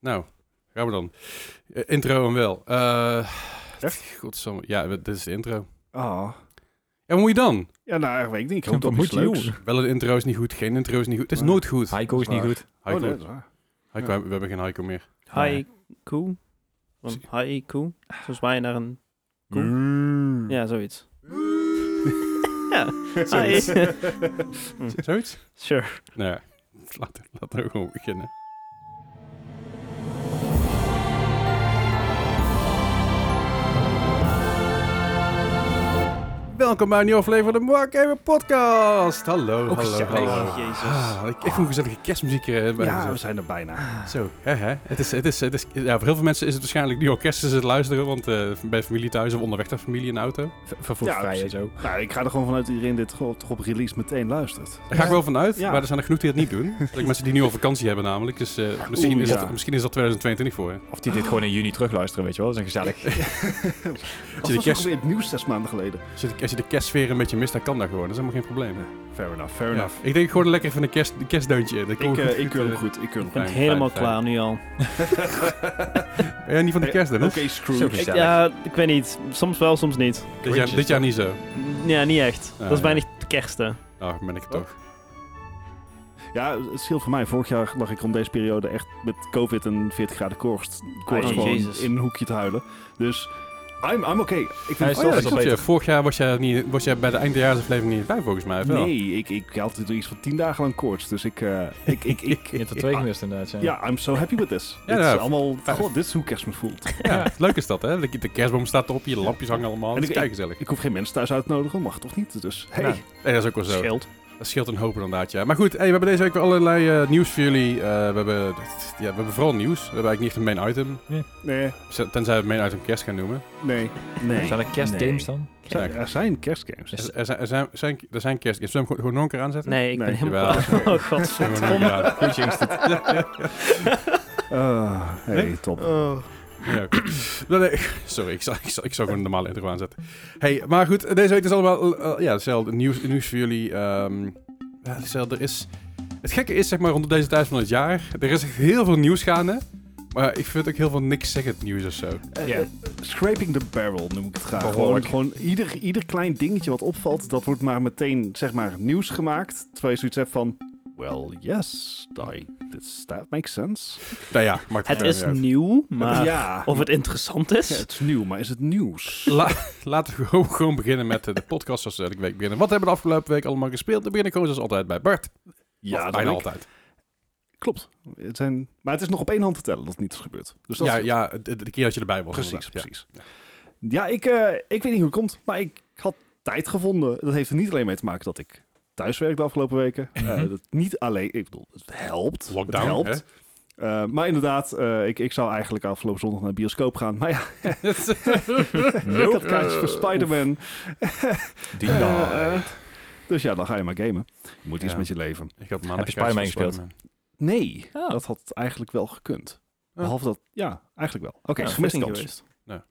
Nou, gaan we dan. Eh, intro en wel. Eh godsamme. Ja, dit is de intro. Ah. En wat moet je dan? Ja, nou, weet ik niet. Ik hoop Wat dat moet moet je, leuks. jongen? Wel, een intro is niet goed. Geen intro is niet goed. Het is Nee. nooit goed. Heiko is niet Waar. goed. Oh, Heiko. nee, dat is waar. Heiko, Ja. We hebben geen Heiko meer. Haiku. Van haiku. Volgens mij naar een... Koe. Mm. Ja, zoiets. ja. Hi. Zoiets. Zoiets? sure. Nou ja, laten laten we gewoon beginnen. Welkom bij een nieuwe aflevering van de Mark Gamer Podcast. Hallo, hallo, gezellig. hallo. Jezus. Ah, ik, ik voel gezellige kerstmuziek eh, bij Ja, mezelf. we zijn er bijna. Zo, hè, hè. Het is, het is, het is, ja, voor heel veel mensen is het waarschijnlijk nu al kerst is het luisteren, want eh, bij familie thuis of onderweg naar familie in de auto. Vervoer Ja, vrij en precies. zo. Nou, ik ga er gewoon vanuit dat iedereen dit gewoon toch op release meteen luistert. Daar ga ik wel vanuit, Ja. maar er zijn er genoeg die het niet doen. Er zijn mensen die nu al vakantie hebben namelijk, dus eh, misschien, Oeh, is ja. dat, misschien is dat 2022 voor je. Of die dit gewoon in juni terugluisteren, weet je wel. Dat is een gezellig. Dat Zie was de kerst... kerst- weer het nieuws zes maanden geleden. Als je de, als je de kerstsfeer een beetje mist, dan kan dat gewoon. Dat is helemaal geen probleem. Fair enough, fair Ja. enough. Ik denk gewoon lekker even een kerst, de kerstdeuntje in. Dat komt Ik, eh, goed. ik keur hem goed, ik keur hem goed. Ik ben Fijn, helemaal fijn, klaar nu al. Ben jij niet van de kerst, Eh, Oké, Dennis? Zo Scrooge. gezellig. Ik, ja, ik weet niet. Soms wel, soms niet. Dit jaar, dit jaar niet zo. Ja, niet echt. dat is Ah, ja. weinig kersten. Nou, ben ik het toch. Ja, het scheelt voor mij. Vorig jaar lag ik rond deze periode echt met COVID en 40 graden koorts, koorts Oh, gewoon Jezus. in een hoekje te huilen. Dus I'm, I'm oké. Ik vind Hij is Oh toch ja, dat wel beter. klopt, ja. Vorig jaar was jij, niet, was jij bij de eindejaarsaflevering niet bij, volgens mij. of wel? Nee, ik, ik had er iets van 10 dagen lang koorts. Dus ik, eh, ik, ik, ik, Je hebt er twee gemist inderdaad, ja. Ja, I'm so happy with this. Ja, dit is nou, allemaal, ja. god, dit is hoe kerstmis voelt. Ja, leuk is dat, hè? De, de kerstboom staat erop, je lampjes hangen allemaal. En Dat is ik- kijk gezellig. Ik hoef geen mensen thuis uit te nodigen, mag toch niet? Dus, hey. Nou. Nee, dat is ook wel zo. Scheelt. Dat scheelt een hoop inderdaad, ja. Maar goed, hey, we hebben deze week weer allerlei eh, nieuws voor jullie. Eh, we, hebben, ja, we hebben vooral nieuws. We hebben eigenlijk niet echt een main item. Nee, Tenzij we het main item kerst gaan noemen. nee, nee. Zijn er kerstgames Nee. dan? Zijn- er zijn kerstgames. Is- Er, er zijn, er, zijn, zijn, er zijn kerstgames. Zullen we hem gewoon- gewoon nog een keer aanzetten? Nee, ik ben Nee, helemaal klaar. Oh, Zullen we hem godverdomme. nog een keer aan- Ah, hey, Nee? top. Ja. Nee, nee, Sorry, ik zou, ik, zou, ik zou gewoon een normale intro aanzetten. Hey, maar goed, deze week is allemaal eh, eh, ja, hetzelfde nieuws, nieuws voor jullie. ehm, ja, hetzelfde is... Het gekke is, zeg maar, rond deze tijd van het jaar... Er is echt heel veel nieuws gaande. Maar ik vind ook heel veel niks zeggend nieuws of zo. Eh, Ja. eh, scraping the barrel noem ik het graag. Gewoon, Behoorlijk. gewoon ieder, ieder klein dingetje wat opvalt, dat wordt maar meteen, zeg maar, nieuws gemaakt. Terwijl je zoiets hebt van, well, yes, I, this, that makes sense. Nou ja, maakt Het verder is niet uit. nieuw, maar ja. of het interessant is... Ja, het is nieuw, maar is het nieuws? La- laten we gewoon, gewoon beginnen met eh, de podcast zoals we elke week beginnen. Wat hebben we de afgelopen week allemaal gespeeld? Dan begin ik gewoon zoals altijd bij Bart. Of dat bijna ben ik. altijd. Klopt. Het zijn, maar het is nog op één hand te tellen dat het niet is gebeurd. Dus dat Ja, is- ja, de, de keer dat je erbij was. precies, inderdaad. Ja. precies. Ja, ik, eh, ik weet niet hoe het komt, maar ik had tijd gevonden. Dat heeft er niet alleen mee te maken dat ik thuis werk de afgelopen weken. Eh, Mhm. dat niet alleen, ik bedoel, het helpt. Lockdown, het helpt. hè? Eh, maar inderdaad, eh, ik, ik zou eigenlijk afgelopen zondag naar de bioscoop gaan. Maar ja, ik had kaartjes voor Spider-Man. Die Eh, dan. eh, dus ja, dan ga je maar gamen. Je moet iets Ja. met je leven. Ik had maandag Heb je Spider-Man kaartjes voor gespeeld? Spider-Man. Nee, Oh. dat had eigenlijk wel gekund. Ja. Behalve dat, ja, eigenlijk wel. Oké, Ja, gemiste verrassing kans. geweest.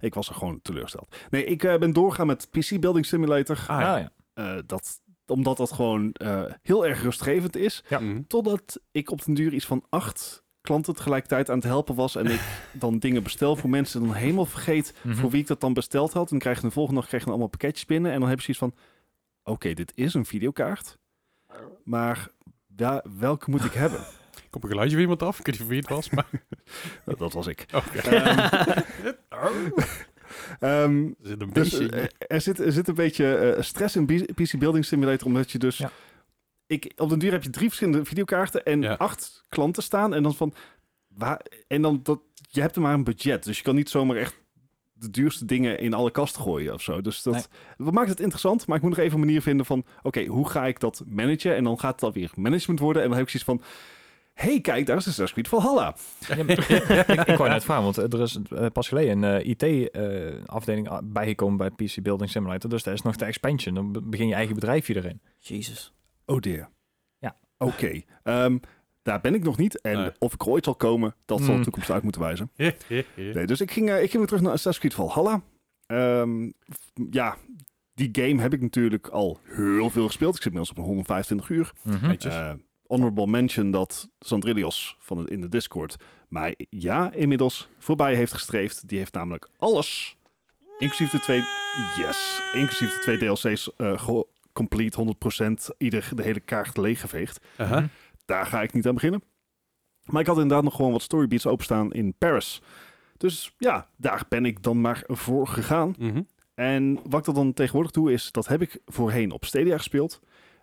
Ik was er gewoon teleurgesteld. Nee, ik eh, ben doorgaan met PC Building Simulator. Ah ja. Eh, dat, omdat dat gewoon eh, heel erg rustgevend is. Ja. Mhm. Totdat ik op den duur iets van acht klanten tegelijkertijd aan het helpen was. En ik dan dingen bestel voor mensen. En dan helemaal vergeet Hm. voor wie ik dat dan besteld had. En dan krijg je de volgende dag krijg je dan allemaal pakketjes binnen. En dan heb je zoiets van, oké, dit is een videokaart. Maar ja, welke moet ik hebben? Komt een geluidje van iemand af? Ik weet niet wie het was, maar... Nou, dat was ik. Oké. Ehm, ehm, Er zit een dus, beetje... eh, er, zit, er zit een beetje eh, stress in B- PC Building Simulator, omdat je dus... Ja. Ik, op den duur heb je drie verschillende videokaarten en Ja. acht klanten staan. En dan van... Waar, en dan dat... Je hebt er maar een budget, dus je kan niet zomaar echt de duurste dingen in alle kasten gooien of zo. Dus dat, dat maakt het interessant, maar ik moet nog even een manier vinden van... Oké, hoe ga ik dat managen? En dan gaat het alweer management worden. En dan heb ik zoiets van... hey, kijk, daar is de Assassin's Creed Valhalla. Ja, maar- ik, ik wou net vragen, want eh, er is eh, pas geleden een IT-afdeling bijgekomen bij PC Building Simulator. Dus daar is nog de expansion. Dan be- begin je eigen bedrijfje erin. Jezus. Oh dear. Ja. Oké. ehm, daar ben ik nog niet. En Nee. of ik er ooit zal komen, dat zal de Hmm. toekomst uit moeten wijzen. Eh, eh, eh. Nee, dus ik ging, eh, ik ging weer terug naar Assassin's Creed Valhalla. Ehm, f- ja, die game heb ik natuurlijk al heel veel gespeeld. Ik zit inmiddels op een 125 uur. Netjes. Eh, honorable mention dat Sandrilios van het, in de Discord mij ja inmiddels voorbij heeft gestreefd. Die heeft namelijk alles, inclusief de twee, yes, inclusief de twee DLC's, eh, ge- complete 100% ieder de hele kaart leeggeveegd. Aha. Daar ga ik niet aan beginnen. Maar ik had inderdaad nog gewoon wat storybeats openstaan in Paris. Dus ja, daar ben ik dan maar voor gegaan. Mhm. En wat ik dat dan tegenwoordig doe, is dat heb ik voorheen op Stadia gespeeld.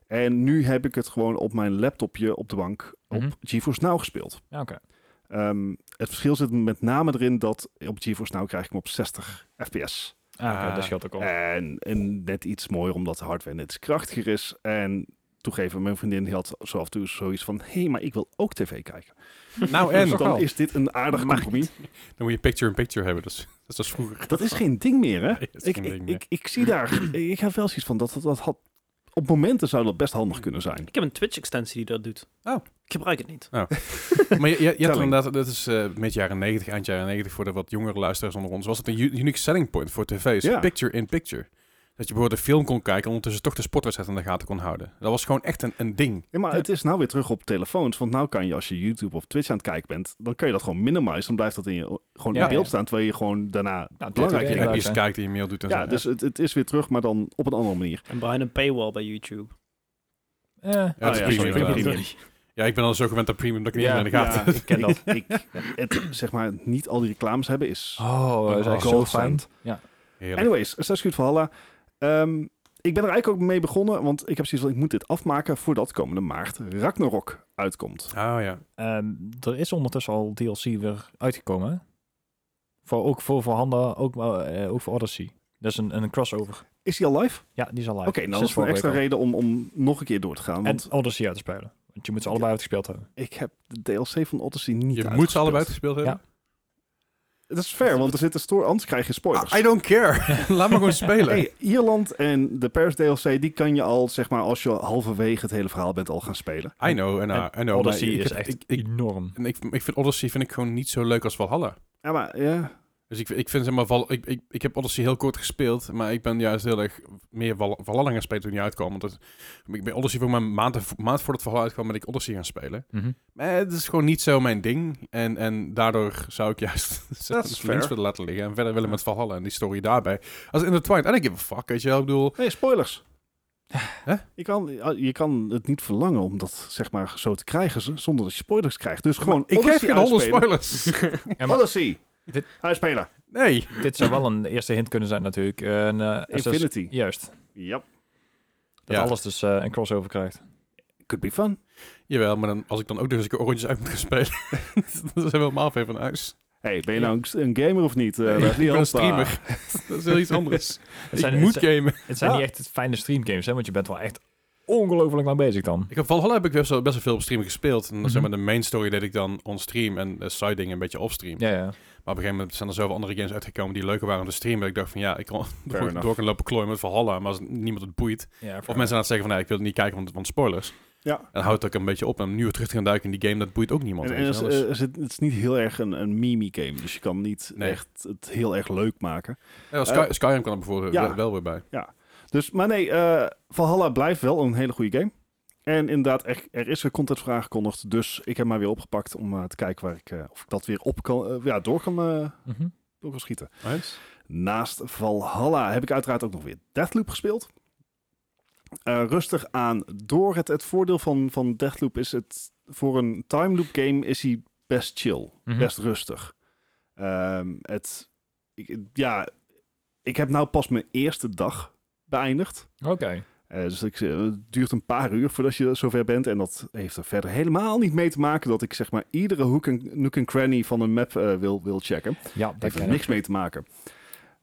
En nu heb ik het gewoon op mijn laptopje op de bank Mhm. op GeForce Now gespeeld. Ja, oké. Ehm, het verschil zit met name erin dat op GeForce Now krijg ik hem op 60 fps. Ah, oké, Ah. dat scheelt ook al. En, en net iets mooier omdat de hardware net iets krachtiger is. En toegeven, mijn vriendin die had zo af en toe zoiets van... hé, hey, maar ik wil ook tv kijken. Nou En en, Toch dan wel. is dit een aardig Maar- compromis. dan moet je picture-in-picture hebben. Dus, dat was vroeger. Dat is geen ding meer, hè? Nee, dat is ik, geen ik, ding meer. ik, ik zie daar, ik heb wel zoiets van dat dat, dat had. Op momenten zou dat best handig kunnen zijn. Ik heb een Twitch-extensie die dat doet. Oh. Ik gebruik het niet. Maar je, je, je hebt Telling. inderdaad, dat is eh mid jaren 90, eind jaren 90, voor de wat jongere luisteraars onder ons, was het een u- unique selling point voor tv's. Ja. Picture-in-picture. Dat je bijvoorbeeld een film kon kijken en ondertussen toch de sportwedstrijd in de gaten kon houden. Dat was gewoon echt een, een ding. Ja, maar het is nou weer terug op telefoons. Want nou kan je als je YouTube of Twitch aan het kijken bent, dan kan je dat gewoon minimizen. Dan blijft dat in je, gewoon Ja, in beeld ja. staan, terwijl je gewoon daarna Ja, belangrijk dit- Je vindt. dit- hebt Inderdaad, iets hè. kijkt in je mail doet en Ja, zo. dus het, het is weer terug, maar dan op een andere manier. En behind een paywall bij YouTube. Eh, Ja, het is Ah, premium, sorry, inderdaad. premium. Ja, ik ben al zo gewend aan premium dat ik niet Ja, meer in de gaten ik ken dat. Ik, het, zeg maar, niet al die reclames hebben is Oh, dat is Oh, echt zo gold fijn. cent. Heerlijk. Anyways, Assassin's Creed Valhalla. Ehm, ik ben er eigenlijk ook mee begonnen, want ik heb zoiets van, ik moet dit afmaken voordat komende maart Ragnarok uitkomt. Oh ja. Ehm, er is ondertussen al DLC weer uitgekomen. hè? Voor, ook voor Valhalla, ook, eh, ook voor Odyssey. Dat is een, een crossover. Is die al live? Ja, die is al live. Oké, nou dat Sinds is een vorige extra week reden om, om nog een keer door te gaan, al. want En Odyssey uit te spelen. Want je moet ze allebei uitgespeeld hebben. ik heb de DLC van Odyssey niet Je moet ze uitgespeeld. allebei uitgespeeld hebben? Dat is fair, want er zitten store, anders krijg je spoilers. Ah, I don't care. Laat me gewoon spelen. Hey, Ierland en de Paris DLC, die kan je al, zeg maar, als je halverwege het hele verhaal bent, al gaan spelen. I know, en I know. maar Odyssey ik is heb- echt Ik, ik, enorm. en ik, ik vind Odyssey vind ik gewoon niet zo leuk als Valhalla. Ja, maar ja, Dus ik, ik vind zeg maar, Val, ik, ik, ik heb Odyssey heel kort gespeeld, maar ik ben juist heel erg meer Val, Valhalla gaan spelen toen die uitkwam. Want dat, ik ben Odyssey voor mijn maand, maand voor het Valhalla uitkwam ben ik Odyssey gaan spelen. Mhm. Maar het is gewoon niet zo mijn ding. En, en daardoor zou ik juist Dat links is fair. willen laten liggen en verder willen met Valhalla en die story daarbij. Als in de twine, I don't give a fuck, weet je wel. Ik bedoel, nee, spoilers. Hè? Je kan, je kan het niet verlangen om dat, zeg maar, zo te krijgen, z- zonder dat je spoilers krijgt. Dus gewoon, ik geef Odyssey geen honderd uitspelen. spoilers. Ja, maar- Odyssey, Dit- uitspelen. nee. Dit zou wel een eerste hint kunnen zijn natuurlijk. Een, eh, Assassin's- Infinity. Juist. Ja, Dat Ja. alles dus eh, een crossover krijgt. could be fun. Jawel, maar dan, als ik dan ook nog eens een keer oranges uit moet gaan spelen, dan zijn we helemaal ver van huis. Hey, ben je nou een- een gamer of niet? Eh, Nee, Rafael? ik ben een streamer. Dat is heel iets anders. Het zijn, ik moet het, zijn- gamen. het zijn Ja. niet echt fijne streamgames, hè? Want je bent wel echt ongelooflijk lang bezig dan. Ik heb Valhalla heb ik best wel, best wel veel op stream gespeeld. En dan zeg Mhm. maar de main story deed ik dan on stream en de side dingen een beetje off stream. Ja, ja. Maar op een gegeven moment zijn er zoveel andere games uitgekomen die leuker waren om te streamen. Dat ik dacht van ja, ik kan door, enough. door kan lopen klooien met Valhalla, maar als niemand het boeit. ja Of mensen aan het zeggen van nee, ik wil het niet kijken, want, want spoilers. Ja. En dan houdt het ook een beetje op. En om nu weer terug te gaan duiken in die game, dat boeit ook niemand. En, en weet je het, wel. Dus- is- eh, het, het is niet heel erg een, een mimi-game, dus je kan niet Nee. echt het heel erg leuk maken. Ja, wel, Sky- Skyrim kan er bijvoorbeeld eh, ja. wel, wel weer bij. Dus, maar nee, eh, Valhalla blijft wel een hele goede game. En inderdaad, er, er is weer content voor aangekondigd, dus ik heb mij weer opgepakt om eh, te kijken waar ik, eh, of ik dat weer op kan, eh, ja, door, kan, eh, Mhm. door kan schieten. Right? Naast Valhalla heb ik uiteraard ook nog weer Deathloop gespeeld. Eh, rustig aan door. Het, het voordeel van, van Deathloop is het... Voor een time loop game is hij best chill. Mhm. Best rustig. Ehm, het, ik, ja, ik heb nou pas mijn eerste dag beëindigd. Oké. Eh, dus ik, eh, het duurt een paar uur voordat je zover bent. En dat heeft er verder helemaal niet mee te maken... dat ik zeg maar iedere hoek en, nook en cranny van een map eh, wil, wil checken Ja, dat heeft er ken ik. niks mee te maken.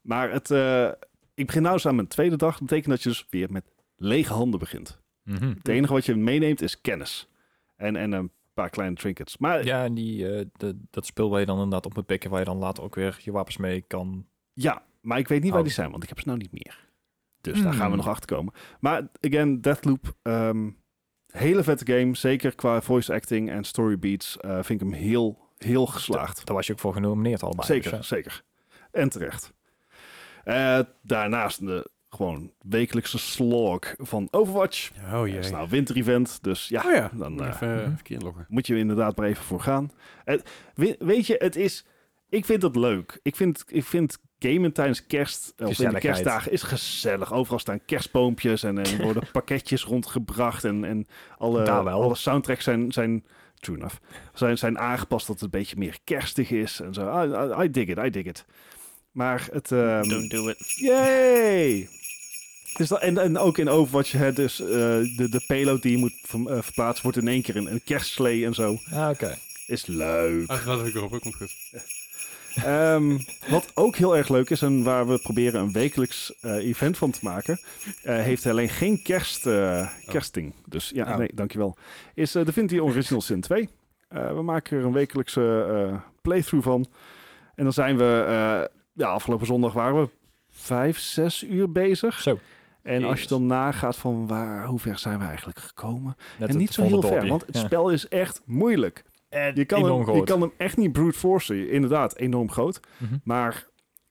Maar het, eh, ik begin nou eens aan mijn tweede dag. Dat betekent dat je dus weer met lege handen begint. Mhm. Het enige wat je meeneemt is kennis. En, en een paar kleine trinkets. Maar ja, Ja, en die, eh, de, dat speel waar je dan inderdaad op moet pikken, waar je dan later ook weer je wapens mee kan. maar ik weet niet waar Oh. die zijn, want ik heb ze nou niet meer. Dus daar Hmm. gaan we nog achter komen. Maar again, Deathloop. ehm hele vette game. Zeker qua voice acting en story beats. eh, vind ik hem heel, heel geslaagd. Daar was je ook voor dus, genomineerd allebei. Zeker, dus, zeker. En terecht. Eh, daarnaast de gewoon wekelijkse slog van Overwatch. Oh Het is jee. nou een winter-event, dus ja, Oh ja, dan Moet ik eh, even, Mhm. eh, even inloggen. moet je er inderdaad maar even voor gaan. Eh, we- weet je, het is... Ik vind het leuk. Ik vind, ik vind gamen tijdens kerst, eh, of in de Gezelligheid. kerstdagen, is gezellig. Overal staan kerstboompjes en, en worden pakketjes rondgebracht. En, en alle, Daar wel. alle soundtracks zijn, zijn, true enough, zijn, zijn aangepast dat het een beetje meer kerstig is. En zo, I, I- I dig it, I dig it. Maar het... ehm, Don't do it. Yay! Dus dat, en, en ook in Overwatch, hè, dus eh, de, de payload die je moet ver- eh, verplaatsen, wordt in één keer een, een kerstslee en zo. Ah, Oké. Is leuk. Ah, laat ik erop, ook komt goed. Ehm, wat ook heel erg leuk is en waar we proberen een wekelijks eh, event van te maken, eh, heeft alleen geen kerst, eh, kerstding. Dus ja, Oh. nee, dankjewel. Is eh, Divinity Original Sin 2. Eh, we maken er een wekelijkse eh, playthrough van. En dan zijn we, eh, ja, afgelopen zondag waren we vijf, zes uur bezig. Zo. En als je Jezus. dan nagaat van waar, hoe ver zijn we eigenlijk gekomen? Net en het niet zo heel volgende ver, dorpje. want het Ja. spel is echt moeilijk. En Je kan, enorm hem, je groot. kan hem echt niet brute forcen. Inderdaad, enorm groot. Mhm. Maar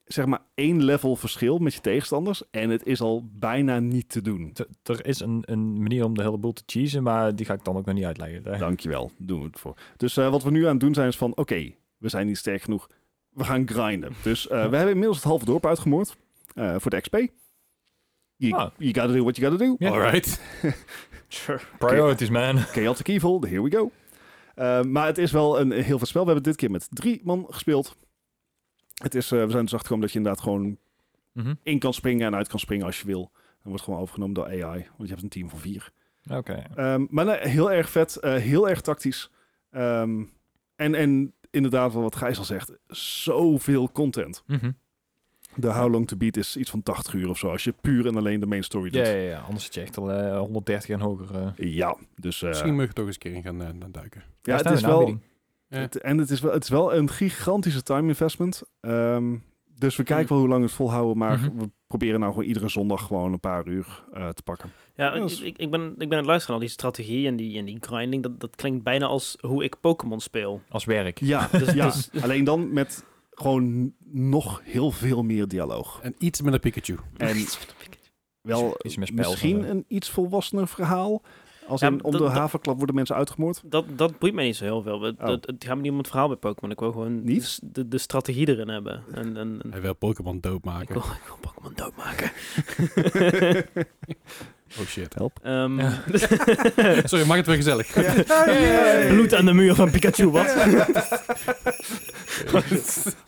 zeg maar één level verschil met je tegenstanders. En het is al bijna niet te doen. T- Er is een, een manier om de hele boel te cheesen, maar die ga ik dan ook nog niet uitleggen. Daar- Dankjewel, doen we het voor. Dus eh, wat we nu aan het doen zijn is van... Oké, we zijn niet sterk genoeg. We gaan grinden. Dus eh, we hebben inmiddels het halve dorp uitgemoord. eh, voor de XP. You, Ah. you gotta do what you gotta do. Ja. Alright. Priorities, man. Chaotic Evil, here we go. Eh, maar het is wel een, een heel veel spel. We hebben dit keer met drie man gespeeld. Het is, eh, we zijn dus achtergekomen dat je inderdaad gewoon Mhm. in kan springen en uit kan springen als je wil. Dan wordt gewoon overgenomen door AI, want je hebt een team van vier. Oké. Ehm, maar nee, heel erg vet, eh, heel erg tactisch. Ehm, en, en inderdaad, wat Gijs al zegt, zoveel content. Mhm. De How Long To Beat is iets van 80 uur of zo, als je puur en alleen de main story Ja, doet. ja, ja, anders zit je echt al eh, 130 en hoger. eh. Ja, dus eh, Misschien moet ik er toch eens een keer in gaan, eh, gaan duiken. ja, Daar het staan is we in wel... de aanbieding. Ja. Het- en het is, wel, het is wel een gigantische time investment. Ehm, dus we kijken wel hoe lang we het volhouden. Maar Mhm. we proberen nou gewoon iedere zondag gewoon een paar uur eh, te pakken. Ja, Ja, ik, is- ik, ik ben, ik ben aan het luisteren al die strategie en die, en die grinding. Dat, dat klinkt bijna als hoe ik Pokémon speel. Als werk. Ja, Dus, ja. dus- alleen dan met gewoon nog heel veel meer dialoog. En iets met een Pikachu. En wel Iets meer spel misschien dan, een iets volwassener verhaal. Als Ja, in, om dat- de dat- haverklap worden mensen uitgemoord. dat, dat boeit mij niet zo heel veel. Het, Oh. het, het gaat me niet om het verhaal bij Pokémon. Ik wil gewoon Niet? de s- De, de strategie erin hebben. En, en, en- Hij wil Pokémon ik doodmaken. wil, ik wil Pokémon doodmaken. Oh shit. Ehm, Ja. Eh, Sorry, maak het weer gezellig. Bloed aan de muur van Pikachu, wat?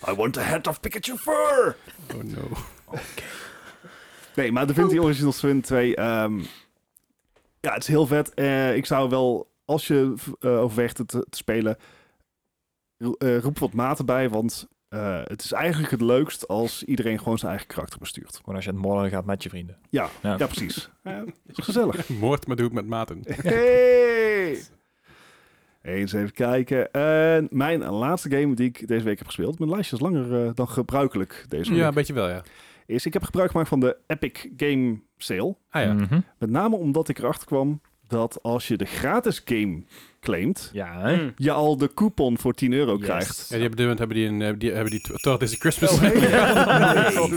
I want the head of Pikachu fur! Oh no. Nee, maar Divinity Original Sin 2, ehm, ja, het is heel vet. Eh, ik zou wel, als je eh, overweegt het te, te spelen, ro- eh, roep wat maten bij, want eh, het is eigenlijk het leukst als iedereen gewoon zijn eigen karakter bestuurt. Gewoon als je aan het morgen gaat met je vrienden. Ja, Ja. ja precies. Eh, het is gezellig. Moord, maar doe het met maten. Hey! Eens even kijken. En mijn laatste game die ik deze week heb gespeeld, mijn lijstje is langer eh, dan gebruikelijk deze Ja, een week, beetje wel, ja. is ik heb gebruik gemaakt van de Epic Game Sale. Ah ja. Mhm. Met name omdat ik erachter kwam dat als je de gratis game claimt, Ja, hè? Mm. Hm. je al de coupon voor 10 euro Yes. krijgt. Ja, die hebben, die hebben die een, eh, die hebben die tw- Twelve Days of Christmas. Oh, hey. Ja. Nee.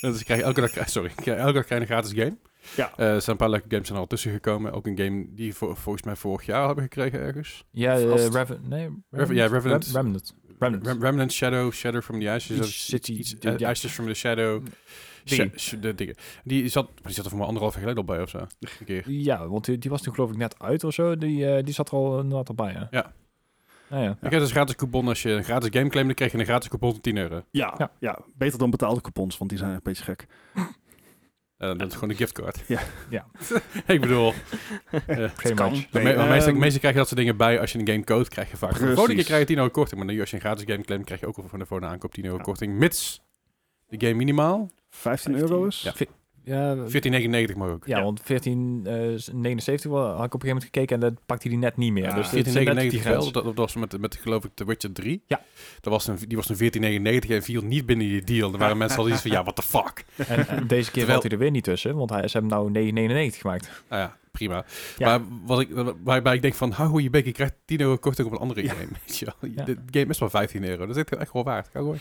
Dus ik krijg elke dag, krijg- sorry, ik krijg elke dag krijg je een gratis game. Ja. Eh, er zijn een paar leuke games zijn al tussen gekomen. Ook een game die voor, volgens mij vorig jaar hebben gekregen ergens. Ja, eh, Vast. Reven- nee, Reven- ja, Revenant. Rem- Remnant. Remnant. Rem- Remnant Shadow, Shadow from the Ashes. Iets- of iets- zit die- iets- die- eh, ja. Ashes from the Shadow. Mm. Dingen. Sha- sh- de dingen. Die zat, die zat er voor maar anderhalf jaar geleden al bij of zo. Een keer. Ja, want die, die was toen geloof ik net uit of zo. Die, eh, die zat er al inderdaad al bij, hè? Ja. Ah, ja. Ik heb dus een gratis coupon. Als je een gratis game claimde, kreeg je een gratis coupon van 10 euro. Ja, ja. Ja. beter dan betaalde coupons, want die zijn een beetje gek. Eh, dat is gewoon een giftcard. Ja. Ja. ik bedoel, Pretty kan. much. maar Nee, me- maar meestal, ehm, meestal krijg je dat soort dingen bij als je een game code krijg je vaak. De Precies. volgende keer krijg je 10 euro korting, maar nu als je een gratis game claimt, krijg je ook al van de volgende aankoop 10 euro Ja. korting, mits de game minimaal 15 euro is? Ja. Ja, 14,99 mag ook. ja, want 1479 had ik op een gegeven moment gekeken en dat pakte hij net niet meer. Ah, dus dit is net die 14,99 grens. Eh, wel, dat, dat was met, met geloof ik The Witcher 3. Ja. Dat was een, die was een 14,99 en viel niet binnen die deal. Er waren mensen al iets van, ja, what the fuck. En, en deze keer Terwijl- valt hij er weer niet tussen, want hij, ze hebben nou 999 gemaakt. Nou ja, prima. Ja. Maar wat ik, waarbij ik denk van, hou hoe je bek, je krijgt 10 euro korting op een andere game. Weet je wel. Ja. De game is maar 15 euro, dat is echt, echt wel waard. Ga gewoon.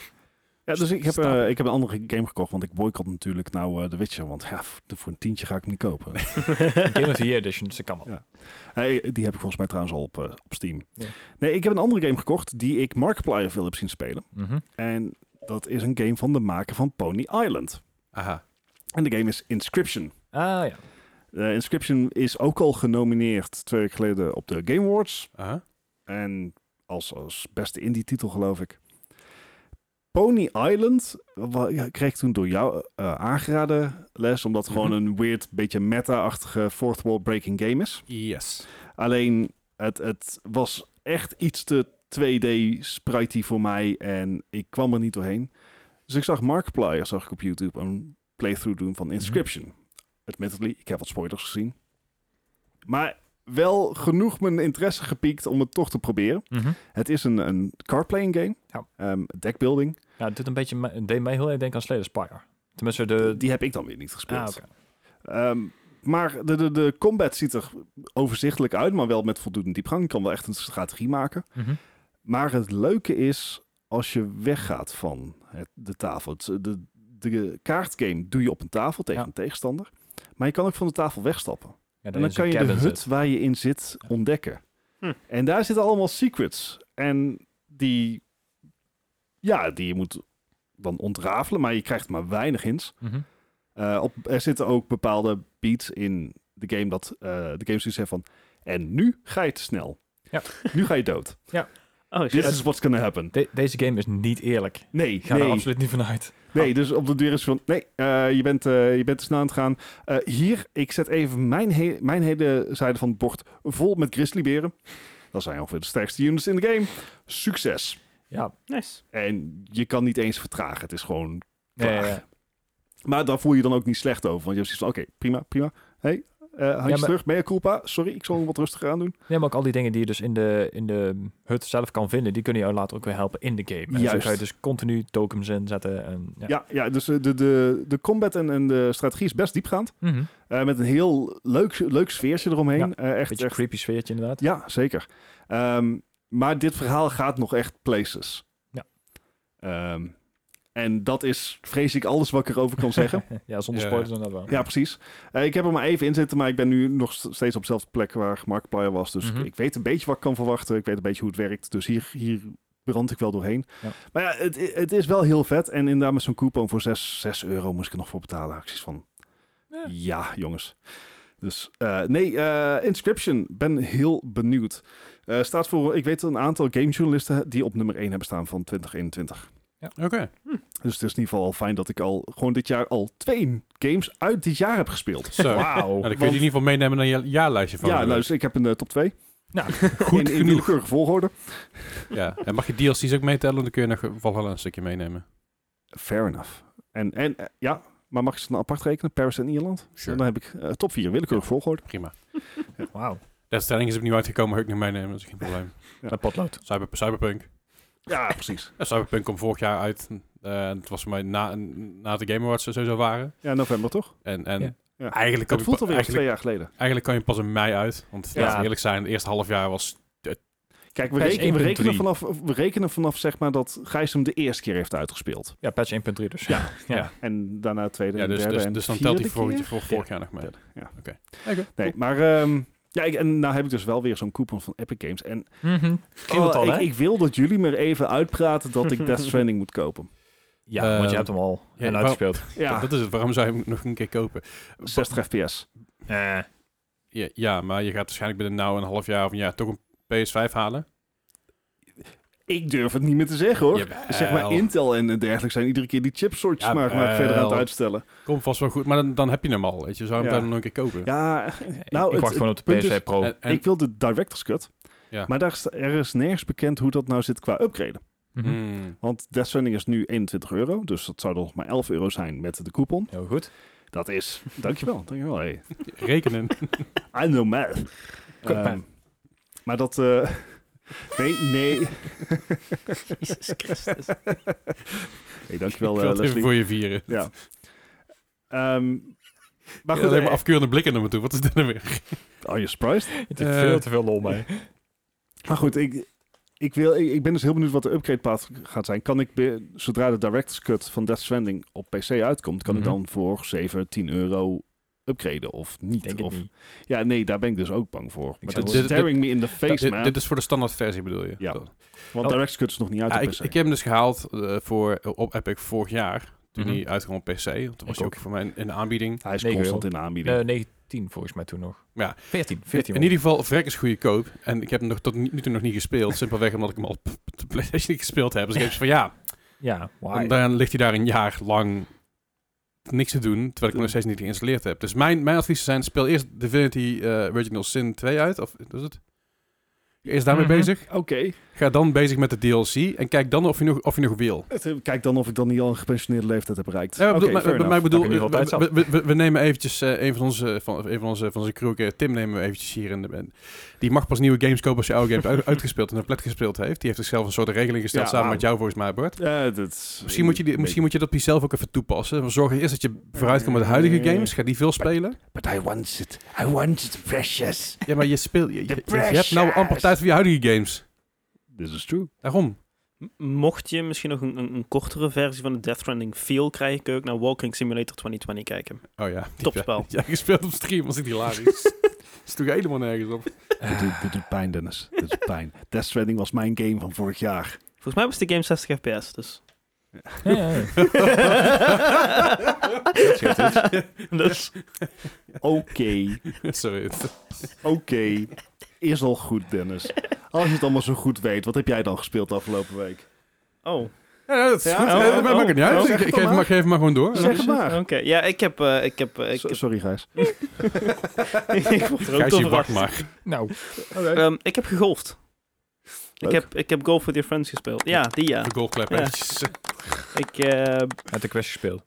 Ja, dus ik heb, Stapel. eh, ik heb een andere game gekocht, want ik boycott natuurlijk nou eh The Witcher, want ja, f- voor een tientje ga ik hem niet kopen. Game of the Year Edition, dus dat kan wel. Hey, die heb ik volgens mij trouwens al op, eh, op Steam. Ja. Nee, ik heb een andere game gekocht die ik Markiplier veel heb zien spelen. Mhm. En dat is een game van de maker van Pony Island. Aha. En de game is Inscription. Ah ja. Eh, Inscription is ook al genomineerd twee weken geleden op de Game Awards. Aha. En als, als beste indie titel geloof ik. Pony Island wa- ja, kreeg ik toen door jou eh, aangeraden les. Omdat het gewoon een weird, beetje meta-achtige fourth wall breaking game is. Yes. Alleen het, het was echt iets te 2D spritey voor mij en ik kwam er niet doorheen. Dus ik zag Markiplier, zag ik op YouTube, een playthrough doen Mhm. van Inscription. Admittedly, ik heb wat spoilers gezien. Maar wel genoeg mijn interesse gepiekt om het toch te proberen. Mhm. Het is een, een cardplaying game, Ja. Ehm, deckbuilding. ja, dit een beetje, me- deed mij heel erg denken aan Slay the Spire. Tenminste, de... Die heb ik dan weer niet gespeeld. Eh, ah, oké. Ehm, maar de, de, de combat ziet er overzichtelijk uit, maar wel met voldoende diepgang. Je kan wel echt een strategie maken. Mhm. Maar het leuke is als je weggaat van het, de tafel. Het- de, de kaartgame doe je op een tafel tegen Ja. een tegenstander. Maar je kan ook van de tafel wegstappen. Ja, En dan kan je de hut waar je in zit Ja. ontdekken. Hm. En daar zitten allemaal secrets. En die, ja, die je moet dan ontrafelen. Maar je krijgt maar weinig hints. Mhm. Eh, op, er zitten ook bepaalde beats in de game dat eh, de game zoiets heeft van... En nu ga je te snel. Ja. Nu ga je dood. Oh, shit. This is what's gonna happen. deze game is niet eerlijk. Ik Nee, ga nee, er absoluut niet van uit. nee. Dus op de deur is van, nee, eh, je, bent, eh, je bent te snel aan het gaan. Eh, hier, ik zet even mijn, he- mijn hele zijde van het bord vol met grizzlyberen. Dat zijn ongeveer de sterkste units in de game. Succes. Ja. Nice. En je kan niet eens vertragen. Het is gewoon Ja, ja, klaar. ja. Maar daar voel je je dan ook niet slecht over. Want je hebt zoiets van, oké, prima, prima. hey, eh, handjes maar- terug. Mea culpa. Sorry, ik zal hem wat rustiger aan doen. Ja, maar ook al die dingen die je dus in de, in de hut zelf kan vinden, die kunnen jou later ook weer helpen in de game. En zo Juist. ga je dus continu tokens inzetten. En, ja. Ja, ja, dus eh, de, de, de combat en, en de strategie is best diepgaand. Mhm. Eh, met een heel leuk, leuk sfeertje eromheen. Ja, Eh, echt, Beetje echt een creepy sfeertje inderdaad. Ja, zeker. Ehm, maar dit verhaal gaat nog echt places. Ja. Ehm, en dat is, vrees ik, alles wat ik erover kan zeggen. ja, zonder Ja, spoilers inderdaad wel. ja, precies. Eh, ik heb er maar even in zitten, maar ik ben nu nog st- steeds op dezelfde plek waar Markiplier was. Dus Mhm. ik, ik weet een beetje wat ik kan verwachten. Ik weet een beetje hoe het werkt. Dus hier, hier brand ik wel doorheen. Ja. Maar ja, het, het is wel heel vet. En inderdaad, met zo'n coupon voor 6, 6 euro moest ik er nog voor betalen. Acties van, ja, Ja. jongens. Dus eh, nee, eh, Inscription, ben heel benieuwd. Eh, staat voor, ik weet een aantal gamejournalisten die op nummer 1 hebben staan van 2021. Oké. Nou, Dus het is in ieder geval al fijn dat ik al gewoon dit jaar al twee games uit dit jaar heb gespeeld. Zo. Nou, dan Wauw. kun je die in ieder geval meenemen naar je jaarlijstje van. Ja, de- nou, dus ik heb een eh, top 2. Nou, goed in, in willekeurige volgorde. Ja. En mag je DLC's ook meetellen, dan kun je nog Valhalla een stukje meenemen. Fair enough. En, en eh, ja, maar mag ik ze dan apart rekenen? Paris en Ierland? Sure. Dan heb ik eh, top 4 willekeurig volgorde. Prima. Wauw. De stelling is opnieuw uitgekomen, maar ook nog meenemen, dat is geen probleem. Met potlood. Cyber, cyberpunk. Ja, precies. Ja, Cyberpunk kwam vorig jaar uit. Eh, en het was voor mij na, na de Game Awards sowieso waren. Ja, november toch? En, en Ja. Ja. Eigenlijk, kan Dat je voelt pa- alweer als eigenlijk, twee jaar geleden. eigenlijk kan je pas in mei uit. Want Ja. laten we eerlijk zijn, het eerste half jaar was... Kijk, we Patch rekenen, we, 1.3. rekenen vanaf, we rekenen vanaf zeg maar dat Gijs hem de eerste keer heeft uitgespeeld. Ja, patch 1.3 dus. Ja. En daarna tweede Ja, en dus, derde dus, en dus dan telt hij vierde voor, keer? voor vorig jaar nog mee. Derde, ja. Oké. Nee, maar ehm, ja, ik, en nou heb ik dus wel weer zo'n coupon van Epic Games. En Mhm. Klinkt het oh, al, ik, hè? ik wil dat jullie me er even uitpraten dat ik Death Stranding moet kopen. Eh, Ja, want je Ehm, hebt hem al ja, en wou- uitgespeeld. Ja, Dat is het. Waarom zou je hem nog een keer kopen? 60 fps. Eh, Ja, ja, maar je gaat waarschijnlijk binnen nou een half jaar of een jaar toch een PS5 halen. Ik durf het niet meer te zeggen hoor. Jawel. Zeg maar Intel en dergelijke zijn iedere keer die chipsoortjes Ja, maar, maar verder aan het wel. uitstellen. Komt vast wel goed, maar dan, dan heb je hem al. Weet je. Zou je hem Ja. dan nog een keer kopen? Ja, ik- nou, ik het- wacht gewoon op de punt PS5 is- Pro. En- en- ik wil de director's cut. Ja. Maar daar is, er is nergens bekend hoe dat nou zit qua upgraden. Mhm. Hmm. Want Death Stranding is nu 21 euro. Dus dat zou dan nog maar 11 euro zijn met de coupon. Heel goed. Dat is... Dankjewel. dankjewel. Hey, Rekenen. I know math. Good Ehm, man. maar dat... eh, nee, nee. Jezus Christus. Hey, dankjewel ik eh, wil het even Leslie. voor je vieren. Ja. Ehm, maar Maar goed, goed, eh, even afkeurende blikken naar me toe. Wat is dit nou weer? are you surprised? Het is eh, veel te veel lol mee. Maar goed, ik, ik, wil, ik, ik ben dus heel benieuwd wat de upgrade path gaat zijn. Kan ik, be- zodra de director's cut van Death Stranding op PC uitkomt, kan Mhm. ik dan voor 7, 10 euro upgraden of niet? Denk het of, niet. Ja, nee, daar ben ik dus ook bang voor. Maar zou dat wel- is staring me in the Dit- face, man. dit is voor de standaardversie bedoel je? Ja. Dat- Want Oh. director's cut is nog niet uit Ja, op ik, PC. ik heb hem dus gehaald eh, voor, op Epic vorig jaar. Toen Mhm. hij uitkwam op PC. want Toen was hij ook. ook voor mij in, in de aanbieding. Hij is Negen constant in euro. de aanbieding. Eh 19 volgens mij toen nog. Ja. 14. 14 In ieder geval, vrek is goedkoop. En ik heb hem nog tot nu toe nog niet gespeeld. Simpelweg omdat ik hem al op de PlayStation niet gespeeld heb. Dus ik heb zoiets van ja, Ja, why? En dan ligt hij daar een jaar lang niks te doen, terwijl ik hem nog steeds niet geïnstalleerd heb. Dus mijn, mijn adviezen zijn, speel eerst Divinity eh, Original Sin 2 uit, of dat is het? Eerst daarmee Mhm. bezig. Oké. Ga dan bezig met de DLC en kijk dan of je nog, of je nog wil. Het- eh, Kijk dan of ik dan niet al een gepensioneerde leeftijd heb bereikt. Ja, maar Oké, bedoel- maar- fair maar- maar ik enough. bedoel, eh, Dan heb je in ieder geval we, we- we- we nemen eventjes eh, een van onze, van, een van onze, van onze crew, eh, Tim nemen we eventjes hier in de en Die mag pas nieuwe games kopen als je oude games uit- uitgespeeld en een plat gespeeld heeft. Die heeft zichzelf een soort regeling gesteld Ja, samen wauw. met jou volgens mij, Bart. Eh, dat is- Misschien moet, je die, misschien moet je dat bij jezelf ook even toepassen. Zorg eerst dat je vooruit komt met de huidige games. Ga die veel spelen. But I want it. I want it precious. Ja, maar je speelt... Je, je, De je hebt nou amper pressures. tijd voor je huidige games. This is true. Daarom. M- Mocht je misschien nog een, een, een kortere versie van de Death Stranding feel krijgen, kun je ook naar Walking Simulator 2020 kijken. Oh ja. Topspel. Ja, gespeeld op stream. Was ik hilarisch. is toch helemaal nergens op. Dit, doet, dit doet pijn, Dennis. Dit doet pijn. Death Stranding was mijn game van vorig jaar. Volgens mij was de game 60 fps, dus... Ja, ja, ja. scheelt dus Oké, Sorry. oké. Is al goed, Dennis. Als je het allemaal zo goed weet, wat heb jij dan gespeeld de afgelopen week? oh, Ja, dat is Ja, goed. oh, Ja, dat maakt het niet oh, uit. zeg Ik, het ik dan geef, maar, maar. geef maar gewoon door. Zeg het oké. maar. Ja, ik heb... eh, ik heb, eh, ik, So- heb sorry, Gijs. ik word er ook Gijs, door je wacht verrast. maar. Nou, Eh, Ehm, ik heb gegolfd. Leuk. Ik heb, ik heb Golf With Your Friends gespeeld. Ja, die ja. De goalclap Ja. eventjes. Ik, eh, uit de quest gespeeld.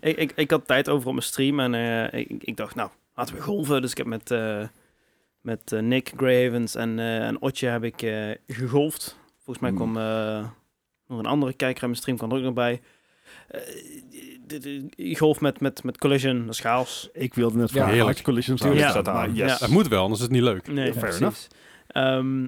ik, ik, ik had tijd over op mijn stream en eh, ik, ik dacht, nou, laten we golven. Dus ik heb met, eh, met eh, Nick Gravens en, eh en Otje heb ik eh, gegolfd. Volgens mij Mm. kwam eh, nog een andere kijker aan mijn stream, kwam er ook nog bij. Eh, d- d- d- golf met, met, met Collision, dat is chaos. Ik wilde net vragen. heerlijk. had je Collisions Tuurlijk aan? staat maar aan. yes. Ja. Dat moet wel, anders is het niet leuk. Nee, fair precies. enough. Ehm,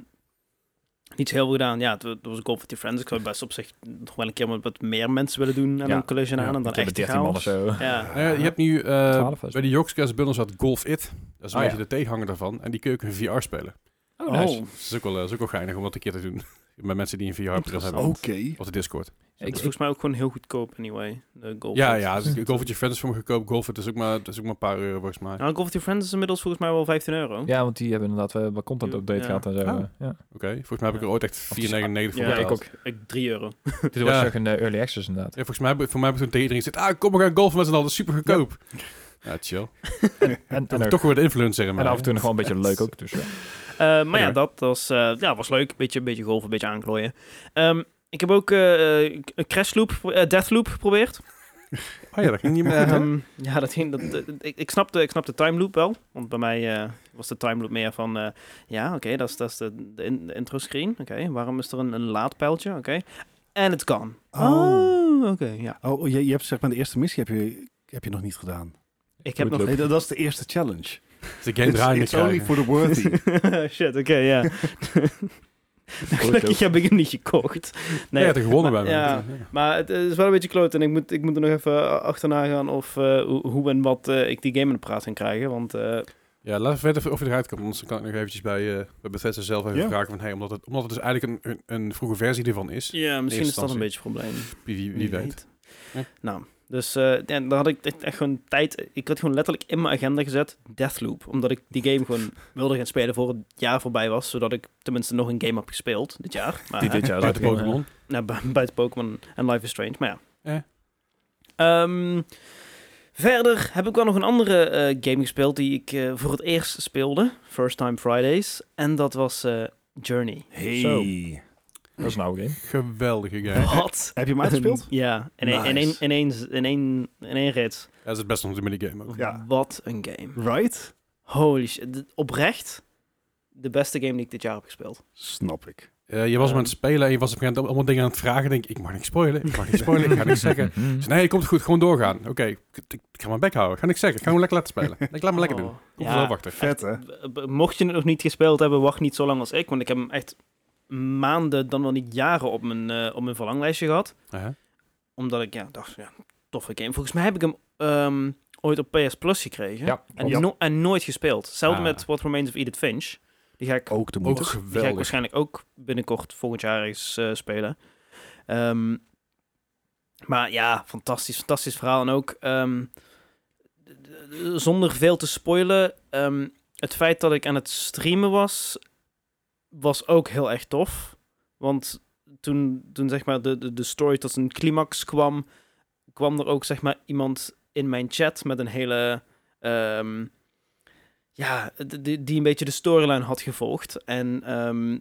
niets heel veel gedaan. Ja, het, wa- het was een golf met je friends. Ik zou best op zich nog wel een keer wat- wat meer mensen willen doen aan Ja. een collision aan. En dan Ik heb echt het 13 man of chaos. zo. Ja. Eh, je hebt nu eh, 12 is bij de Jogscast bundels had Golf It. Dat is een Oh, beetje ja. de tegenhanger daarvan. En die kun je ook in VR spelen. Oh, nice. Dat is ook wel, eh, is ook wel geinig om dat een keer te doen. Met mensen die een VR-bril hebben. Oké. Op de Discord. Het Ik, is volgens mij ook gewoon heel goedkoop, anyway. De golf Ja, It. ja. Dus Golf with Your Friends is voor me goedkoop. Golf It is ook maar, dat is ook maar een paar euro volgens mij. Nou, Golf with Your Friends is inmiddels volgens mij wel 15 euro. ja, want die hebben inderdaad wel wat content update Ja. gehad en zo. Oh. Ja. Oké, volgens mij heb ik er ooit echt 4,99 voor Ja, betaald. ik ook. Ik- 3 euro. Dit was ook een eh, early access inderdaad. Ja, volgens mij, heb ik- voor mij heb ik toen tegen iedereen gezegd, ah, kom, we gaan golfen met z'n allen, dat is super goedkoop. Ja, chill. En, en, En ook- toch weer de influencer in mij. en af en toe nog wel een beetje leuk ook. Dus, ja. Eh, maar ja, dat was, eh, ja, was leuk. Beetje, beetje golf, een beetje aanklooien. Ehm, ik heb ook eh, eh, Crash Loop, eh, Death Loop geprobeerd. Oh ja, dat ging niet meer goed, hè? Ehm, ja, dat ging. Dat, dat- ik, ik, snap de, ik snap de time loop wel. Want bij mij eh, was de time loop meer van. eh, ja, oké, dat is, dat is de, de, in- de intro screen. Oké, waarom is er een, een laadpijltje? Oké. En it's gone. Oh. oké, ja. Oh, je, je hebt zeg maar de eerste missie heb je, heb je nog niet gedaan. Ik heb nog. Nee, dat, dat is de eerste challenge. De game It's- draait niet it's only krijgen. for the worthy. Oh, Shit, oké, ja. Gelukkig heb ik hem niet gekocht. Nee, je had er gewonnen bij me. Ja, maar het is wel een beetje kloot. En ik moet, ik moet er nog even achterna gaan of eh, hoe, hoe en wat eh, ik die game in de praat kan krijgen. Want eh, Ja, laten we verder of je eruit komt. Anders dan kan ik nog eventjes bij, eh bij Bethesda zelf even Ja. vragen van, hey, omdat, het, omdat het dus eigenlijk een, een, een vroege versie ervan is. ja, misschien is dat een instantie. beetje een probleem. Wie, wie, wie weet. Ja. Nou, dus eh en dan had ik echt, echt gewoon tijd. Ik had gewoon letterlijk in mijn agenda gezet Deathloop. Omdat ik die game gewoon wilde gaan spelen voor het jaar voorbij was. Zodat ik tenminste nog een game heb gespeeld dit jaar. Maar, eh, Die dit jaar dus Buiten zou ik- Pokémon. Nou, bu- buiten Pokémon en Life is Strange. Maar ja. Ja. Ehm, verder heb ik wel nog een andere eh, game gespeeld die ik eh, voor het eerst speelde. First Time Fridays. En dat was eh, Journey. Hey. Zo. Dat is een oude game. Geweldige game. Wat? Heb je hem uitgespeeld? Ja, in één in één- Nice. in één- in één- in één rit. Dat is het beste om te minigame ook. Ja. Wat een game. Right? Holy shit. Dit- Oprecht de beste game die ik dit jaar heb gespeeld. Snap ik. Eh, je was hem aan het spelen en je was op een gegeven moment allemaal dingen aan het vragen. Denk ik, ik mag niks spoilen, ik mag niks spoilen, ik ga niks zeggen. Mhm. Dus nee, komt goed, gewoon doorgaan. Oké, ik, ik- ik ga mijn bek houden, ik ga niks zeggen. Ik ga gewoon lekker laten spelen. Ik laat me lekker doen. Oh, Kom ja. vanzelf achter. Vet, hè? B- b- Mocht je het nog niet gespeeld hebben, wacht niet zo lang als ik. Want ik heb hem echt maanden, dan wel niet jaren op mijn, eh, op mijn verlanglijstje gehad. Aha. Omdat ik ja, dacht, ja, toffe game. Volgens mij heb ik hem ehm, ooit op PS Plus gekregen. Ja, en, klopt. no- en nooit gespeeld. Zelfde Ah. met What Remains of Edith Finch. Die ga ik Ook de Ook moeder. die ga ik geweldig. waarschijnlijk ook binnenkort volgend jaar eens eh, spelen. Ehm, maar ja, fantastisch, fantastisch verhaal. En ook ehm, d- d- zonder veel te spoilen, ehm, het feit dat ik aan het streamen was, was ook heel erg tof. Want toen, toen zeg maar de, de, de story tot een climax kwam, kwam er ook zeg maar iemand in mijn chat met een hele. ehm, ja, d- die, die een beetje de storyline had gevolgd. En ehm,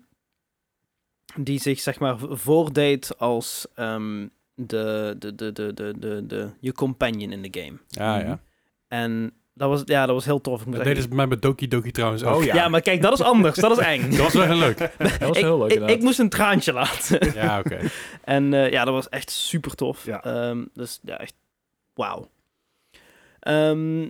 die zich, zeg maar, v- voordeed als ehm, de, de, de, de, de, de, de, je companion in de game. Ja, ja. En dat was, ja, dat was heel tof. Ik moet Dat zeggen- deden ze bij mij met Doki Doki trouwens ook. Oh ja. ja. maar kijk, dat is anders. dat is eng. Dat was wel heel leuk. Dat was ik, heel leuk ik, inderdaad. ik moest een traantje laten. Ja, oké. En eh, ja, dat was echt super tof. Ja. Ehm, dus ja, echt wauw. Ehm,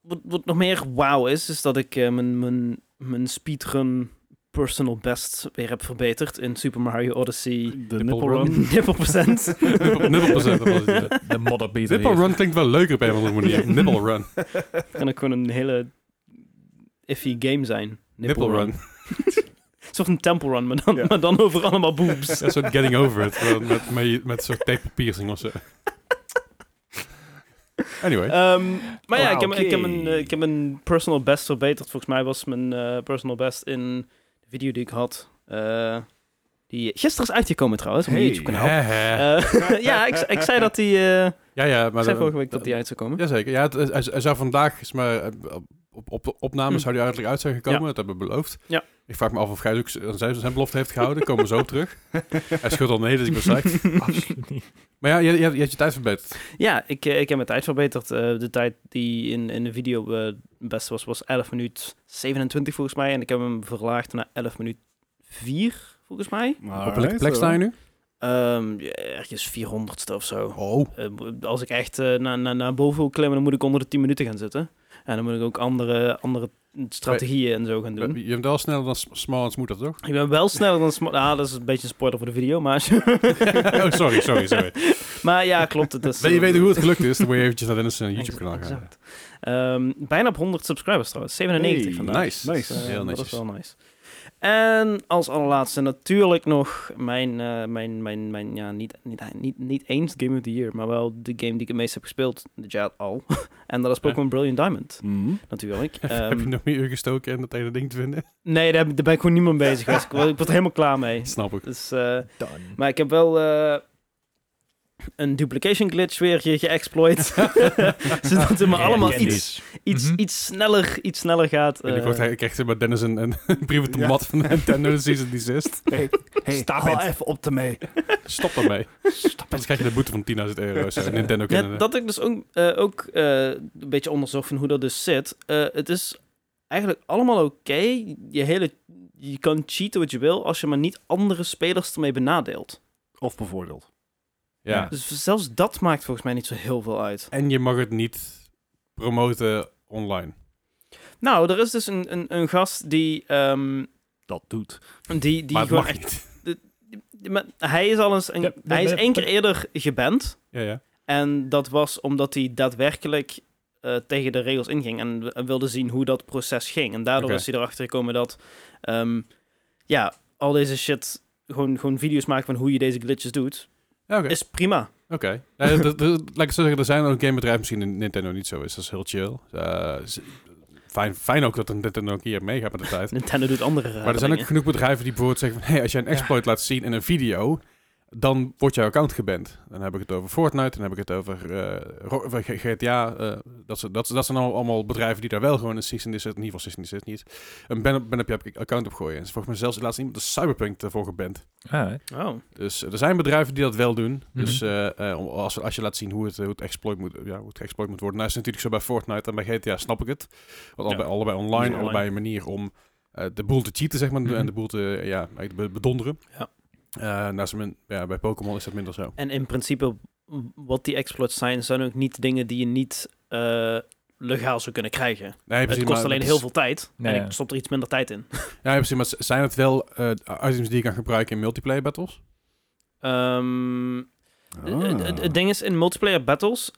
wat, wat nog meer wauw is, is dat ik eh, mijn, mijn, mijn speedrun personal best weer heb verbeterd in Super Mario Odyssey. nipple De nipple run. run. Nipple procent. Nipple- Nipple procent, dat was het. inderdaad. De modderbeater Nipple hier. Run klinkt wel leuker op een of andere manier. Nipple Run. kan ook gewoon een hele iffy game zijn. Nipple Run. Een soort een temple run, maar dan, Ja. maar dan over allemaal boobs. Dat soort getting over it. wel Met, met, met zo'n tape piercing of zo. Anyway. Ehm, maar ja, Wauw, ik heb, ik, heb oké. een, eh, ik heb een personal best verbeterd. Volgens mij was mijn eh, personal best in de video die ik had. eh, die gisteren is uitgekomen trouwens, op mijn Hey. YouTube kanaal. Eh, Hè, hè. ja, ik, ik zei dat die... eh, ja, ja, maar ik zei dan- vorige week dat die uit zou komen. Jazeker. Ja, het, hij, hij zou vandaag, is maar, eh, op, op de opname Hm. zou die uiterlijk uit zijn gekomen. Ja. Dat hebben we beloofd. Ja. Ik vraag me af of Gijs ook z- zijn, zijn belofte heeft gehouden. Komen we zo op terug. Hij schudt al nee, dus ik ben psyched. Absoluut niet. Maar ja, je, je, je hebt je tijd verbeterd. Ja, ik, eh, ik heb mijn tijd verbeterd. Eh, de tijd die in, in de video eh, best was, was 11 minuut 27 volgens mij. En ik heb hem verlaagd naar 11 minuut 4 volgens mij. op welke plek sta je nu? Ehm, ja, ergens 400ste of zo. Oh. Eh, b- als ik echt eh, naar, naar, naar boven wil klimmen, dan moet ik onder de 10 minuten gaan zitten. En dan moet ik ook andere, andere strategieën en zo gaan Je doen. je bent wel sneller dan Sm- Small en Smooth, toch? Ik ben wel sneller dan... sma- Ah, dat is een beetje een spoiler voor de video, maar... als je- Oh, sorry, sorry, sorry. maar ja, klopt. Het is, eh, Wil je weten hoe het gelukt is, dan moet je eventjes naar Dennis' eh, YouTube Exact, kanaal gaan. exact. Ehm, bijna op 100 subscribers trouwens. 97 Hey, vandaag. Nice. Nice. Eh, Heel Dat netjes. is wel nice. En als allerlaatste natuurlijk nog mijn, eh, mijn, mijn, mijn ja, niet, niet, niet, niet eens Game of the Year, maar wel de game die ik het meest heb gespeeld dit jaar al. en dat is Pokémon Brilliant Diamond, Mhm. natuurlijk. Heb je Ehm, nog meer uur gestoken in dat ene ding te vinden? nee, daar, heb ik- daar ben ik gewoon niet meer mee bezig geweest. ik, was, ik was er helemaal klaar mee. Snap ik. Dus, eh, Done. maar ik heb wel eh, een duplication glitch weer ge- geëxploit. Zodat het me Ja, allemaal ja, iets, dus. iets, Mhm. iets, sneller, iets sneller gaat. eh. Binnenkort hij- krijgt hij bij Dennis een, een brief op de Ja. mat van Nintendo Season Desist. Hey, hey, Stop hou it. even op ermee. Stop daarmee. Stop Anders krijg je een boete van 10.000 euro. Zo. Nintendo Ja, kennen dat ik dus ook, eh, ook eh, een beetje onderzocht van hoe dat dus zit. Eh, het is eigenlijk allemaal oké. Je, hele, je kan cheaten wat je wil als je maar niet andere spelers ermee benadeelt. Of bijvoorbeeld. ja. Dus zelfs dat maakt volgens mij niet zo heel veel uit. En je mag het niet promoten online. Nou, er is dus een, een, een gast die, ehm, Dat doet. die, die maar het gewoon mag echt... niet. maar Hij is al eens een, Ja, dat- hij is dat- één keer dat- eerder geband. Ja, ja. En dat was omdat hij daadwerkelijk eh, tegen de regels inging en w- wilde zien hoe dat proces ging. En daardoor Oké. is hij erachter gekomen dat, ehm, ja, al deze shit, gewoon, gewoon video's maken van hoe je deze glitches doet, Ja, Oké. is prima. Oké. Nee, dat- dat- dat- Laat ik het zo zeggen, er zijn ook gamebedrijven, misschien in Nintendo niet zo is. Dat is heel chill. Eh, z- fijn, fijn ook dat Nintendo ook hier meegaat met de tijd. Nintendo doet andere rare Maar er zijn ook eh, dingen. genoeg bedrijven die bijvoorbeeld zeggen van... Hey, als jij een exploit laat zien in een video, dan wordt jouw account geband. Dan heb ik het over Fortnite, dan heb ik het over eh, Ro- of, eh, G- GTA. eh, dat, zijn- dat, zijn- dat zijn allemaal- allemaal bedrijven die daar wel gewoon een cease and desist, in ieder geval cease and desist niet, een ban op, ban op je account op gooien. En volgens mij zelfs laatst iemand de Cyberpunk ervoor geband. Ah, Ja, hè. Oh. Dus eh, er zijn bedrijven die dat wel doen. Dus Mhm. eh, eh, om- als, als je laat zien hoe het, eh, hoe het, exploit, moet, ja, hoe het geëxploit moet worden. Nou is het natuurlijk zo bij Fortnite en bij GTA, snap ik het. Want Ja. allebei, allebei online, Online. allebei een manier om eh, de boel te cheaten, zeg maar. Mhm. En de boel te, ja, eigenlijk be- bedonderen. Ja. Eh, naast een- ja, bij Pokémon is dat minder zo. En in principe, w- wat die exploits zijn, zijn ook niet dingen die je niet eh, legaal zou kunnen krijgen. Nee, Het precies, kost maar alleen dat heel is- veel tijd. Ja, en ja. ik stop er iets minder tijd in. Ja, precies. Maar z- zijn het wel eh, items die je kan gebruiken in multiplayer battles? Ehm, Het- Het, Ah. het ding is, in multiplayer battles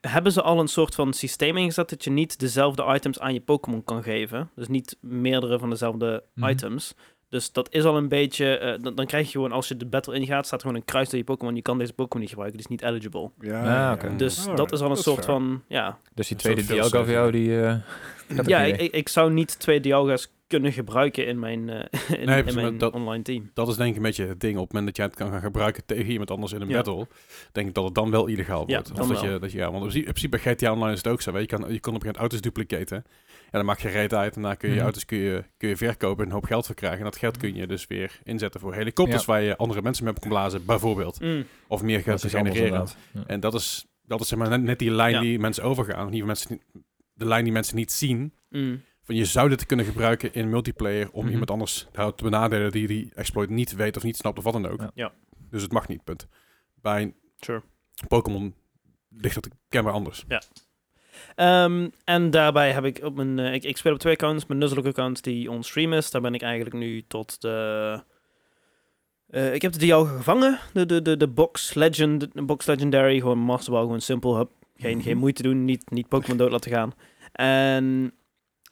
hebben ze al een soort van systeem ingezet dat je niet dezelfde items aan je Pokémon kan geven. Dus niet meerdere van dezelfde Mhm. items. Dus dat is al een beetje... eh, dan, dan krijg je gewoon, als je de battle ingaat, staat gewoon een kruis door je Pokémon. Je kan deze Pokémon niet gebruiken, die is niet eligible. Ja, Ah, ja, oké. ja. Dus Alright, dat is al een is soort fair. van... Ja, Dus die Dat zou tweede veel Dialga voor zeggen. jou, die... eh, gaat ja ook niet ik, ik, ik zou niet twee Dialga's kunnen gebruiken in mijn, eh, in, Nee, in precies, mijn maar dat- online team. Dat is denk ik een beetje het ding. Op het moment dat jij het kan gaan gebruiken tegen iemand anders in een Ja. battle, denk ik dat het dan wel illegaal Ja, wordt. dan of dat wel. je, dat je, ja, want in principe- in principe bij GTA Online is het ook zo. Weet je, je, kan, je kon op een gegeven moment auto's duplicaten. En dan maak je reet uit. En daarna kun je je Mhm. auto's kun je, kun je verkopen en een hoop geld voor krijgen. En dat geld kun je dus weer inzetten voor helikopters Ja. waar je andere mensen mee op kan blazen, bijvoorbeeld. Mm. Of meer geld Dat te is anders genereren. inderdaad. Ja. En dat is, dat is zeg maar net, net die lijn Ja. die mensen overgaan. Of die mensen, niet- de lijn die mensen niet zien. Mm. Van je zou dit kunnen gebruiken in multiplayer om Mhm. iemand anders nou, te benadelen die die exploit niet weet of niet snapt of wat dan ook. Ja. Ja. Dus het mag niet, punt. Bij Sure. Pokémon ligt dat kenbaar anders. Ehm, en daarbij heb ik op mijn. eh, ik, ik speel op twee accounts. Mijn Nuzlocke account die on-stream is. Daar ben ik eigenlijk nu tot de. eh, ik heb de Dialga gevangen. De, de, de, de box, legend, de box Legendary. Gewoon Master Ball, gewoon simpel. Hup. Mhm. Geen, geen moeite doen. Niet, niet Pokémon dood laten gaan. En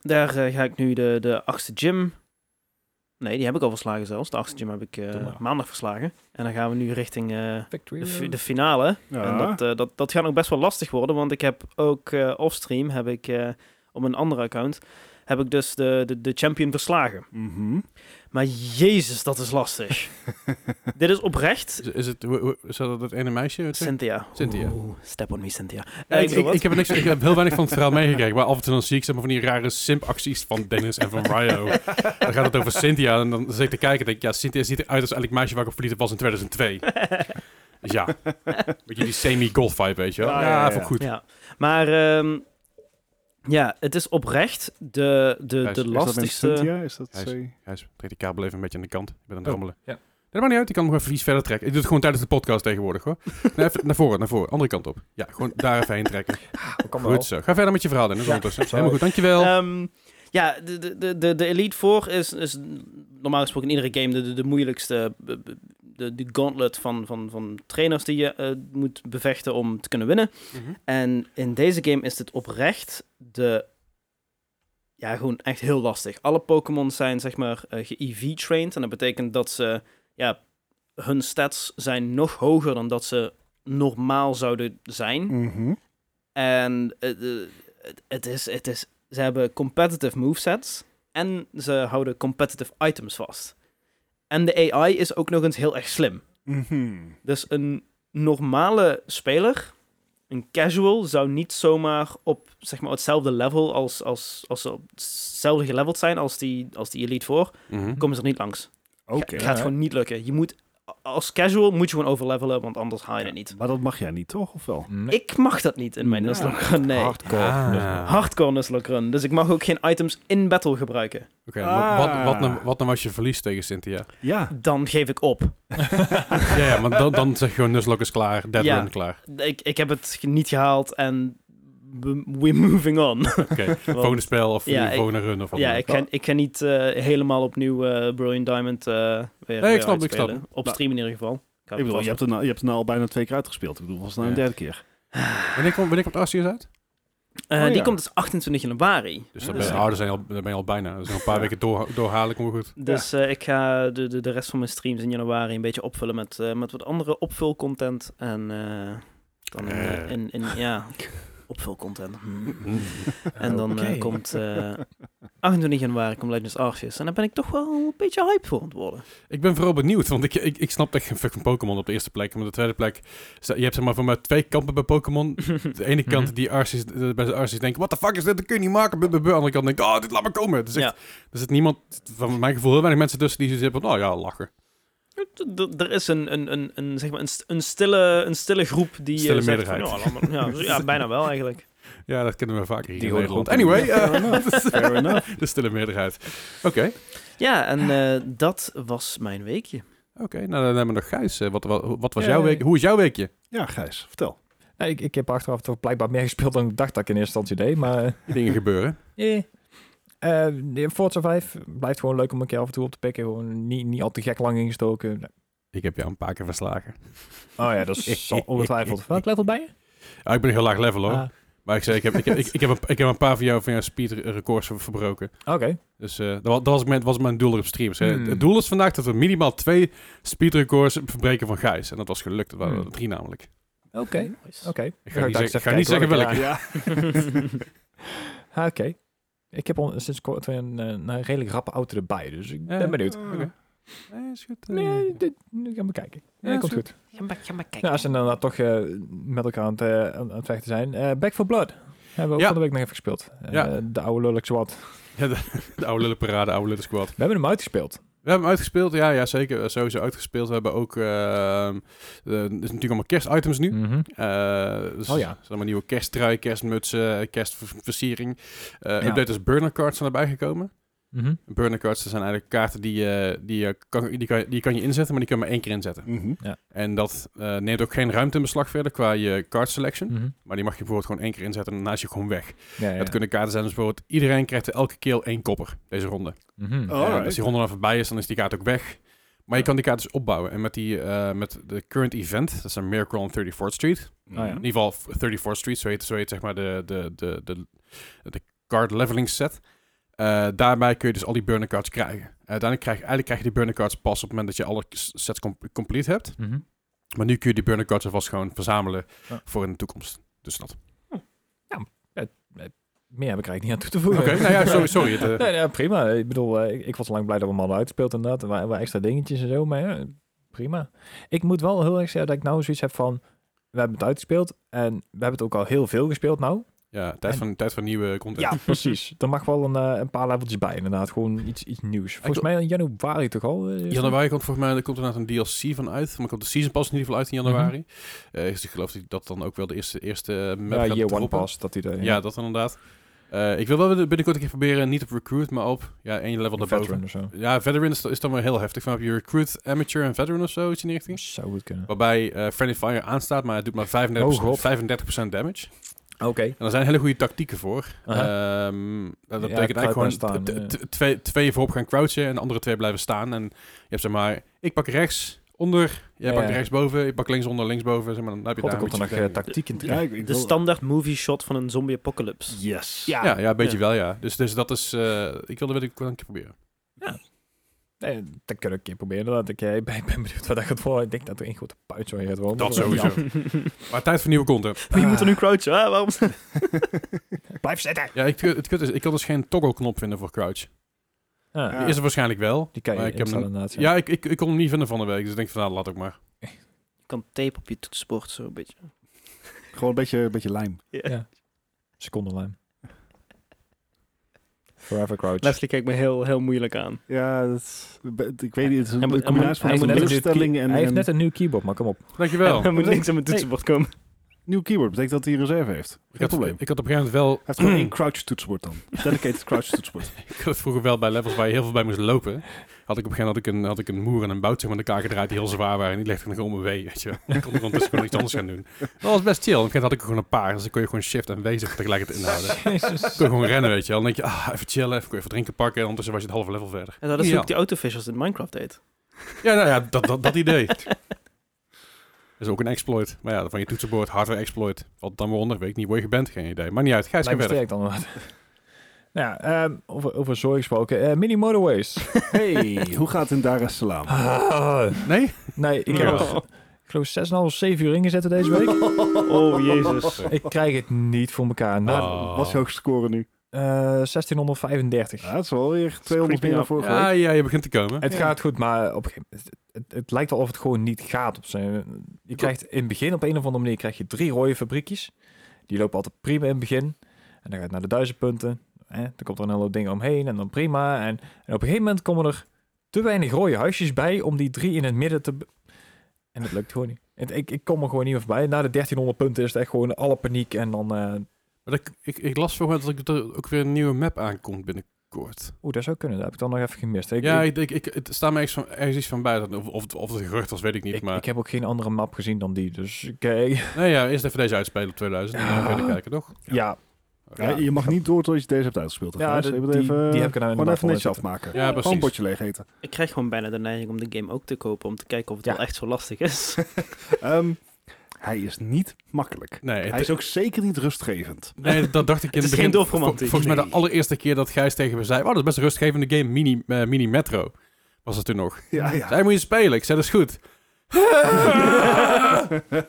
daar eh, ga ik nu de, de achtste gym. Nee, die heb ik al verslagen zelfs. De achtste gym heb ik eh, Doe maar. maandag verslagen. En dan gaan we nu richting eh, Victory de, fi- Road. de finale. Ja. En dat, eh, dat, dat gaat ook best wel lastig worden, want ik heb ook eh offstream, heb ik eh, op een andere account, heb ik dus de, de, de champion verslagen. Mhm. Maar jezus, dat is lastig. Dit is oprecht. Is, is het, hoe- hoe- is dat dat ene meisje? het zegt? Cynthia. Cynthia. Oeh, step on me, Cynthia. Ja, Eh, ik, bedoel, ik, ik heb er niks, ik heb heel weinig van het verhaal meegekregen. Maar af en toe dan zie ik zeg maar, van die rare simp-acties van Dennis en van Ryo. Dan gaat het over Cynthia. En dan zit ik te kijken en denk ik, ja, Cynthia ziet eruit als elk meisje waar ik op verliefd was in 2002. Dus ja, beetje die semi-golf vibe, weet je wel. Ja, Ja, ja, ja, vond ik goed. Ja, maar ehm, ja, het is oprecht de, de, Gijs, de is Is dat met lastigste... Cynthia? Is dat Hij is- twee? Gijs, dus trek die kabel even een beetje aan de kant. Ik ben aan het Oh, rammelen. ja. Nee, Dat maakt niet uit, ik kan hem nog even iets verder trekken. Ik doe het gewoon tijdens de podcast tegenwoordig, hoor. Nee, even naar voren, naar voren. Andere kant op. Ja, gewoon daar even heen trekken. ah, Kan wel. Goed zo. Ga verder met je verhaal, Dennis. Ja. ondertussen. Sorry. Helemaal goed, dankjewel. Ehm, ja, de, de- de, de, de Elite Four is, is normaal gesproken in iedere game de, de, de moeilijkste eh, de, de gauntlet van, van, van trainers die je eh, moet bevechten om te kunnen winnen. Mhm. En in deze game is dit oprecht de... Ja, gewoon echt heel lastig. Alle Pokémon zijn, zeg maar, eh ge-EV-trained. En dat betekent dat ze... Ja, hun stats zijn nog hoger dan dat ze normaal zouden zijn. Mhm. En het- eh, het- het is, het is, ze hebben competitive movesets en ze houden competitive items vast. En de AI is ook nog eens heel erg slim. Mhm. Dus een normale speler, een casual, zou niet zomaar op zeg maar, hetzelfde level als, als, als ze op hetzelfde geleveld zijn als die, als die Elite voor, Mhm. komen ze er niet langs. Oké. Het gaat gewoon niet lukken. Je moet, als casual moet je gewoon overlevelen, want anders haal je het niet. Maar dat mag jij niet, toch? Of wel? Nee. dus- Ik mag dat niet in mijn Ja. Nuzlocke. Nee. Hardcore. Ah. Hardcore Nuzlocke run. Dus ik mag ook geen items in battle gebruiken. Oké, Ah. wat, wat, wat, nou, wat nou als je verliest tegen Cynthia? Ja. Dan geef ik op. ja, ja, maar dan, dan zeg je gewoon Nuzlocke is klaar, Dead Ja. Run klaar. Ik, ik heb het ge- niet gehaald en we- we're moving on. Oké, volgende spel of Ja, die ik- volgende run of wat ja, dan ook. ik ga, ik ga niet eh, helemaal opnieuw eh, Brilliant Diamond eh, weer, Nee, ik weer snap het, ik uitspelen. snap Op stream in ieder geval. Ik ga Ik bedoel, vast- je hebt, er nou, je hebt er nou al bijna twee keer uitgespeeld. Ik bedoel, was het nou een Ja. derde keer? Wanneer komt wanneer komt Arceus uit? Eh, oh, Die ja. komt dus 28 januari. Dus dan Ja, ben je, dus- oh, dan zijn je al, dan ben je al bijna. Dus nog een paar Ja. weken door, doorhalen, kom goed. Dus eh, ik ga de, de, de rest van mijn streams in januari een beetje opvullen met, eh, met wat andere opvulcontent. En eh, dan eh, Eh. in, in, ja, opvulcontent. Hmm. En Eh, dan eh, oké. komt eh 28 januari komt Legends Arceus. En daar ben ik toch wel een beetje hype voor aan het worden. Ik ben vooral benieuwd, want ik, ik, ik snap echt geen fuck van Pokémon op de eerste plek. Maar op de tweede plek, je hebt zeg maar voor mij twee kampen bij Pokémon. De ene kant Mhm. die Arceus, eh, bij de Arceus denkt, what the fuck is dit, dat kun je niet maken. Blub, blub, blub. Aan de andere kant denkt, oh, dit laat maar komen. Er zit, Ja. er zit niemand, van mijn gevoel, heel weinig mensen tussen die zitten van, oh ja, lachen. D- d- Er is een, een, een, een, zeg maar een, st- een, stille, een stille groep die... eh, Stille zegt van, meerderheid. "Ja, laat maar." ja, ja, bijna wel eigenlijk. Ja, dat kennen we vaker hier Die in horen Nederland. gewoon- Anyway, eh, nou. Fair enough. de stille meerderheid. Oké, oké. Ja, en eh, dat was mijn weekje. Nou, dan hebben we nog Gijs. Eh, Wat, wat, wat was Ja, jouw ja, week? ja. Hoe is jouw weekje? Ja, Gijs, vertel. Nee, ik, ik heb achteraf toch blijkbaar meer gespeeld dan ik dacht dat ik in eerste instantie deed. Maar eh, Dingen gebeuren. Eh, eh, de Forza 5 blijft gewoon leuk om een keer af en toe op te pikken. Gewoon niet, niet al te gek lang ingestoken. Nee. Ik heb jou een paar keer verslagen. Oh ja, dat is zal ongetwijfeld. Welk level ben je? Ah, ik ben een heel laag level hoor. Ah, Maar ik zei, ik heb, ik, heb, ik, ik heb, een, ik heb een paar van jou van jouw speed records ver- verbroken. Oké. Dus eh, dat, wa- dat was, mijn, was mijn doel op streams. Hè. Hmm. Het doel is vandaag dat we minimaal twee speed records verbreken van Gijs. En dat was gelukt. Dat waren Hmm. er drie namelijk. Oké. Nice. Oké. Ik Nou, ga niet, ik zeggen- dacht ga niet eens even zeggen welke. kijken Ja. Ah, Oké. Ik heb al sinds kort weer een, eh, een redelijk rappe auto erbij. Dus ik ben benieuwd. Ah, oké. Nee, is goed. eh. Nee, dit, ik ga maar kijken. Ja, Ja, komt is goed. Ja, als ze inderdaad toch eh, met elkaar aan het, eh, aan aan het vechten zijn. Eh, Back for Blood hebben we ook Ja. van de week nog even gespeeld. Eh, Ja. De oude lullig zwart. De oude lullenparade, de oude lullen squad. We hebben hem uitgespeeld. We hebben hem uitgespeeld. Ja, ja zeker. eh, Sowieso uitgespeeld. We hebben ook... ehm, eh, er is natuurlijk allemaal kerstitems nu. Mhm. Eh, dus Oh ja. er zijn allemaal nieuwe kersttrui, kerstmutsen, eh, kerstversiering. Eh Ja. Update is burner cards zijn erbij gekomen. Mhm. Burner cards dat zijn eigenlijk kaarten die, eh, die, je kan, die, kan, die kan je inzetten, maar die kan je maar één keer inzetten. Mhm. En dat eh, neemt ook geen ruimte in beslag verder qua je card selection. Mhm. Maar die mag je bijvoorbeeld gewoon één keer inzetten en daarna is je gewoon weg. Ja, ja. Dat kunnen kaarten zijn, dus bijvoorbeeld iedereen krijgt elke keer één kopper deze ronde. Mhm. Oh. Eh, Alright. als die ronde dan voorbij is, dan is die kaart ook weg. Maar je kan die kaart dus opbouwen. En met, die, eh, met de current event, dat is een Miracle on 34th Street. ja. In ieder geval 34th Street, zo heet, zo heet zeg maar de, de, de, de, de card leveling set. Eh, daarbij kun je dus al die burner cards krijgen. Eh, uiteindelijk krijg, eigenlijk krijg je die burner cards pas op het moment dat je alle s- sets com- complete hebt. Mhm. Maar nu kun je die burner cards alvast gewoon verzamelen Ja. voor in de toekomst. Dus dat. Meer heb ik er eigenlijk niet aan toe te voegen. Oké, nou ja, sorry. sorry het, eh, Nee, nee, prima. Ik bedoel, eh, ik, ik was al lang blij dat we hem hadden uitgespeeld inderdaad. Er waren, waren extra dingetjes en zo, maar ja, prima. Ik moet wel heel erg zeggen dat ik nou zoiets heb van... We hebben het uitgespeeld en we hebben het ook al heel veel gespeeld nou. ja, tijd van, tijd van nieuwe content. Ja, precies. Er mag wel een, eh, een paar leveltjes bij, inderdaad. Gewoon iets, iets nieuws. Volgens wil- mij in januari toch al? eh, is dat? Januari komt volgens mij, er komt inderdaad een DLC van uit. Maar komt de season pas in ieder geval Mhm. uit in januari. Eh, dus ik geloof dat dan ook wel de eerste, eerste map Ja, gaat Year One droppen. Pass, dat idee. Ja, dat inderdaad. Eh, ik wil wel binnenkort een keer proberen, niet op recruit, maar op ja, één level daarboven. Veteran of zo. Ja, veteran is, is dan wel heel heftig. Van heb je recruit, amateur en veteran of zo, iets in die richting. Zou goed kunnen. Waarbij eh Friendly Fire aanstaat, maar het doet maar 35%, Oh, god. 35% damage. Oké. eh, En er zijn hele goede tactieken voor. Aha. Ehm, dat Ja, betekent kruipen eigenlijk staan, gewoon t- ja. t- twee, twee voorop gaan crouchen en de andere twee blijven staan. En je hebt zeg maar, ik pak rechts, onder, jij Ja, pakt ja. rechtsboven, ik pak links, onder, linksboven. Zeg maar, dan heb je God, er daar komt er een nog beetje eh, tactiek in terug. Ja, ik, ik De wil- standaard movie shot van een zombie apocalypse. Yes. Ja. ja, ja, een beetje wel ja. Dus, dus dat is, eh, ik wilde wel een keer proberen. Nee, dat kan ik een keer proberen. inderdaad. Ik, eh, ik ben, ik ben benieuwd wat dat gaat worden. Ik denk dat er één grote puit zo gaat worden. Dat sowieso. Maar tijd voor nieuwe content. Wie moet er nu crouchen? Ah, waarom? Blijf zitten! Ja, ik, het kut is, ik kan dus geen toggle knop vinden voor crouch. Ah, Die is er waarschijnlijk wel. Die kan je maar ik heb installeren hem- inderdaad. Ja, ik, ik, ik kon hem niet vinden van de week, dus ik denk van nou, laat ook maar. Je kan tape op je toetsenbord, zo een beetje. Gewoon een beetje, een beetje lijm. Ja. Ja. Secondenlijn. Forever Crouch. Leslie kijkt me heel, heel moeilijk aan. Ja, dat is- ik weet niet. Het is En- een en- combinatie van hij een heeft net een teleurstelling en, Hij heeft en net een nieuw keyboard, maar kom op. Dankjewel. Hij moet Nee. niks aan mijn toetsenbord komen. nieuw keyboard. Betekent dat hij een reserve heeft. ik, Geen had, probleem. ik had op een gegeven moment wel, Hij heeft gewoon één crouch toetsenbord dan. Dedicated crouch toetsenbord. ik had vroeger wel bij levels waar je heel veel bij moest lopen, had ik op een gegeven moment had ik een, had ik een moer en een bout zeg maar, in elkaar gedraaid die heel zwaar waren en die legde ik nog om een W, weet je. wel. Ik kon er ondertussen gewoon iets anders gaan doen. Dat was best chill. Op een gegeven moment had ik er gewoon een paar, dus dan kon je gewoon shift en W zeg maar, tegelijkertijd inhouden. Jezus. Kun je gewoon rennen, weet je wel. Dan denk je, ah, even chillen, even, even drinken pakken. En ondertussen was je het halve level verder. En dat is Ja. ook die autofishers in Minecraft deed. Ja, nou ja, dat, dat, dat idee. Dat is ook een exploit. Maar ja, van je toetsenbord, hardware exploit. Wat dan weer onder, weet ik niet waar je bent, geen idee. Maar niet uit, Gijs, ga Lijkt me verder. sterk dan wat. Nou ja, ehm, over, over zooi gesproken. Eh, mini motorways. Hey, hoe gaat het in Dar es Salaam? Nee? nee, ik heb Ja. er, ik geloof 6,5 of 7 uur ingezet deze week. Oh, jezus. ik krijg het niet voor elkaar. Nou, Oh. Wat is je hoogste score nu? eh, 1635. Ja, dat is wel weer 200 creeping meer dan up. vorige Ja, week. ja, je begint te komen. Het gaat goed, maar op een gegeven moment, het, het, het lijkt wel of het gewoon niet gaat. Op zijn, je krijgt in het begin op een of andere manier krijg je drie rode fabriekjes. Die lopen altijd prima in het begin. En dan gaat het naar de duizend punten. Hè? Dan komt er een hele hoop dingen omheen en dan prima. En, en op een gegeven moment komen er te weinig rode huisjes bij om die drie in het midden te... be- En dat lukt gewoon niet. Het- ik, ik kom er gewoon niet meer voorbij. Na de 1300 punten is het echt gewoon alle paniek en dan... eh, Maar dat- ik, ik las volgens mij dat ik er ook weer een nieuwe map aankomt binnen, kort. Oeh, dat zou kunnen. Dat heb ik dan nog even gemist. Ik, ja, ik, ik, ik, ik, het staat me ergens, van, ergens iets van buiten. Of, of, of het een gerucht was, weet ik niet. ik, maar ik heb ook geen andere map gezien dan die. Dus oké. nee, ja, eerst even deze uitspelen op 2000. En dan verder kijken, toch? Ja, Ja, je mag niet door tot je deze hebt uitgespeeld. Ja, Ja, de- even, die- even, eh, die heb ik er nou gewoon in de map even netjes voor zitten. afmaken. Ja, Gewoon een precies. potje leeg eten. Ik krijg gewoon bijna de neiging om de game ook te kopen. Om te kijken of het Ja. wel echt zo lastig is. Ehm, hij is niet makkelijk. Nee, het- Hij is ook zeker niet rustgevend. nee, dat dacht ik in Het het is begin. geen doofromantiek, vol- volgens mij de nee. allereerste keer dat Gijs tegen me zei... Oh, dat is best een rustgevende game. Mini, eh, mini Metro was het toen nog. Ja, ja. Zij moet je spelen. Ik zei, dat is goed.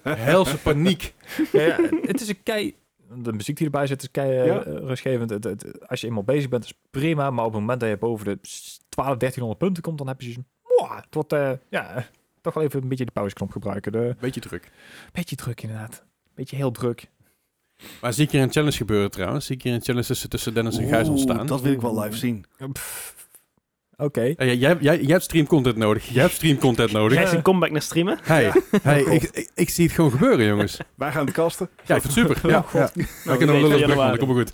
Helse paniek. Ja, het is een kei... De muziek die erbij zit is kei eh, Ja. eh, rustgevend. Het, het- als je eenmaal bezig bent, is prima. Maar op het moment dat je boven de 12, 1300 punten komt, dan heb je zoiets van, "Mwah." Het wordt, eh, ja, eh, toch wel even een beetje de pauzeknop gebruiken. De, Beetje druk. beetje druk inderdaad. Beetje heel druk. Maar zie ik hier een challenge gebeuren trouwens? Zie ik hier een challenge tussen, tussen Dennis en Gijs Oeh, ontstaan? Dat wil ik wel live zien. Pff, Oké. Eh, jij- jij, jij, jij hebt streamcontent nodig. Jij hebt streamcontent nodig. Krijg je een comeback naar streamen? Hey, Oh, hey ik, ik, ik zie het gewoon gebeuren, jongens. Wij gaan het kasten. Ja, ik vind het super. Ja. Ja. We kunnen weet wel lullen van brug, man. januari. Dat komt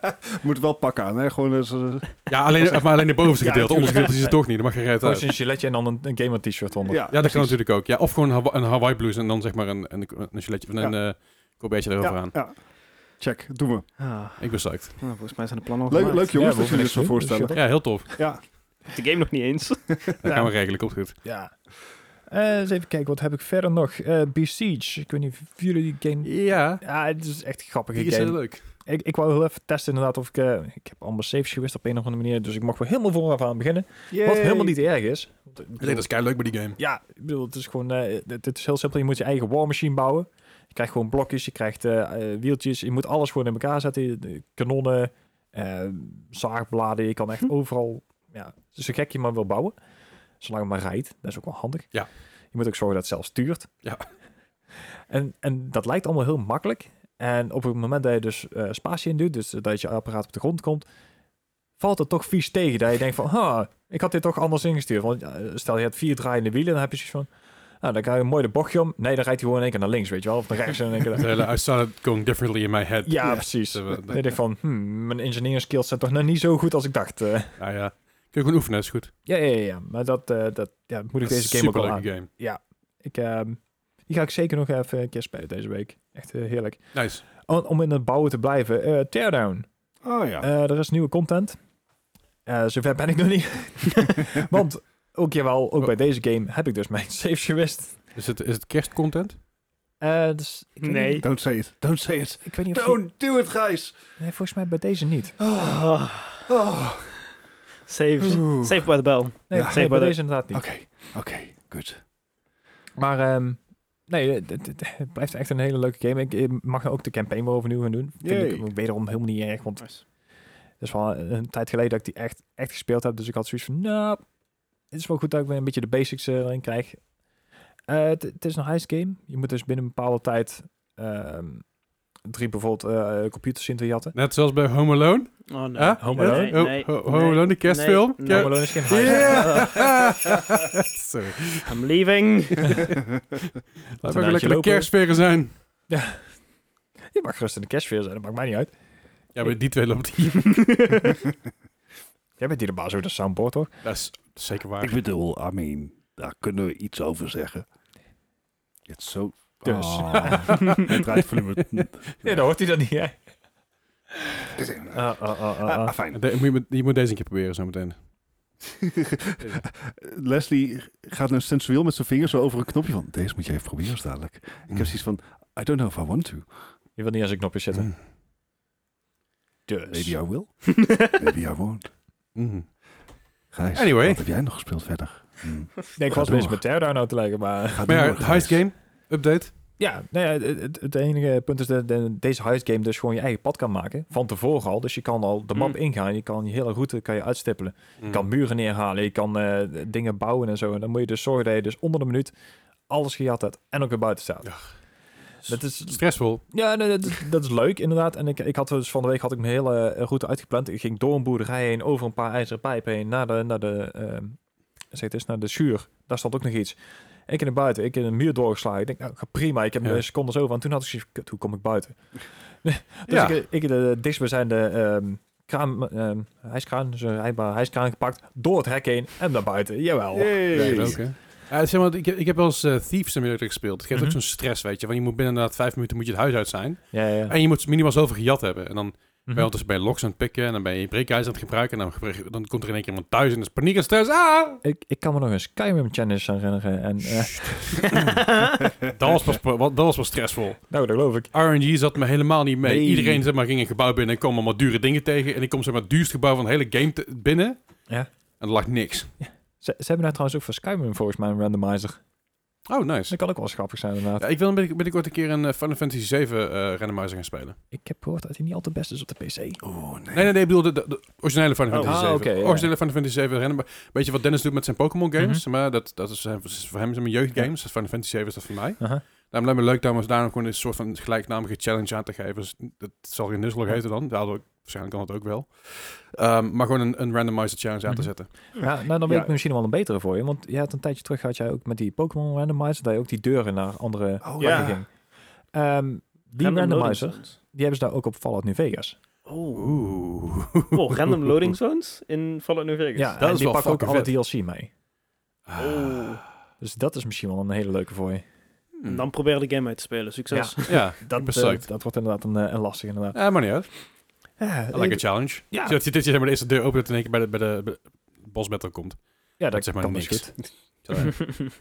wel goed. Moet wel pakken aan, hè? Gewoon eens, eh, Ja, alleen, maar alleen de bovenste Ja, gedeelte. Het onderste gedeelte is het toch niet. Dat mag geen reet Gewoon uit. een giletje en dan een, een gamer t-shirt onder. ja, Ja, dat kan precies. natuurlijk ook. Ja, of gewoon een Hawa- een Hawaii blues en dan zeg maar een, een, een giletje of een eh colbertje erover aan. Ja, ja. Check, doen we. Ah, Ik ben psyched. nou, volgens mij zijn de plannen al Leuk, gemaakt. leuk jongens, we dat hoeven jullie dit niks zo te doen, voorstellen. dus Ja, heel tof. Ja, De game nog niet eens. Dat gaan we regelen. Komt goed. Ja. Eh, eens even kijken, wat heb ik verder nog? Eh Besiege. Ik weet niet of jullie die game... Ja, Ja, het is echt een grappige die is game. heel leuk. Ik, ik wou heel even testen inderdaad of ik... eh, ik heb allemaal saves gewist op een of andere manier, dus ik mag wel helemaal vooraf aan beginnen. Wat helemaal niet erg is. Want, eh, ik bedoel- Nee, dat is kei leuk bij die game. ja, ik bedoel, het is gewoon... eh dit, dit is heel simpel. Je moet je eigen war machine bouwen. Je krijgt gewoon blokjes, je krijgt eh, eh, wieltjes. Je moet alles gewoon in elkaar zetten. Je- de Kanonnen, eh, zaagbladen. Je kan echt overal... Ja, zo gek je maar wil bouwen. Zolang het maar rijdt. Dat is ook wel handig. Ja. Je moet ook zorgen dat het zelf stuurt. Ja. En, en dat lijkt allemaal heel makkelijk. En op het moment dat je dus eh, spatie induwt, dus dat je apparaat op de grond komt, valt het toch vies tegen. Dat je denkt van, huh, ik had dit toch anders ingestuurd. Want ja, stel je hebt vier draaiende wielen, dan heb je zoiets van, nou, dan ga je een mooi de bochtje om. Nee, dan rijdt hij gewoon in één keer naar links, weet je wel. Of naar rechts en in één keer naar... De hele, I saw it going differently in my head. Ja, precies. Dat we- Dan denk ik van, hmm, mijn engineering skills zijn toch nog niet zo goed als ik dacht. Eh, Nou ja, kun je gewoon oefenen, is goed. ja, ja, ja, ja. Maar dat, eh, dat ja, moet ik Dat is deze game ook wel aan. superleuke game. Ik, ehm, die ga ik zeker nog even een keer spelen deze week. Echt eh, heerlijk. Nice. Om, om in het bouwen te blijven. eh, Teardown. Oh ja. Eh, er is nieuwe content. Eh, zover ben ik nog niet. Want ook jawel, ook bij deze game heb ik dus mijn saves gewist. Is het, is het kerstcontent? Eh, dus ik weet Nee. niet- Don't say it. Don't say it. ik weet niet of... die- Don't do it, Gijs. nee, volgens mij bij deze niet. Ah, Oh, save, Oeh. save by the bell. Nee, Ja. nee, Zeker bij dat- deze inderdaad niet. Oké, oké, goed. Maar ehm, nee, het, het- het- het blijft echt een hele leuke game. Ik, ik mag ook de campaign weer overnieuw gaan doen. Vind ik Yay. ook wederom helemaal niet erg, want Het is wel een, een tijd geleden dat ik die echt, echt gespeeld heb. Dus ik had zoiets van, nou, het is wel goed dat ik weer een beetje de basics eh, erin krijg. Eh, Het het is een heist game. Je moet dus binnen een bepaalde tijd ehm, drie bijvoorbeeld eh, computers in te jatten. Net zoals bij Home Alone? Oh nee. Huh? Home Alone? Nee, Ho- nee, ho- nee, Home Alone, de kerstfilm? nee, Kerst- Home Alone is geen heist. Ja! Sorry. I'm leaving. Laten we laat even je lekker de lopen. kerstsferen zijn. Je mag gerust in de cashfeer zijn, dat maakt mij niet uit. Ja, maar die twee loopt hier. Jij bent hier de baas over de soundboard, toch? Dat is zeker waar. Ik bedoel, I mean, daar kunnen we iets over zeggen. Het is zo... Dus. Ah. Hij draait volume... Nee, dan hoort hij dat niet, hè? Ah, ah, ah, ah, ah. Ah, fijn. De- moet je, je moet deze een keer proberen zometeen. Leslie gaat nou sensueel met zijn vinger zo over een knopje van... Deze moet je even proberen zo dadelijk. Ik heb zoiets van... I don't know if I want to. Je wilt niet aan zijn knopjes zitten. Dus. Maybe I will. Maybe I won't. Mm. Gijs, Anyway. wat heb jij nog gespeeld verder? Hm. Nee, ik Ga was door. bezig met Teardown nou te leggen, maar... Ga Maar ja, door, het Gijs. heist game, update. Ja, nou ja, het, het- het enige punt is dat de- deze heist game dus gewoon je eigen pad kan maken. Van tevoren al. Dus je kan al de map Mm. ingaan. Je kan je hele route kan je uitstippelen. Je kan Kan. muren neerhalen. Je kan eh, dingen bouwen en zo. En dan moet je dus zorgen dat je dus onder de minuut alles gejat hebt. En ook weer buiten staat. Ja. Dat is, Stressvol. ja, nee, dat, is- dat is leuk inderdaad. En ik, ik had dus van de week had ik mijn hele eh, route uitgepland. Ik ging door een boerderij heen, over een paar ijzeren pijpen heen, naar de, naar de, ehm, zeg het eens, naar de schuur. Daar stond ook nog iets. Ik in de buiten, ik in een muur doorgeslagen. Ik denk, nou, ga prima. Ik heb Ja. een seconde zo van. Toen had ik zoiets van, kut, hoe kom ik buiten? dus Ja. ik, ik de dichtstbijzijnde ehm kraan, ehm hijskraan, dus een rijbare hijskraan gepakt, door het hek heen en naar buiten. Jawel. Oh, Yay. Ja, ook, hè. Eh, zeg maar, ik, heb- ik heb wel eens eh, Thief Simulator gespeeld. Het geeft Mhm. ook zo'n stress, weet je. Want je moet binnen inderdaad vijf minuten moet je het huis uit zijn. Ja, ja. En je moet minimaal zoveel gejat hebben. En dan Mhm. ben je ondertussen bij locks aan het pikken. En dan ben je breekijzer aan het gebruiken. En dan, gebruik- dan komt er in één keer iemand thuis. En is paniek en stress. Ah! Ik, ik kan me nog een Skyrim challenge herinneren. En, eh, Dat was pas, wat- dat was pas stressvol. nou, dat geloof ik. RNG zat me helemaal niet mee. Nee. Iedereen zeg maar, ging een gebouw binnen en kwam allemaal dure dingen tegen. En ik kom zeg maar, het duurste gebouw van de hele game te- binnen. Ja. En er lag niks. Ze, ze hebben daar trouwens ook voor Skyrim volgens mij een randomizer. Dus Oh, nice. Dat kan ook wel eens grappig zijn inderdaad. Ja, ik wil binnenkort binnenkort een keer een eh, Final Fantasy 7 eh randomizer gaan spelen. Ik heb gehoord dat hij niet al te best is op de PC. Nee, nee, nee, ik bedoel de, de- de originele Final Oh. Fantasy Ah, 7. oké, ja. Mhm. Originele Final Fantasy 7 rennen. maar Weet je wat Dennis doet met zijn Pokémon games? maar dat, dat is, eh, is voor hem zijn jeugdgames. Dat Final Fantasy 7 is dat voor mij. Aha. Daarom lijkt me leuk daarom daarom gewoon een soort van gelijknamige challenge aan te geven. Dus dat zal geen nuzzelog heten dan. Daardoor, waarschijnlijk kan dat ook wel. Ehm, maar gewoon een, een randomizer challenge aan te Mhm. zetten. Ja, nou, dan weet Ja. ik misschien wel een betere voor je. Want je had een tijdje terug, had jij ook met die Pokémon randomizer, dat je ook die deuren naar andere Oh, ja. plekken ging. Ehm, die Random loading randomizer, zones. die hebben ze daar ook op Fallout New Vegas. Oh. Oeh. Oh, random loading zones in Fallout New Vegas. Ja, Dat en is die wel pakken ook alle fucking DLC mee. Oh. Dus dat is misschien wel een hele leuke voor je. En dan probeer de game uit te spelen. Succes. Ja, Dat, dat eh, suikt. dat wordt inderdaad een, eh, een lastig inderdaad. Eh, Ja, maar niet uit. Ja, I like a challenge. ja. Zodat je dit je zeg maar de eerste deur opent en in één keer bij de, bij de, bij de boss battle komt. ja, dat dat zeg maar kan niks. best goed. Zo.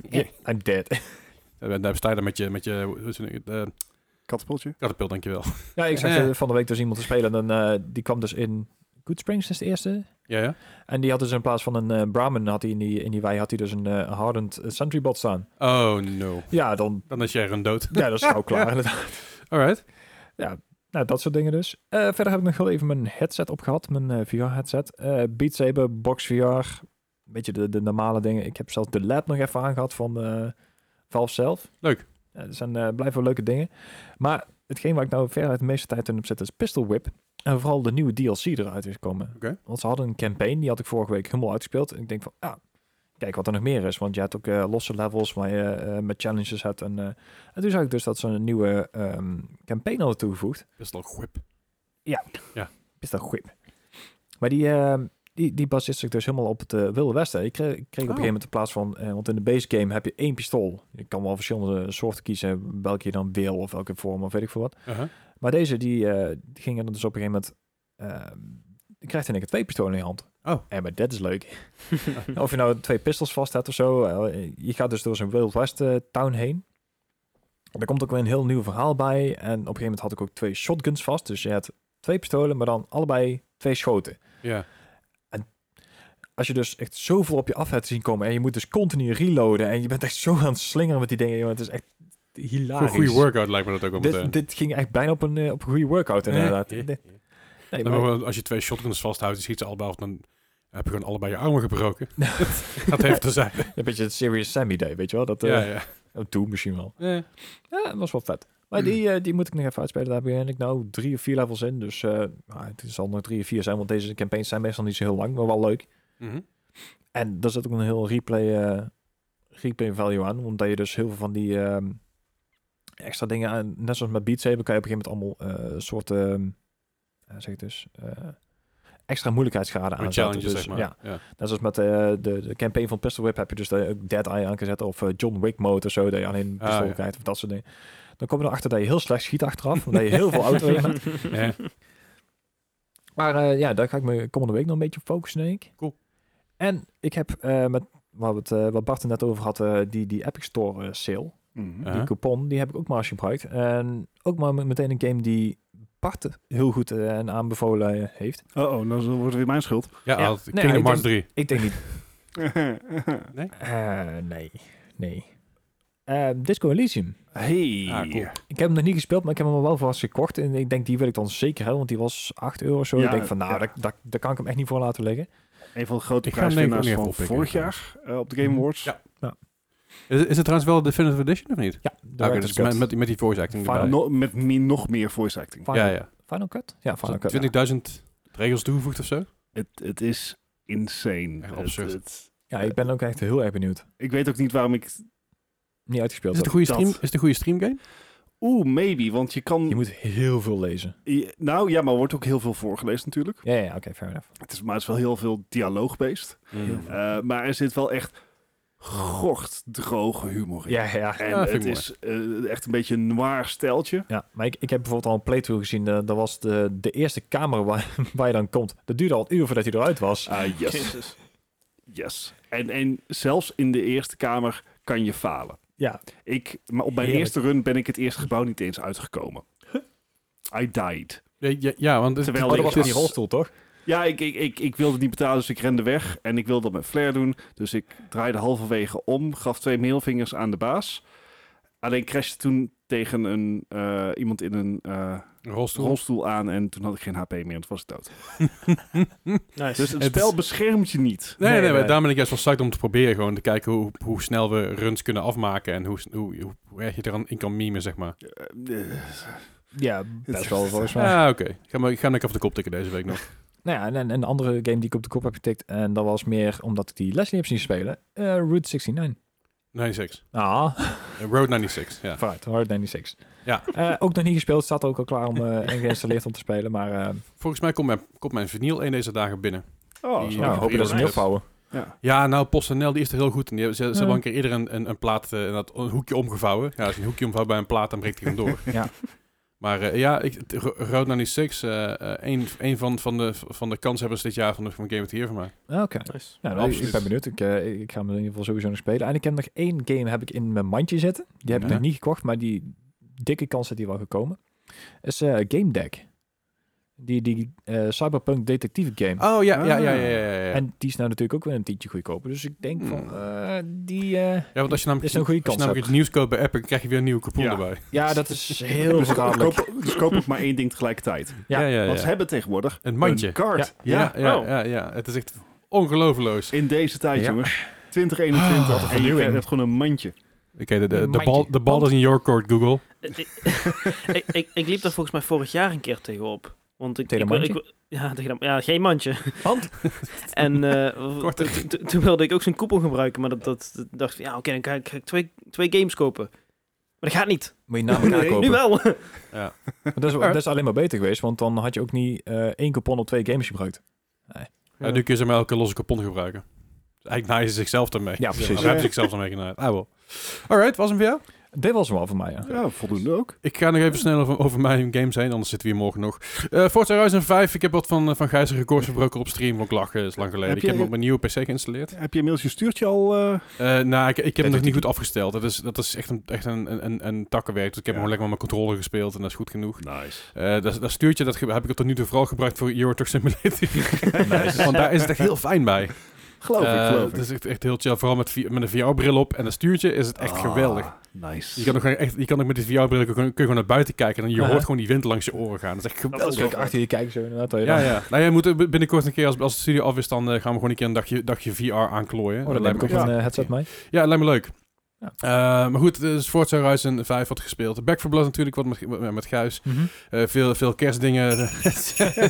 Yeah, I'm dead. En daar sta je dan met je, met je hoe is het, eh, Katapultje. katapult, dankjewel. ja, ik zag Ja. eh, van de week dus iemand te spelen. En eh, die kwam dus in Good Springs, is de eerste. Ja, ja. En die had dus in plaats van een eh, Brahmin, had hij in die, in die wei had hij dus een eh, hardened eh, sentry bot staan. Oh no. Ja, dan, Dan is jij een dood. ja, dat is gauw klaar. inderdaad. Alright. Nou, dat soort dingen dus. Eh, verder heb ik nog wel even mijn headset opgehad, mijn VR-headset. eh Beat Saber, Box VR, een beetje de, de normale dingen. Ik heb zelfs de lab nog even aangehad van eh Valve zelf. Leuk. Ja, dat zijn eh, blijven wel leuke dingen. Maar hetgeen waar ik nou veruit de meeste tijd in op zit is Pistol Whip. En vooral de nieuwe DLC eruit is gekomen. Oké. Want ze hadden een campaign, die had ik vorige week helemaal uitgespeeld. En ik denk van, ah, kijk wat er nog meer is. Want je hebt ook eh, losse levels waar je eh, met challenges hebt. En, eh, en toen zag ik dus dat ze een nieuwe ehm, campaign hadden toegevoegd. Best wel whip. Is dat goed? Maar die, eh, die, die baseert zich dus helemaal op het eh, Wilde Westen. Ik kreeg, ik kreeg op een gegeven moment in plaats van... eh, want in de base game heb je één pistool. Je kan wel verschillende soorten kiezen... welke je dan wil of welke vorm of weet ik veel wat. Uh-huh. Maar deze, die, eh, die ging er dus op een gegeven moment... eh, je krijgt in één keer twee pistolen in je hand. Oh. En maar dat is leuk. of je nou twee pistols vast hebt of zo. eh, je gaat dus door zo'n Wild West eh, town heen. Er komt ook weer een heel nieuw verhaal bij. En op een gegeven moment had ik ook twee shotguns vast. Dus je hebt twee pistolen, maar dan allebei twee schoten. Ja. Als je dus echt zoveel op je af hebt zien komen... en je moet dus continu reloaden... en je bent echt zo aan het slingeren met die dingen. jongen. Het is echt Voor een hilarisch. goede workout lijkt me dat ook wel meteen. dit, dit ging echt bijna op een, eh, op een goede workout inderdaad. Eh, eh, Nee, eh. nee, Dan maar- maar als je twee shotguns vasthoudt, je schiet ze allebei af, dan heb je gewoon allebei je armen gebroken. dat heeft te zijn. Een beetje het Serious Sam idee, weet je wel? Dat, eh Ja, ja. oh, Doe misschien wel. Eh, Ja, dat was wel vet. Maar die, eh, die moet ik nog even uitspelen. Daar ben ik nou drie of vier levels in. Dus eh, nou, het zal nog drie of vier zijn, want deze campaigns zijn meestal niet zo heel lang, maar wel leuk. mhm. En daar zit ook een heel replay, eh, replay value aan, omdat je dus heel veel van die ehm, extra dingen aan, net zoals met Beat Saber, kan je op een gegeven moment allemaal eh, soorten, eh, zeg het dus, eh, extra moeilijkheidsgraden Met aan. challenges, zeg maar. Ja, Ja. Ja. Net zoals met eh, de, de campaign van Pistol Whip heb je dus dat je ook Dead Eye aan kan zetten. Of eh, John Wick mode of zo, dat je alleen een pistool Ah, ja. krijgt of dat soort dingen. Dan kom je erachter dat je heel slecht schiet achteraf, omdat je heel veel auto in hebt. Maar eh, ja, daar ga ik me komende week nog een beetje op focussen, denk ik. Cool. En ik heb eh, met wat, het, eh, wat Bart er net over had, eh, die, die Epic Store eh, sale, Mhm. Uh-huh. die coupon, die heb ik ook maar eens gebruikt. En ook maar meteen een game die Bart heel goed eh, en aanbevolen eh, heeft. Uh-oh, dan Oh, nou wordt het weer mijn schuld. Ja, Ja. had- Nee, Kingdom ik Hearts 3. Ik denk niet Nee? Eh, nee, nee. Eh, Disco Elysium. Hey. Ah, cool. Ik heb hem nog niet gespeeld, maar ik heb hem wel vast gekocht. En ik denk, die wil ik dan zeker hebben, want die was 8 euro of zo. Ja, ik denk van, nou, ja. daar, daar, daar kan ik hem echt niet voor laten liggen. Een van de grote Ik ga hem denk ik ook prijswinnaars niet even van oppikken, Hmm. vorig jaar eh, op de Game Awards. Ja. Is, is het trouwens wel de Definitive Edition of niet? Ja, Oké, Director's dus Cut. met, met, die- met die voice acting Final- erbij. Eh, No- met mi- nog meer voice acting. Final, Ja, ja. Final Cut? Ja, Final Cut. 20.000 regels toegevoegd of zo? Het, het is insane. Echt Het- absurd. het- Ja. Ja, ik ben ook echt heel erg benieuwd. ik weet ook niet waarom ik... Niet uitgespeeld. Is het een heb. goede Dat. stream? Is het een goede streamgame? Oeh, maybe, want je kan... Je moet heel veel lezen. je- nou ja, maar er wordt ook heel veel voorgelezen natuurlijk. Ja, ja, oké, fair enough. Het is, maar het is wel heel veel dialoog-based. Mm. Eh, maar er zit wel echt gort droge humor in. Ja, ja. En Ja, vind ik het mooi. is eh, echt een beetje een noir steltje. Ja, maar ik, ik heb bijvoorbeeld al een playthrough gezien. eh, dat was de, de eerste kamer waar, waar je dan komt. Dat duurde al een uur voordat hij eruit was. Ah, yes. Jezus. yes. En, en zelfs in de Eerste Kamer kan je falen. Ja, Ik, maar op mijn Heerlijk. eerste run ben ik het eerste gebouw niet eens uitgekomen. I died. Ja, ja, ja, want het, Terwijl oh, dat ik was in was- die rolstoel, toch? Ja, ik, ik, ik, ik wilde niet betalen, dus ik rende weg. En ik wilde dat met flair doen. Dus ik draaide halverwege om, gaf twee mailvingers aan de baas. Alleen crashte toen tegen een, eh, iemand in een eh, rolstoel. rolstoel aan. En toen had ik geen HP meer en toen was ik dood. Nice. Dus het Het- spel beschermt je niet. Nee, nee, Nee, maar nee. daar ben ik juist wel psyched om te proberen. Gewoon te kijken hoe, hoe snel we runs kunnen afmaken. En hoe, hoe, hoe, hoe erg je eraan in kan memen, zeg maar. Eh, Ja, best wel volgens mij. Ja, Ah, oké. Ik ga, maar- ik ga lekker op de kop tikken deze week nog. Nou ja, en- en een andere game die ik op de kop heb getikt. En dat was meer omdat ik die Leslie heb zien spelen. eh, Route 69. 96. Ah, Eh, Road 96, ja. vooruit. Hard 96. Ja. Eh, ook nog niet gespeeld. Staat ook al klaar om eh, en geïnstalleerd om te spelen. Maar eh, Volgens mij komt mijn, komt mijn vinyl een deze dagen binnen. Oh, Die- zo. eh, ja, hoop je nou, dat ze hem Ja. opbouwen. ja. Ja, nou, PostNL die is er heel goed in. Die hebben- Ze, ze Ja. hebben een keer ieder een, een, een plaat, eh, dat, een hoekje omgevouwen. Ja, als je een hoekje omvouwt bij een plaat, dan breekt hij hem door. Ja. Maar eh, ja, ik, het- Ro- Road 96, eh eh een, een van, van, de, van de kanshebbers dit jaar van, de, van Game of the Year van mij. Ah, Oké. nice. Ja, nou, Absoluut. ik ben benieuwd. Ik, eh, ik ga hem in ieder geval sowieso nog spelen. En ik heb nog één game heb ik in mijn mandje zitten. Die heb ik Ja. nog niet gekocht, maar die dikke kans dat die wel gekomen. Is eh, Game Deck. Die, die eh, cyberpunk detectieve game. Oh ja, ja, Ah. ja, ja, ja. ja, ja. En die is nou natuurlijk ook weer een tientje goedkoper. Dus ik denk van, Hmm. eh, die... eh, Ja, want als je namelijk, Is een als goede je kans namelijk het nieuws koopt bij Apple, krijg je weer een nieuwe coupon Ja. erbij. ja, dat is heel Eh, Dus, koop, verraderlijk. koop- dus koop ook maar één ding tegelijkertijd. Ja, ja, ja. Want ze hebben tegenwoordig Een mandje. een card. Ja. Ja, ja, Oh. ja, ja. Het is echt ongelooflijk. In deze tijd, Ja. jongens. 2021. Ah, en je vernieuwing. hebt gewoon een mandje. Oké, de, de, Een de, bal, mandje. de bal is in your court, Google. Eh, ik, ik, ik, ik liep daar volgens mij vorig jaar een keer tegenop. Want ik, Tegen ik, een ik- ja, tegen dat- ja, geen mandje. Want? En eh, Korter. t- t- toen wilde ik ook zo'n coupon gebruiken, maar dat, dat, dat dacht ik, ja oké, dan ga ik, ga ik twee, twee games kopen. Maar dat gaat niet. Moet je na elkaar Nee, kopen. Nu wel. Maar Dat, is, dat is alleen maar beter geweest, want dan had je ook niet eh, één coupon op twee games gebruikt. En nu kun je ze maar elke losse coupon gebruiken. Dus eigenlijk naaien ze zichzelf daarmee. Ja, precies. Daar hebben ze zichzelf daarmee genaaid. Ah, wel. Alright, was hem weer. Dit was hem al voor mij, ja. Ja, voldoende ook. Ik ga nog even snel over, over mijn games heen, anders zitten we hier morgen nog. Eh Forza Horizon 5, ik heb wat van, eh, van Gijs' records verbroken op stream, want ik lachen, is lang geleden. Heb ik heb je- hem op mijn nieuwe PC geïnstalleerd. Heb je inmiddels je stuurtje al... eh, Eh, nou, ik, ik heb hem nog niet goed afgesteld. Dat is, dat is echt, een, echt een, een- een, een takkenwerk. Dus ik heb hem Ja. gewoon lekker met mijn controller gespeeld en dat is goed genoeg. Nice. Eh, dat, dat stuurtje dat ge- heb ik tot nu toe vooral gebruikt voor Euro Truck Simulator. Want daar is het echt heel fijn bij. Geloof ik, Eh, geloof Het ik. is echt, echt heel chill. Vooral met, vi- met een VR-bril op en een stuurtje is het echt Ah, geweldig. Nice. Je kan, ook gewoon echt, je kan ook met die VR-bril kun, kun je gewoon naar buiten kijken en je Ja. hoort gewoon die wind langs je oren gaan. Dat is echt Dat geweldig. is Dus ik achter je kijken zo inderdaad. dat je Ja, dan- ja. Nou, jij moet er b- binnenkort een keer, als, als de studio af is, dan eh, gaan we gewoon een keer een dagje, dagje VR aanklooien. Oh, dan lijkt heb ik me ook echt- een eh, headset mee. Ja, lijkt me leuk. Ja. Eh, maar goed, dus Forza Horizon 5 wordt gespeeld. Back for Blood natuurlijk, wat met, met, met Gijs. Eh, veel, veel kerstdingen.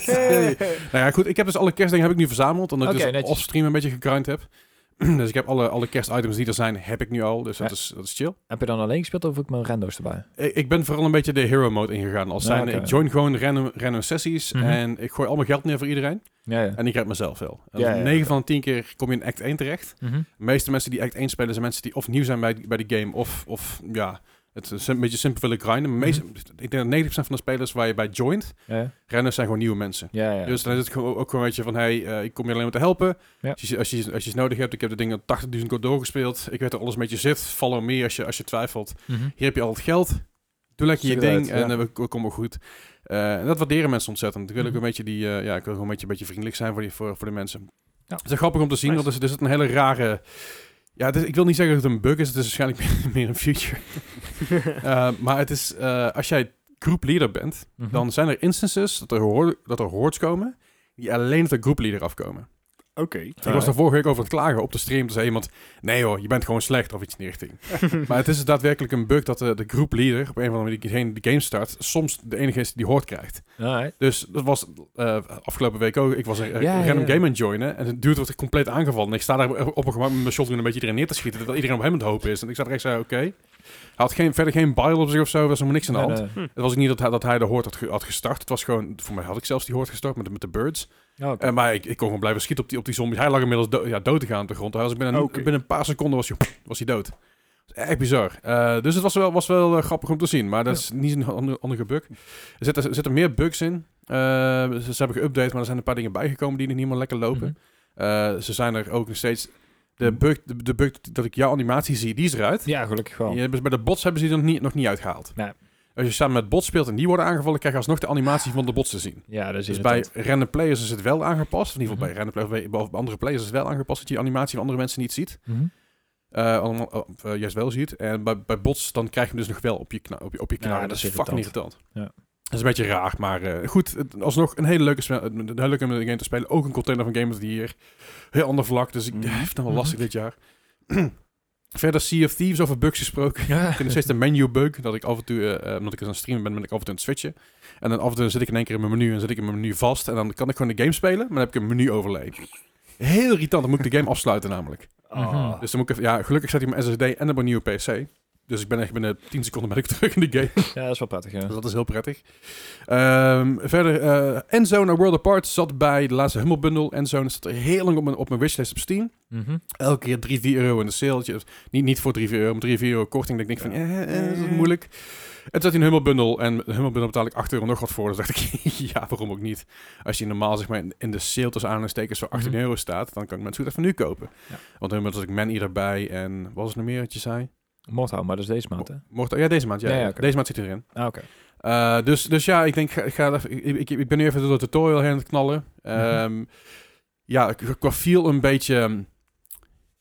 Nou ja, goed. Ik heb dus alle kerstdingen heb ik nu verzameld. Omdat Oké, ik dus netjes. off-stream een beetje gegrind heb. dus ik heb alle, alle kerstitems die er zijn, heb ik nu al. Dus dat, Ja. is, dat is chill. Heb je dan alleen gespeeld of heb ik mijn rando's erbij? Ik, ik ben vooral een beetje de hero mode ingegaan. Als Ja, zijn, oké. ik join gewoon random, random sessies. Mhm. En ik gooi allemaal geld neer voor iedereen. Ja, ja. En ik red mezelf wel. En Ja, ja, 9 ja. van de 10 keer kom je in act 1 terecht. Mhm. De meeste mensen die act 1 spelen zijn mensen die of nieuw zijn bij, bij de game of, of ja, het is een beetje simpel willen grinden. Mhm. Maar meest- Ik denk dat 90% van de spelers waar je bij joint, ja, ja. renners zijn gewoon nieuwe mensen. ja, ja. Dus dan is het gewoon ook gewoon een beetje van, hey, eh, ik kom je alleen maar te helpen. Ja. Als, je, als, je, als je iets nodig hebt, ik heb de dingen 80.000 keer doorgespeeld. Ik weet er alles een beetje zit. Follow me als je, als je twijfelt. Mhm. Hier heb je al het geld. Doe lekker je Zoek het ding uit, en ja. eh, we, we komen goed. Eh, en dat waarderen mensen ontzettend. Ik wil ook Mhm. een beetje, die, eh, ja, ik wil gewoon een beetje, een beetje vriendelijk zijn voor, die, voor, voor de mensen. Ja. Het is echt grappig om te zien, Nice. want er is, er zit een hele rare... Ja, het is- ik wil niet zeggen dat het een bug is. Het is waarschijnlijk meer, meer een feature. Eh, maar het is, eh, als jij groepleader bent, Mhm. dan zijn er instances dat er, hoor, dat er hordes komen die alleen op de groepleader afkomen. Oké. Ik Eh. was daar vorige week over het klagen op de stream. Toen zei iemand, nee hoor, je bent gewoon slecht of iets in die richting. maar het is dus daadwerkelijk een bug dat de, de groepleader, op een of andere manier diegene die de game start, soms de enige is die hoort krijgt. Alright. Dus dat was eh, afgelopen week ook. Ik was een, een Ja, ja, random ja. game aan het joinen en het duurt wordt er compleet aangevallen. En ik sta daar op een gemak met mijn shotgun een beetje iedereen neer te schieten, terwijl iedereen op hem aan het hopen is. En ik zat er echt zo, oké. Hij had geen, verder geen bile op zich of zo, er was helemaal niks aan de hand. Nee, nee. Het was ook niet dat hij, dat hij de hoort had, ge- had gestart. Het was gewoon, voor mij had ik zelfs die hoort gestart met, de- met de birds. Ja, Oh, oké. Eh, maar ik, ik kon gewoon blijven schieten op die, op die zombie. Hij lag inmiddels do- ja, dood te gaan op de grond. Hij was binnen, Oké. binnen een paar seconden was hij, was hij dood. Echt bizar. Eh, dus het was wel, was wel eh, grappig om te zien. Maar dat is niet een andere, andere bug. Er zitten, er zitten meer bugs in. Eh, ze, ze hebben geüpdate, maar er zijn een paar dingen bijgekomen die nog niet helemaal lekker lopen. Mhm. Eh, ze zijn er ook nog steeds... De bug, de, de bug dat ik jouw animatie zie, die is eruit. ja gelukkig wel. Die hebben ze- bij de bots hebben ze die nog niet, nog niet uitgehaald. Oh. Nee. Als je samen met bots speelt en die worden aangevallen, krijg je alsnog de animatie van de bots te zien. Ja, dat is Dus bij irritant. random players is het wel aangepast. In ieder geval bij Mhm. random players, bij- bij, bij andere players is het wel aangepast dat je de animatie van andere mensen niet ziet. Mhm. Eh, allemaal- oh, of, eh, juist wel ziet. En bij, bij bots dan krijg je hem dus nog wel op je, kna op je, op je Ja, knaar. dat dat is is fucking irritant. Ja. Dat is een beetje raar, maar eh, goed. het- Alsnog een hele leuke, spe- een hele leuke game te spelen. Ook een container van Game of the Year. Heel ander vlak, dus ik Mhm. heeft dan wel Mhm. lastig dit jaar. Verder Sea of Thieves over bugs gesproken. Ja. Ik heb nog steeds een menu bug. Dat ik af en toe, eh, eh, omdat ik aan het streamen ben, ben ik af en toe aan het switchen. En dan af en toe zit ik in één keer in mijn menu en zit ik in mijn menu vast. En dan kan ik gewoon de game spelen, maar dan heb ik een menu overlay. Heel irritant, dan moet ik de game afsluiten namelijk. Ah. Dus dan moet ik even, ja, gelukkig zet ik mijn SSD en op mijn nieuwe PC. Dus ik ben echt binnen 10 seconden ben ik terug in de game. ja, dat is wel prettig. Ja. Dus dat is heel prettig. Ehm, verder, eh Enzo naar World Apart zat bij de laatste Humble Bundle. Enzo zat er heel lang op mijn, op mijn wishlist op Steam. Mhm. Elke keer 3, 4 euro in de sale. Dus Niet, niet voor 3, 4 euro, maar 3, 4 euro korting. Dat ik denk van, eh, eh, is dat moeilijk? En toen zat hij een hummelbundel. En een hummelbundel betaal ik 8 euro nog wat voor. Dus dacht ik, ja, waarom ook niet? Als je normaal zeg maar in- in de sale tussen aanhalingstekens voor 18 Mhm. euro staat, dan kan ik mensen goed even nu kopen. Ja. Want inmiddels had ik Man erbij en wat was er nog meer wat je zei? Mortal, maar dat is deze maand, hè? Mocht, oh ja, deze maand. Ja, Ja, ja, ja. oké. Deze maand zit hij erin. Ah, oké. Eh, dus, dus ja, ik denk, ga, ik ga even, ik, ik, ik ben nu even door de tutorial heen aan het knallen. Mhm. Ehm, Ja, ik- qua feel een beetje... ehm,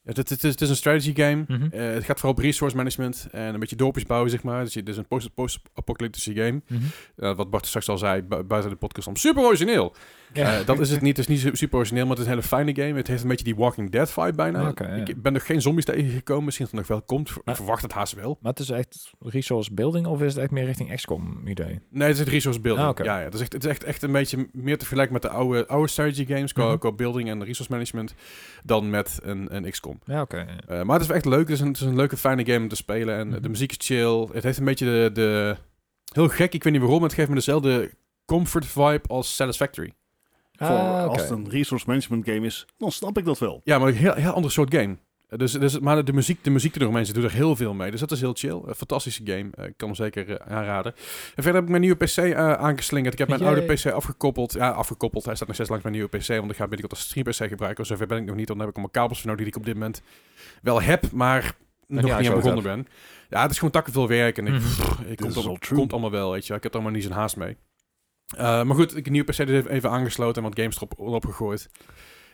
Het, het, het is, het is een strategy game. Mhm. Eh, het gaat vooral op resource management en een beetje dorpjes bouwen, zeg maar. Dus je- dit is een post- post-apocalyptische game. Mhm. Eh, wat Bart straks al zei, bu- buiten de podcast om. Super origineel! Ja. Eh, dat is het niet. Het is niet su- super origineel, maar het is een hele fijne game. Het heeft een beetje die Walking Dead vibe bijna. Ah, Oké, ja. Ah. Ik ben nog geen zombies tegengekomen. Misschien dat het nog wel komt. Ik Maar- verwacht het haast wel. Maar het is echt resource building of is het echt meer richting XCOM idee? Nee, het is het resource building. Ah, oké. Ja, ja. Het is, echt, het is echt, echt een beetje meer te vergelijken met de oude, oude strategy games, qua, Mhm. qua building en resource management, dan met een, een XCOM. Ja, oké. ja. Eh, maar het is echt leuk. Het is een, het is een leuke, fijne game om te spelen. En Mhm. de muziek is chill. Het heeft een beetje de, de... Heel gek, ik weet niet waarom, maar het geeft me dezelfde comfort vibe als Satisfactory. Voor, Ah, Als oké. het een resource management game is, dan snap ik dat wel. Ja, maar een heel, heel ander soort game. Eh, Dus, dus, maar de muziek, de muziek eromheen, ze doet er heel veel mee. Dus dat is heel chill. Een fantastische game. Eh, Ik kan hem zeker eh, aanraden. En verder heb ik mijn nieuwe PC eh, aangeslingerd. Ik heb mijn Yay. oude PC afgekoppeld. Ja, afgekoppeld. Hij staat nog steeds langs mijn nieuwe PC. Want ik ga binnenkort als stream PC gebruiken. Zover ben ik nog niet. Want dan heb ik allemaal kabels voor nodig die ik op dit moment wel heb. Maar nog niet niet aan uitgewerkt begonnen ben. Ja, het is gewoon takken veel werk. En ik, Mhm. pff, ik This komt, is allemaal, all true. komt allemaal wel, weet je. wel. Ik heb er allemaal niet zo'n haast mee. Eh, maar goed, ik heb een nieuwe PC dus even- even aangesloten en wat games erop erop gegooid.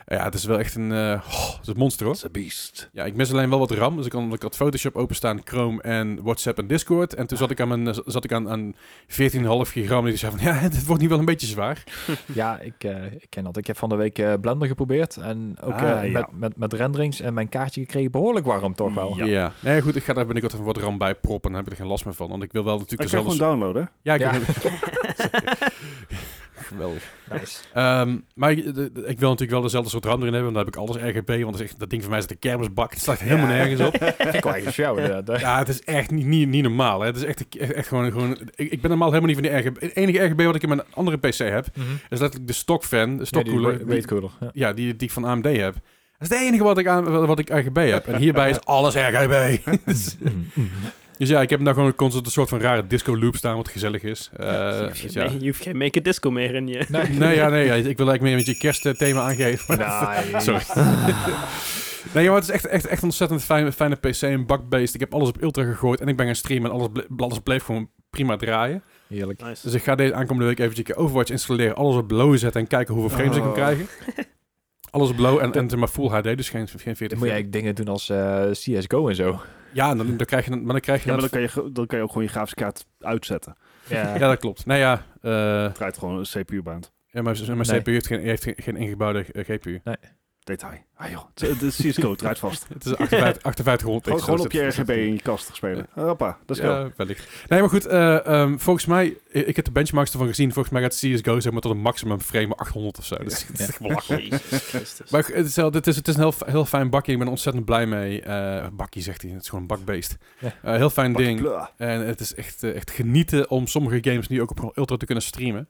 Eh, Ja, het is wel echt een... eh, oh, het is een monster, hoor. It's a beast. Ja, ik mis alleen wel wat RAM. Dus ik, kan, ik had Photoshop openstaan, Chrome en WhatsApp en Discord. En toen zat ik aan, mijn, eh, zat ik aan, aan 14,5 gigram. En die dus zei van, ja, dit wordt niet wel een beetje zwaar. Ja, ik, eh, ik ken dat. Ik heb van de week eh, Blender geprobeerd. En ook Ah, eh, ja. met, met, met renderings en mijn kaartje gekregen behoorlijk warm toch wel. Oh, Ja. Nee, goed, ik ga daar binnenkort even wat RAM bij proppen. Dan heb ik er geen last meer van. Want ik wil wel natuurlijk Ik kan gewoon dezelfde... downloaden. Ja, ik Ja. Geweldig. Nice. Ehm, maar ik, de- de- ik wil natuurlijk wel dezelfde soort RAM erin hebben. Want dan heb ik alles RGB. Want dat, is echt, dat ding van mij zit de kermisbak. Het staat helemaal nergens op. ik wou eigenlijk voor jou eh, inderdaad. Ja, het is echt niet, niet, niet normaal. Hè. Het is echt, echt, echt gewoon... gewoon ik, ik ben normaal helemaal niet van die RGB. Het enige RGB wat ik in mijn andere PC heb... Mhm. is letterlijk de stokfan. De Ja, die stokkoeler. wa- die- Weight cooler. Ja. ja, die, die ik van AMD heb. Dat is het enige wat ik, aan, wat ik RGB heb. En hierbij is alles RGB. dus, dus ja, ik heb nou gewoon constant een soort van rare disco loop staan... wat gezellig is. Eh, je, dus hoeft ja. geen, je hoeft geen make a disco meer in je. Nee, ja, nee, ja, ik wil eigenlijk meer met je kerstthema aangeven. maar Nice. Sorry. nee, maar het is echt, echt, echt een ontzettend fijne, fijne PC, een bakbeest. Ik heb alles op ultra gegooid en ik ben gaan streamen en alles, ble- alles bleef gewoon prima draaien. Heerlijk. Ah, Nice. Dus ik ga deze aankomende week eventjes een keer Overwatch installeren, alles op low zetten en kijken hoeveel frames ik kan Oh. krijgen. Alles op low en, en zeg maar full HD, dus geen, geen 40 Dan moet je eigenlijk dingen doen als eh, CSGO en zo. Ja, en dan, dan krijg je, dan- maar dan krijg je... Ja, maar dat- dan kan, je, ge- dan kan je ook gewoon je grafische kaart uitzetten. Ja. ja, dat klopt. Nou ja, eh, Het draait gewoon een CPU-band. ja, maar mijn, Nee. CPU heeft geen, heeft geen, geen ingebouwde eh, GPU. Nee. Detail. Ah joh, het- het is CSGO, het draait vast. Het is 58, 58 rond. Gewoon, gewoon op je RGB in je kast spelen. Hoppa, dat is Ja, wellicht. Nee, maar goed, eh, ehm, volgens mij, ik, ik heb de benchmarks ervan gezien, volgens mij gaat CSGO zeg maar tot een maximum frame 800 of zo. Dat is echt belachelijk. Jezus Christus. Maar het is, wel- dit is, het is een heel, heel fijn bakje, ik ben er ontzettend blij mee. Eh, bakkie zegt hij, het is gewoon een bakbeest. Ja. Eh, heel fijn Pak- ding. Blah. En het is echt, eh, echt genieten om sommige games nu ook op gewoon ultra te kunnen streamen.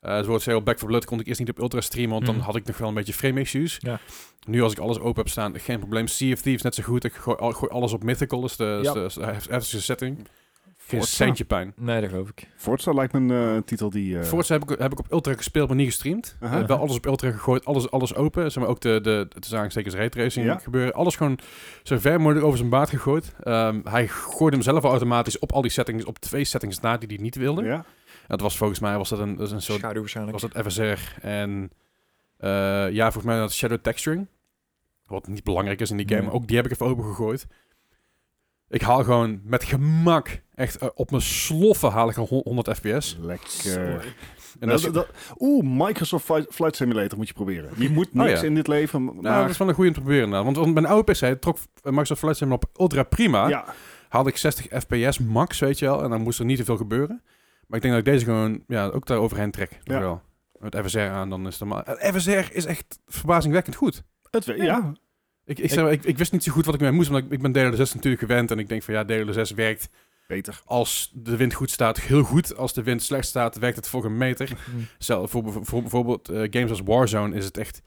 Eh zoals heel Back for Blood kon ik eerst niet op ultra streamen, want Mhm. dan had ik nog wel een beetje frame issues. Ja. Nu als ik alles open heb staan, geen probleem. Sea of Thieves net zo goed. Ik gooi, al- gooi alles op mythical, dus de, Ja. is de, is de hef- heftigste setting. Geen Forza. centje pijn. Nee, dat geloof ik. Forza lijkt me een eh, titel die... eh, Forza heb ik, heb ik op ultra gespeeld, maar niet gestreamd. Aha. Eh, wel alles op ultra gegooid, alles, alles open. Zeg maar ook de, de, de aanstekers raytracing Ja. gebeuren. Alles gewoon zo ver mogelijk over zijn baard gegooid. Ehm, hij gooide hem zelf al automatisch op al die settings, op twee settings na die hij niet wilde. Ja, Dat was volgens mij was dat een, dat is een soort Schaduw waarschijnlijk. was dat FSR en eh, ja, volgens mij dat shadow texturing. Wat niet belangrijk is in die game, Nee. maar ook die heb ik even opengegooid. Ik haal gewoon met gemak, echt eh, op mijn sloffen haal ik een hon- 100 fps. lekker. En Nou, dat, is, dat- dat- Oeh, Microsoft Flight- Flight Simulator moet je proberen. Je moet Oh, niks ja. in dit leven, maar... nou, dat is wel een goede om te proberen. Nou. Want, want mijn oude PC trok eh, Microsoft Flight Simulator op ultra prima. ja, Haalde ik 60 fps max, weet je wel. En dan moest er niet te veel gebeuren. Maar ik denk dat ik deze gewoon ja, ook daar overheen trek. Ja. Ja. Wel. Met FSR aan, dan is het maar... FSR is echt verbazingwekkend goed. het, we- ja. Ik, ik, zeg maar, ik, ik wist niet zo goed wat ik mee moest, want ik, ik ben DLSS natuurlijk gewend. En ik denk van ja, DLSS werkt beter. als de wind goed staat heel goed. Als de wind slecht staat, werkt het voor een meter. Hm. Zelf, voor, voor- voor bijvoorbeeld eh, games als Warzone is het echt...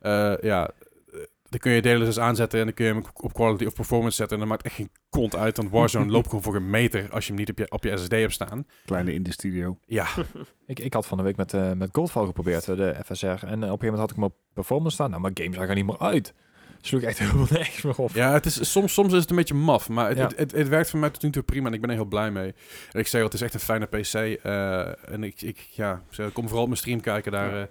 eh, ja, eh, dan kun je DLSS aanzetten en dan kun je hem op quality of performance zetten. En dat maakt echt geen kont uit, want Warzone loopt gewoon voor een meter als je hem niet op je, op je SSD hebt staan. Kleine indie studio. Ja, Ik, ik had van de week met, eh met Goldfall geprobeerd, eh, de FSR. En eh, op een gegeven moment had ik hem op performance staan. Nou, mijn game zag er niet meer uit. Sloeg echt helemaal nergens meer op. Ja, het is, soms, soms is het een beetje maf, maar het, Ja. het, het, het werkt voor mij tot nu toe prima en ik ben er heel blij mee. En ik zei al, het is echt een fijne PC eh, en ik, ik, ja, ik zei, kom vooral op mijn stream kijken, daar, eh, daar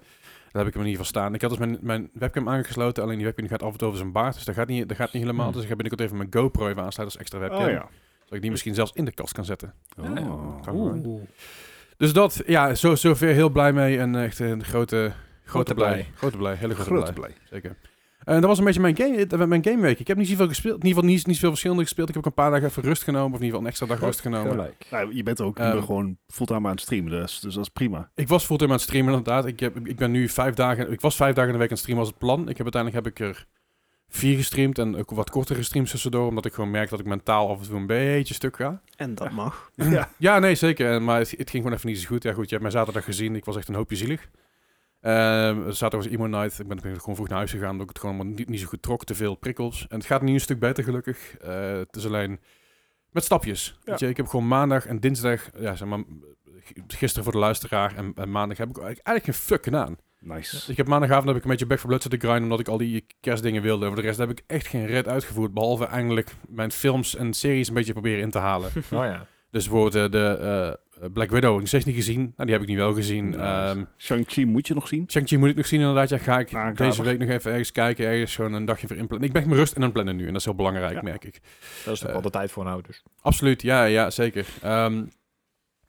heb ik hem in ieder geval staan. Ik had dus mijn, mijn webcam aangesloten, alleen die webcam die gaat af en toe over zijn baard, dus dat gaat niet, dat gaat niet helemaal. Hmm. Dus ik ga binnenkort even mijn GoPro even aansluiten als extra webcam, Oh ja. zodat ik die misschien zelfs in de kast kan zetten. Oh. Kan gewoon. Dus dat, ja, zo, zover heel blij mee en echt een grote, grote, blij. blij. Grote blij, hele grote, blij. Grote blij. Zeker. En dat was een beetje mijn, game, eh, mijn gameweek. Ik heb niet zoveel gespeeld. In ieder geval niet, niet zoveel verschillende gespeeld. Ik heb ook een paar dagen even rust genomen. Of in ieder geval een extra dag rust genomen. Gelijk. Nou, je bent ook Ehm. nu gewoon fulltime aan het streamen, dus, dus dat is prima. Ik was fulltime aan het streamen inderdaad. Ik, heb, ik ben nu vijf dagen... Ik was vijf dagen in de week aan het streamen was het plan. Ik heb uiteindelijk heb ik er vier gestreamd. En ook wat kortere streams tussendoor. Omdat ik gewoon merk dat ik mentaal af en toe een beetje stuk ga. En dat mag. Ja. Ja, nee, zeker. En, maar het, het ging gewoon even niet zo goed. Ja, goed, je hebt mij zaterdag gezien. Ik was echt een hoopje zielig. Ehm, zaterdag was Emo Night. Ik ben, ben gewoon vroeg naar huis gegaan, omdat ik het gewoon allemaal niet, niet zo goed trok. Te veel prikkels. En het gaat nu een stuk beter, gelukkig. Eh, het is alleen met stapjes. Weet je, ik heb gewoon maandag en dinsdag... Ja, zeg maar, g- gisteren voor de luisteraar en, en maandag heb ik eigenlijk eigenlijk geen fuck gedaan. Dus Nice. ik heb maandagavond heb ik een beetje Back for Blood zitten grinden, omdat ik al die kerstdingen wilde. En voor de rest heb ik echt geen red uitgevoerd, behalve eindelijk mijn films en series een beetje proberen in te halen. Oh ja. Dus bijvoorbeeld eh, de eh, Black Widow heb ik nog steeds niet gezien. Nou, die heb ik nu wel gezien. Nice. Ehm, Shang-Chi moet je nog zien. Shang-Chi moet ik nog zien inderdaad. Ja, ga ik Nou, deze grappig. week nog even ergens kijken. Ergens gewoon een dagje voor inplannen. Ik ben echt mijn rust in aan het plannen nu. En dat is heel belangrijk, Ja. merk ik. Dat is toch Eh. wel de tijd voor nou, dus. een ouders. Absoluut, ja, ja zeker. Ehm,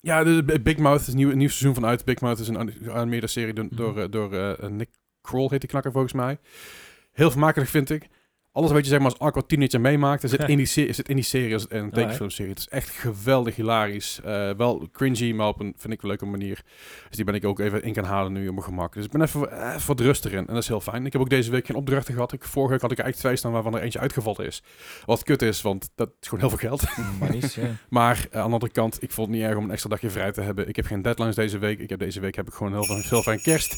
ja, de, de Big Mouth is een nieuw, een nieuw seizoen vanuit. Big Mouth is een an- geanimeerde serie do- Mhm. door, eh, door, eh, Nick Kroll, heet die knakker volgens mij. Heel vermakelijk vind ik. Alles wat je zeg maar als Aqua teenager meemaakt, zit in die, se- zit in die serie als een tekenfilmserie. Het is echt geweldig hilarisch. Eh, wel cringy, maar op een, vind ik, leuke manier. Dus die ben ik ook even in kan halen nu op mijn gemak. Dus ik ben even eh, wat rustiger in. En dat is heel fijn. Ik heb ook deze week geen opdrachten gehad. Ik, vorige week had ik er eigenlijk twee staan waarvan er eentje uitgevallen is. Wat kut is, want dat is gewoon heel veel geld. Maar niet, ja. Maar eh, aan de andere kant, ik vond het niet erg om een extra dagje vrij te hebben. Ik heb geen deadlines deze week. Ik heb deze week heb ik gewoon heel veel, heel fijn kerst.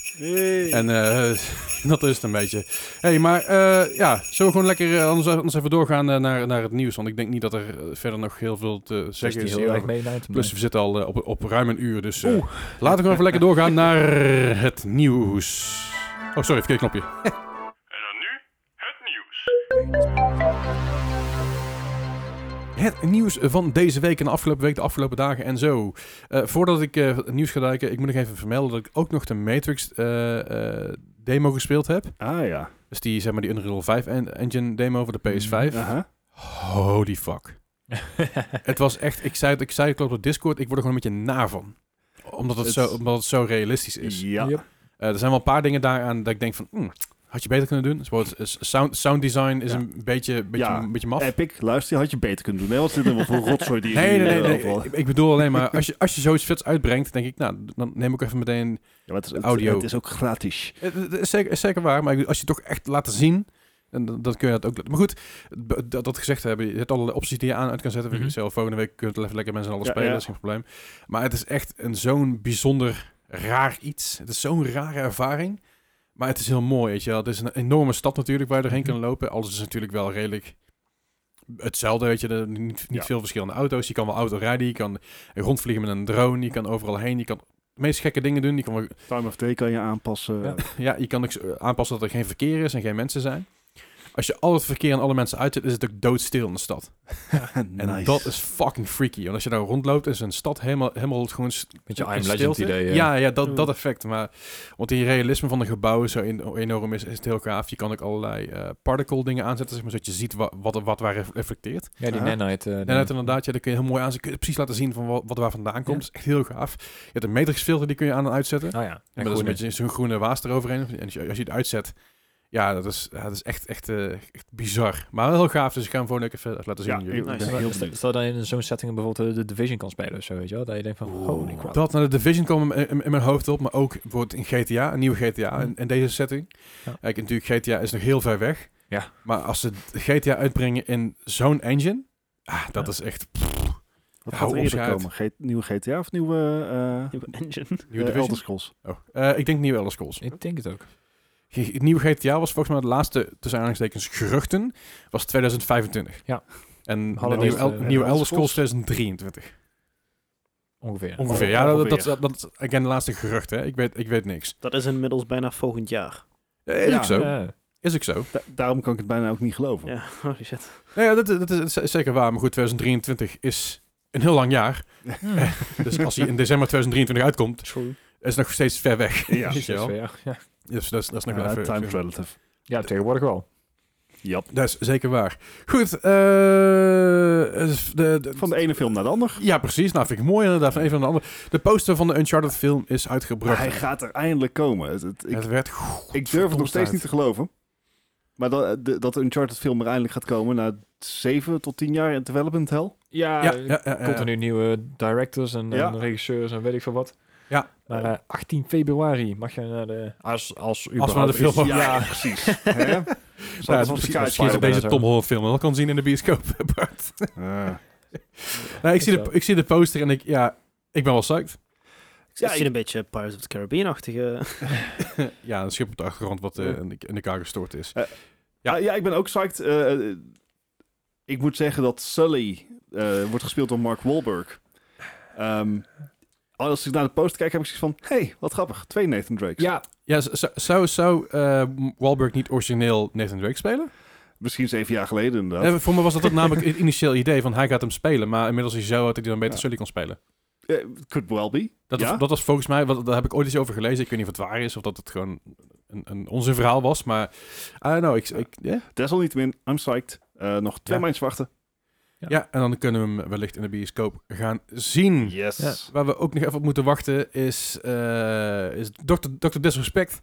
En eh, dat is het een beetje. hey, maar eh, ja, zullen we gewoon lekker eh, anders, anders even doorgaan eh, naar, naar het nieuws? Want ik denk niet dat er eh, verder nog heel veel te Zeg zeggen je is. dus heel erg mee nee. Plus we zitten al eh, op, op ruim een uur, dus eh, laten we gewoon even lekker doorgaan naar het nieuws. Oh, sorry, verkeerd knopje. En dan nu het nieuws. Het nieuws van deze week en de afgelopen week, de afgelopen dagen en zo. Eh, voordat ik eh, het nieuws ga duiken, ik moet nog even vermelden dat ik ook nog de Matrix eh, eh, demo gespeeld heb. Ah ja. Dus die, zeg maar, die Unreal 5 en- engine demo voor de PS5. Aha. Holy fuck. het was echt, ik zei het, ik zei het klopt op Discord, ik word er gewoon een beetje naar van. Omdat het, Het- Zo, omdat het zo realistisch is. Ja. Yep. Eh, er zijn wel een paar dingen daaraan dat ik denk van, hmm, Had je beter kunnen doen? Dus bijvoorbeeld, is sound, sound design is Ja. een beetje, beetje, Ja. een beetje maf. Epic, luister, je had je beter kunnen doen. Hè? Wat is dit nou voor rotzooi die Nee, nee, jullie, nee. eh, nee. overal- Ik, ik bedoel alleen maar, als je, als je zoiets vets uitbrengt, denk ik, nou, dan neem ik even meteen... Ja, maar het, is, het- Audio. het is ook gratis. Het het is Eh, zeker, is zeker waar, maar ik bedoel, als je het toch echt laat zien, en dan, dan kun je dat ook... laten- Maar goed, b- dat, dat gezegd hebben, je hebt allerlei opties die je aan en uit kan zetten. Mhm. Zelf volgende week kun je het even lekker met z'n allen Ja, spelen, ja. dat is geen probleem. Maar het is echt een zo'n bijzonder raar iets. Het is zo'n rare ervaring. Maar het is heel mooi, weet je wel. Het is een enorme stad natuurlijk waar je Mhm. doorheen kan lopen. Alles is natuurlijk wel redelijk hetzelfde, weet je. Er, niet niet Ja. veel verschillende auto's. Je kan wel auto rijden, je kan rondvliegen met een drone, je kan overal heen, je kan de meest gekke dingen doen. Je kan wel Time of day kan je aanpassen. Ja. ja, je kan ook eh, aanpassen dat er geen verkeer is en geen mensen zijn. Als je al het verkeer en alle mensen uitzet, is het ook doodstil in de stad. En nice. dat is fucking freaky. Want als je daar rondloopt, is een stad helemaal, helemaal gewoon... st- Beetje in I'm Legend stilte. idee, eh. hè? Ja, ja Mm. dat, dat effect. Maar, want die realisme van de gebouwen zo en- enorm is, is het heel gaaf. Je kan ook allerlei eh, particle dingen aanzetten, zeg maar, zodat je ziet wa- wat, er- wat waar ref- reflecteert. Ja, die Ah. nanite. eh, Ja, net die- inderdaad. Ja, dan kun je heel mooi aan. Kun je precies laten zien van wat, wat er waar vandaan komt. Ja. Dat is echt heel gaaf. Je hebt een matrixfilter die kun je aan en uitzetten. Oh ja. En maar dat is groene. een beetje zo'n groene waas eroverheen. En als je, als je het uitzet, ja, dat is, ja, dat is echt, echt, eh, echt bizar. Maar wel heel gaaf. Dus ik ga hem gewoon ook even laten zien. Ja, aan jullie. ik ben Nice. heel Stel- benieuwd. Stel dat je in zo'n setting bijvoorbeeld eh, de Division kan spelen of zo, weet je wel. Dat je denkt van, holy crap. Dat naar de Division kwam in, in- in mijn hoofd op, maar ook bijvoorbeeld in GTA, een nieuwe GTA, in, in deze setting. Ja. Kijk, natuurlijk, GTA is nog heel ver weg. Ja. Maar als ze GTA uitbrengen in zo'n engine, ah, dat Ja. is echt Wat Hou gaat er op, eerder schijt. komen? Ge- nieuwe GTA of nieuwe, eh Nieuwe engine. nieuw eh, Elder Division. Scrolls? Oh, eh, ik denk nieuw Elder Scrolls. Ik denk het ook. Ge- Het nieuwe GTA was volgens mij het laatste, tussen aanhalingstekens, geruchten, was 2025. Ja. En Hadden Hadden we nieuw, het, El- eh, nieuwe Elder Elder Scrolls? Scrolls 2023. Ongeveer. Ongeveer. Ja, dat, dat, Ongeveer. dat, dat again, de laatste gerucht, hè. Ik weet, ik weet niks. Dat is inmiddels bijna volgend jaar. Eh, Is Ja. ook zo. Ja. Is ook zo. Da- daarom kan ik het bijna ook niet geloven. Ja, holy Oh, shit. Nou ja, dat, dat is, dat is zeker waar. Maar goed, 2023 is een heel lang jaar. Hmm. Dus als hij in december 2023 uitkomt, True. is het nog steeds ver weg. Ja. Weet je wel. Ja, ja. Dus dat is, dat is nog Ja, wel even... time is relative. ja, tegenwoordig wel. Dat is zeker waar. Goed. eh, de, de, Van de ene film naar de ander. Ja, precies. Nou, vind ik mooi inderdaad. Van een van de andere. De poster van de Uncharted film is uitgebracht. Hij gaat er eindelijk komen. Het, het- ik, het werd ik durf het nog steeds uit. niet te geloven. Maar dat de, dat de Uncharted film er eindelijk gaat komen na 7 tot 10 jaar in development hell. Ja, ja, ja, ja, ja. continu nieuwe directors en, Ja. en regisseurs en weet ik veel wat. Ja. Maar eh, 18 februari mag je naar de... Als, als, Als we naar de film überhaupt- mogen. Ja, precies. Hè? Zal Ja, het het wel is een kaartje misschien dat hebben? deze Tom Holland film wel kan zien in de bioscoop. Bart. Ah. nou, ik, zie Zo. de, ik zie de poster en ik, ja, ik ben wel psyched. Ja, ik zie een beetje Pirates of the Caribbean-achtige... ja, een schip op de achtergrond wat eh, in, de- in elkaar gestort is. Ja. Ja. Ah, ja, ik ben ook psyched. Eh, eh, ik moet zeggen dat Sully eh, wordt gespeeld door Mark Wahlberg. Ehm, als ik naar de poster kijk, heb ik zoiets van... hey, wat grappig. Twee Nathan Drakes. Ja, Ja, z- z- zou, zou eh Wahlberg niet origineel Nathan Drake spelen? Misschien zeven jaar geleden inderdaad. Eh, voor me was dat ook namelijk het initieel idee van hij gaat hem spelen. Maar inmiddels is hij zo uit dat hij dan beter Ja. Sully kon spelen. Eh, could well be. Dat, Ja? was, dat was volgens mij, wat, daar heb ik ooit eens over gelezen. Ik weet niet of het waar is of dat het gewoon een, een onzin verhaal was. Maar, I don't know. Ik, ik, ja. Desalniettemin, I'm psyched. Eh, nog twee Ja. maandjes wachten. Ja. ja, en dan kunnen we hem wellicht in de bioscoop gaan zien. Yes. Ja. Waar we ook nog even op moeten wachten is, eh is Dr. Dr. Disrespect.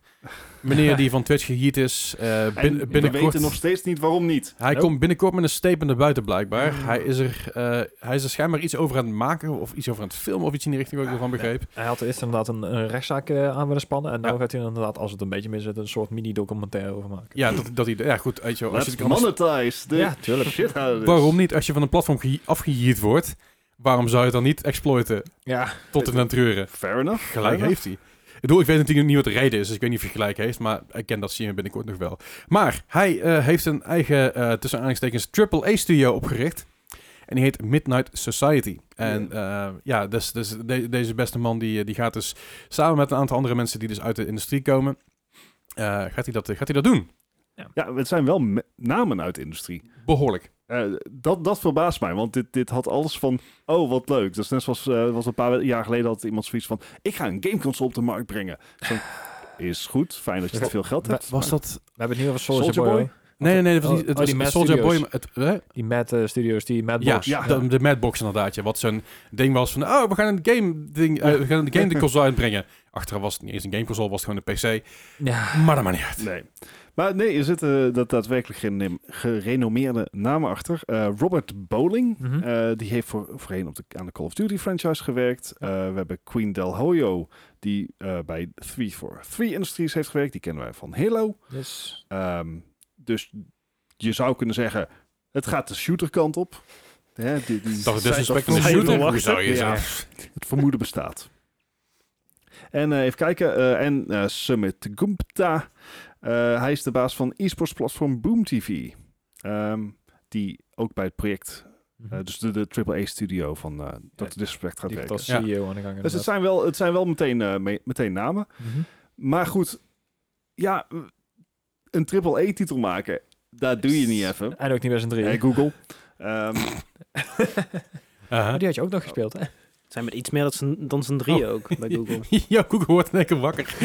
Meneer die van Twitch geheat is. eh, bin- En we binnenkort. weten nog steeds niet waarom niet. Hij Nope. komt binnenkort met een statement naar buiten, blijkbaar. Ah. Hij, is er, eh, hij is er schijnbaar iets over aan het maken, of iets over aan het filmen, of iets in die richting, wat Ah, ik ervan begreep. hij had eerst inderdaad een, een rechtszaak eh, aan willen spannen. En nu Ja. gaat hij inderdaad, als het een beetje mis zit, een soort mini-documentaire over maken. Ja, dat, dat idee. Ja, goed. Weet je, wel, als je Let's het kan monetize the Ja, tuurlijk. shit out of this. waarom niet? Als je van een platform ge- afgeheerd wordt, waarom zou je het dan niet exploiten Ja, tot en aan treuren? Fair enough. Gelijk fair heeft hij. Ik bedoel, ik weet natuurlijk niet wat de reden is, dus ik weet niet of hij gelijk heeft, maar ik ken dat zien we binnenkort nog wel. Maar hij eh, heeft een eigen, eh tussen aanhalingstekens, AAA-studio opgericht. En die heet Midnight Society. En eh, ja, dus, dus de- deze beste man die, eh, die gaat dus samen met een aantal andere mensen die dus uit de industrie komen, eh, gaat, hij dat, gaat hij dat doen. enough. Ja, het zijn wel me- namen uit de industrie. Behoorlijk. Eh, dat, dat verbaast mij, want dit, dit had alles van... Oh, wat leuk. Dat is net zoals eh, was een paar jaar geleden had iemand zoiets van... Ik ga een gameconsole op de markt brengen. Zo, is goed, fijn dat je te veel geld hebt. Was dat... we hebben het niet over Soldier, Soulja Boy. Boy? Nee, nee, nee, dat was Oh, niet. Het oh, was die Mad Soldier Boy. Studios. maar Het, hè? Die Mad eh, Studios, die Mad Ja, Box. Ja. De, de Madbox inderdaad. Ja, wat zo'n ding was van, oh, we gaan een game ding, eh, we gaan een game de console uitbrengen. Achteraf was het niet eens een game console, was het gewoon een PC. Ja. Maar dat maakt niet uit. Nee. Maar nee, er zitten eh, dat daadwerkelijk geen gerenommeerde namen achter. Eh, Robert Bowling, Mhm. eh, die heeft voor, voorheen op de, aan de Call of Duty franchise gewerkt. Eh, we hebben Queen Del Hoyo, die eh, bij 343 Industries heeft gewerkt. Die kennen wij van Halo. Yes. Ehm, dus je zou kunnen zeggen, het gaat de shooterkant op. Hè, die, die- Dat is zij- disrespect van dat de vermoeden shooter. Hoe lachen. zou je Ja. zeggen? het vermoeden bestaat. En eh, even kijken. eh, en eh, Summit Gumpta. Eh, hij is de baas van e-sports platform Boom TV. Ehm, die ook bij het project, eh, dus de, de AAA-studio van eh Dr. Disrespect gaat Mhm. Die gaat werken. als Ja. CEO aan de Dus gang. het inderdaad. zijn wel, het zijn wel meteen, eh, me- meteen namen. Mhm. Maar goed, ja, een AAA-titel maken, dat doe je niet even. Mhm. En ook niet bij z'n drieën. Hey, Google. Ehm, Maar Uh-huh. die had je ook nog gespeeld, hè? Het zijn met iets meer dan z'n- dan z'n Oh. drieën ook bij Google. Ja, Google wordt in één keer wakker.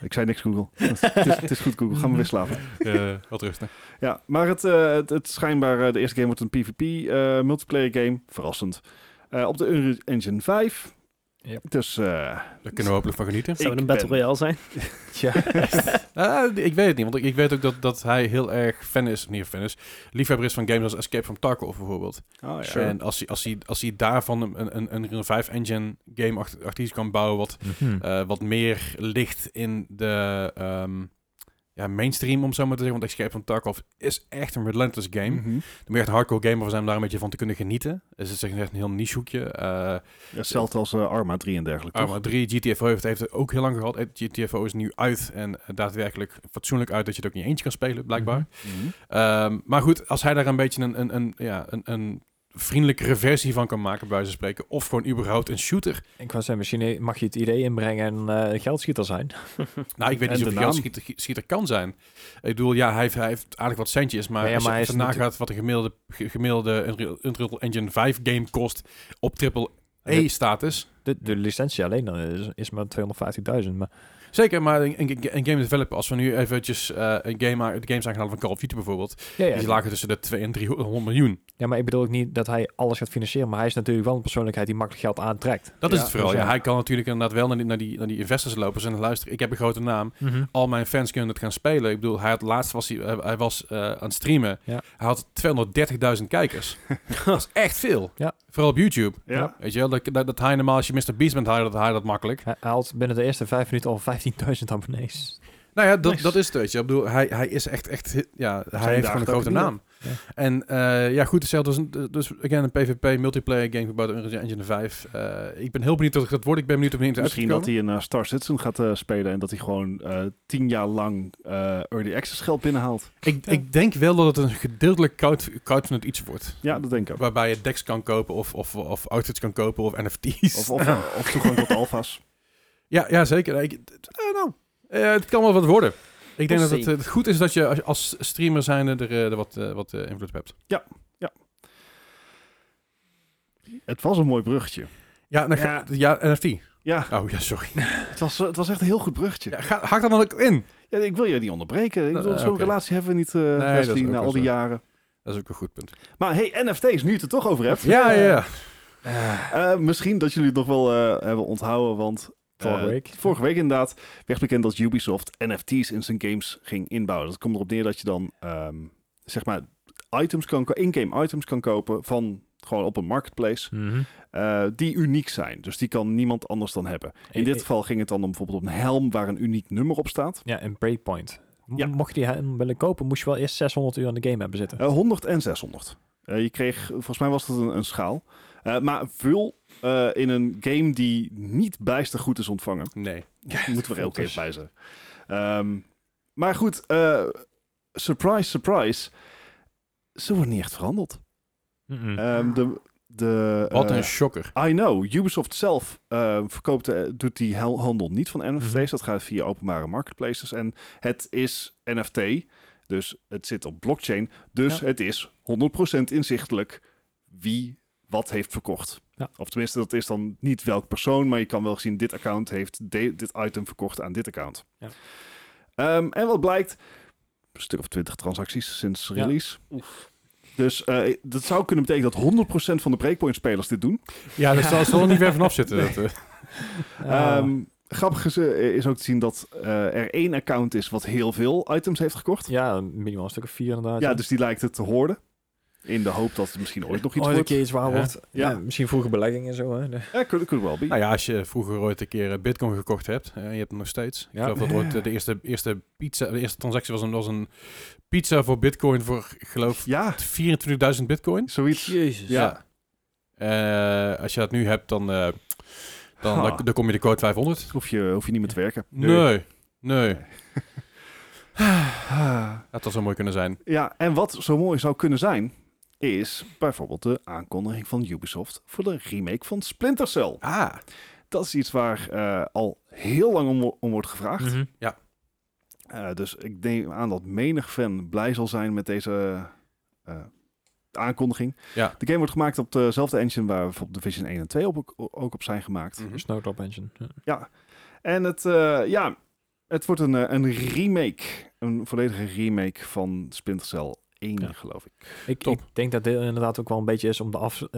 ik zei niks, Google. het, is, het is goed, Google. Gaan we weer slapen. Eh, wat rustig. Ja, maar het, eh, het, het schijnbaar, eh, de eerste game wordt een PvP eh, multiplayer game. Verrassend. Eh, op de Unreal Engine 5. Ja. Dus eh, Daar kunnen we hopelijk van genieten. Ik Zou het een Battle ben- Royale zijn? Ja. Ah, ik weet het niet, want ik, ik weet ook dat, dat hij heel erg fan is, niet fan is, liefhebber is van games als Escape from Tarkov bijvoorbeeld. oh, ja. En als hij, als, hij, als hij daarvan een, een, een Unreal 5 engine game achter, achter iets kan bouwen wat, eh, wat meer ligt in de ehm, ja, mainstream, om zo maar te zeggen. Want Escape from Tarkov is echt een relentless game. Mhm. Dan moet je echt een hardcore gamer voor zijn om daar een beetje van te kunnen genieten. Dus het is echt een heel niche hoekje. Eh, Ja, Hetzelfde als eh, Arma 3 en dergelijke. toch? Arma 3, GTFO heeft, heeft het ook heel lang gehad. Eh, GTFO is nu uit en eh, daadwerkelijk fatsoenlijk uit dat je het ook niet eentje kan spelen, blijkbaar. Mhm. Ehm, maar goed, als hij daar een beetje een, een, een, ja, een, een vriendelijkere versie van kan maken, bij wijze van spreken. Of gewoon überhaupt een shooter. Ik wou zeggen, misschien mag je het idee inbrengen en eh, geldschieter zijn. Nou, ik weet En niet of hij de naam. geldschieter schieter kan zijn. Ik bedoel, ja, hij heeft, hij heeft aardig wat centjes. Maar Nee, als je maar hij is ernaar natuurlijk- gaat wat een gemiddelde, ge- gemiddelde Unreal, Unreal Engine 5 game kost op triple Ja. E-status. De, de licentie alleen dan is, is maar 250.000. Maar Zeker, maar een, een, een game developer, als we nu eventjes eh, een game, aan- de games aan gaan halen van Call of Duty bijvoorbeeld, ja, die ja, lagen tussen de 2 en 300 miljoen. ja, maar ik bedoel ook niet dat hij alles gaat financieren. Maar hij is natuurlijk wel een persoonlijkheid die makkelijk geld aantrekt. Dat is Ja, het vooral. dus Ja, ja. hij kan natuurlijk inderdaad wel naar die, naar die, naar die investors lopen en zeggen, luister, ik heb een grote naam. Mhm. al mijn fans kunnen het gaan spelen. Ik bedoel, hij had laatst was hij, hij- hij was eh, aan het streamen. Ja. Hij had 230.000 kijkers. dat is echt veel. Ja. Vooral op YouTube. Ja. Weet je wel, dat, dat, dat hij normaal als je Mr. Beast bent, hij dat, hij dat makkelijk. Hij haalt binnen de eerste vijf minuten al 15.000 abonnees. Nou ja, dat, Nice. dat is het, weet je. Ik bedoel, hij, hij is echt, echt, ja, hij heeft gewoon dagen een grote ook naam. Ja. En eh, ja, goed, hetzelfde dus, een- dus again, een PvP, multiplayer game gebouwd op Unreal Engine 5. Eh, ik ben heel benieuwd wat het gaat worden. Ik ben benieuwd of het Misschien dat uitkomt. hij een eh, Star Citizen gaat eh, spelen en dat hij gewoon eh, tien jaar lang eh, Early Access geld binnenhaalt. Ik, ik denk wel dat het een gedeeltelijk crowd, crowdfunded iets wordt. Ja, dat denk ik ook. Waarbij je decks kan kopen of, of, of outfits kan kopen of NFT's. Of, of, of toegang tot alfa's. Ja, ja zeker. Ik, nou, het kan wel wat worden. Ik denk We'll dat het, eh, goed is dat je als, als streamer zijnde er, eh, er wat, eh, wat eh, invloed op hebt. Het was een mooi bruggetje. Ja, nou, ga- ja. NFT. Ja, Oh ja, sorry. het was, het was echt een heel goed bruggetje. Ja, ga, haak dan ook in. Ja, ik wil je niet onderbreken. Ik Nou, bedoel, eh, zo'n oké. relatie hebben we niet, eh dat is Wesley, ook na wel al die zo. jaren. Dat is ook een goed punt. Maar hey, NFT's, nu je het er toch over hebt. Ja, ja, ja. Eh, misschien dat jullie het nog wel eh, hebben onthouden, want... eh, Vorige week. Vorige week inderdaad werd bekend dat Ubisoft NFT's in zijn games ging inbouwen. Dat komt erop neer dat je dan, ehm, zeg maar, items kan ko- in-game items kan kopen van gewoon op een marketplace Mhm. eh, die uniek zijn. Dus die kan niemand anders dan hebben. In dit geval ging het dan om bijvoorbeeld om een helm waar een uniek nummer op staat. Ja, en Breakpoint. M- Ja. Mocht je die helm willen kopen, moest je wel eerst 600 uur aan de game hebben zitten. Eh, 100 en 600. Eh, je kreeg, volgens mij was dat een, een schaal. Eh, maar vul eh, in een game die niet bijster goed is ontvangen. Nee. moeten we er ook even bij zijn. Ehm, maar goed, eh, surprise, surprise. Ze worden niet echt verhandeld. Mhm. Ehm, de, de, Hm. Wat eh, een shocker. I know. Ubisoft zelf eh, verkoopt, eh, doet die hel- handel niet van NFT's. Mhm. Dat gaat via openbare marketplaces. En het is NFT. Dus het zit op blockchain. Dus Ja. het is 100% inzichtelijk wie wat heeft verkocht. Ja. Of tenminste, dat is dan niet welk persoon. Maar je kan wel zien, dit account heeft de- dit item verkocht aan dit account. Ja. Ehm, en wat blijkt? een stuk of 20 transacties sinds release. Dus eh, dat zou kunnen betekenen dat 100% van de breakpoint-spelers dit doen. Ja, daar zal ze wel niet ver vanaf zitten. dat, eh. Ah. Ehm, grappig is, eh, is ook te zien dat eh, er één account is wat heel veel items heeft gekocht. ja, minimaal een stuk of vier inderdaad. Ja, dus die lijkt het te hoorden. In de hoop dat het misschien ooit nog iets Ooit een wordt. keer iets waar Ja. wordt. Ja. Ja. misschien vroege belegging en zo. Hè. De- Ja, could, could well be. Nou ja, als je vroeger ooit een keer eh, bitcoin gekocht hebt, eh, en je hebt hem nog steeds. Ik Ja. geloof dat ooit eh, de eerste, eerste pizza, de eerste transactie was een, was een pizza voor bitcoin voor, ik geloof, Ja, 24.000 bitcoin. zoiets. Jezus. Ja. Eh, als je dat nu hebt, dan, eh, dan, Ha. dan, dan kom je de code 500. Hoef je, hoef je niet meer te werken. Nee, nee. Ah. Dat had zo mooi kunnen zijn. Ja, en wat zo mooi zou kunnen zijn, is bijvoorbeeld de aankondiging van Ubisoft voor de remake van Splinter Cell. Ah. Dat is iets waar eh, al heel lang om, wo- om wordt gevraagd. Mhm. Eh, dus ik neem aan dat menig fan blij zal zijn met deze eh, aankondiging. Ja. De game wordt gemaakt op dezelfde engine waar bijvoorbeeld Division 1 en 2 op, ook op zijn gemaakt. Dus Snowdrop Engine. Ja. En het, eh, ja, het wordt een, eh, een remake, een volledige remake van Splinter Cell 1, Ja. geloof ik. Ik, Top. ik denk dat dit inderdaad ook wel een beetje is om de, af, eh,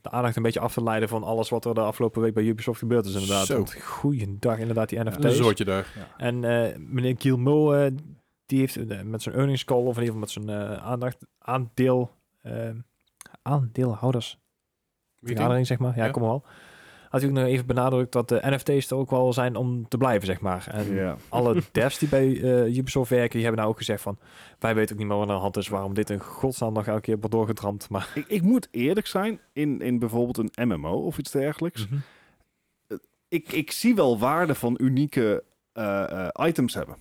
de aandacht een beetje af te leiden van alles wat er de afgelopen week bij Ubisoft gebeurd is inderdaad. Zo. Want goeiedag inderdaad, die Een NFT's. zoortje daar. en eh, meneer Guillemot, eh, die heeft eh, met zijn earnings call, of in ieder geval met zijn eh, aandacht, aandeel, eh, aandeelhouders, vergadering zeg maar, ja, Ja. kom al. Had hij ook nog even benadrukt dat de NFT's er ook wel zijn om te blijven, zeg maar. En Ja. alle devs die bij eh, Ubisoft werken, die hebben nou ook gezegd van... wij weten ook niet meer wat er aan de hand is, waarom dit een godsnaam nog elke keer wordt doorgetramd. Maar Ik, ik moet eerlijk zijn, in, in bijvoorbeeld een MMO of iets Mhm. dergelijks. Ik, ik zie wel waarde van unieke eh, eh, items hebben.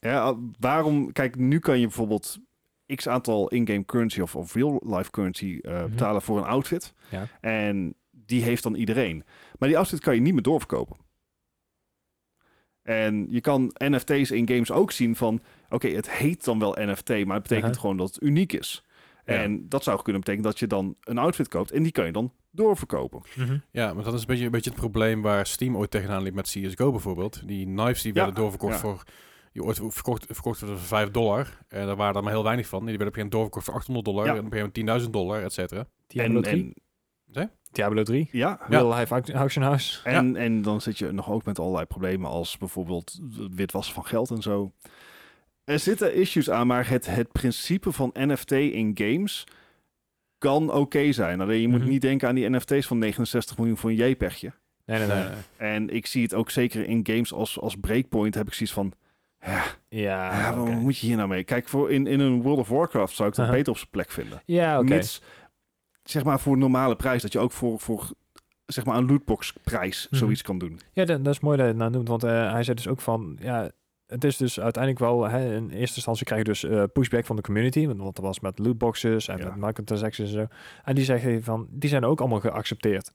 Ja, eh, waarom? Kijk, nu kan je bijvoorbeeld x aantal in-game currency of, of real-life currency eh, Mhm. betalen voor een outfit. Ja. En die heeft dan iedereen. Maar die outfit kan je niet meer doorverkopen. En je kan NFT's in games ook zien van... Oké, het heet dan wel NFT, maar het betekent Aha. gewoon dat het uniek is. Ja. En dat zou kunnen betekenen dat je dan een outfit koopt en die kan je dan doorverkopen. Ja, maar dat is een beetje, een beetje het probleem waar Steam ooit tegenaan liep met CSGO bijvoorbeeld. Die knives die Ja, werden doorverkocht ja. voor... Die ooit verkocht, verkocht werden voor 5 dollar. En daar waren er maar heel weinig van. Die werden op een gegeven moment doorverkocht voor 800 dollar. Ja. En op een gegeven moment 10.000 dollar, et cetera. Diablo en, 3. en, Diablo 3. ja, Ja. Real Life Act- Auction House. en, en dan zit je nog ook met allerlei problemen als bijvoorbeeld witwassen van geld en zo. Er zitten issues aan, maar het, het principe van NFT in games kan oké zijn. Alleen je moet Mhm. niet denken aan die NFT's van 69 miljoen voor een JPEGje. Nee, nee, nee. Eh, En ik zie het ook zeker in games als, als breakpoint heb ik zoiets van... Ja, Ja, ja, Ah, oké. wat moet je hier nou mee? Kijk, voor in, in een World of Warcraft zou ik dat Aha. beter op zijn plek vinden. Ja, oké. Mits, zeg maar, voor normale prijs. Dat je ook voor, voor zeg maar, een lootbox prijs Mhm. zoiets kan doen. Ja, dat, dat is mooi dat je het nou noemt, want eh, hij zei dus ook van... Ja, het is dus uiteindelijk wel... Hè, in eerste instantie krijg je dus eh, pushback van de community. Want want er was met lootboxes en Ja. met microtransactions en zo. En die zeggen van... Die zijn ook allemaal geaccepteerd.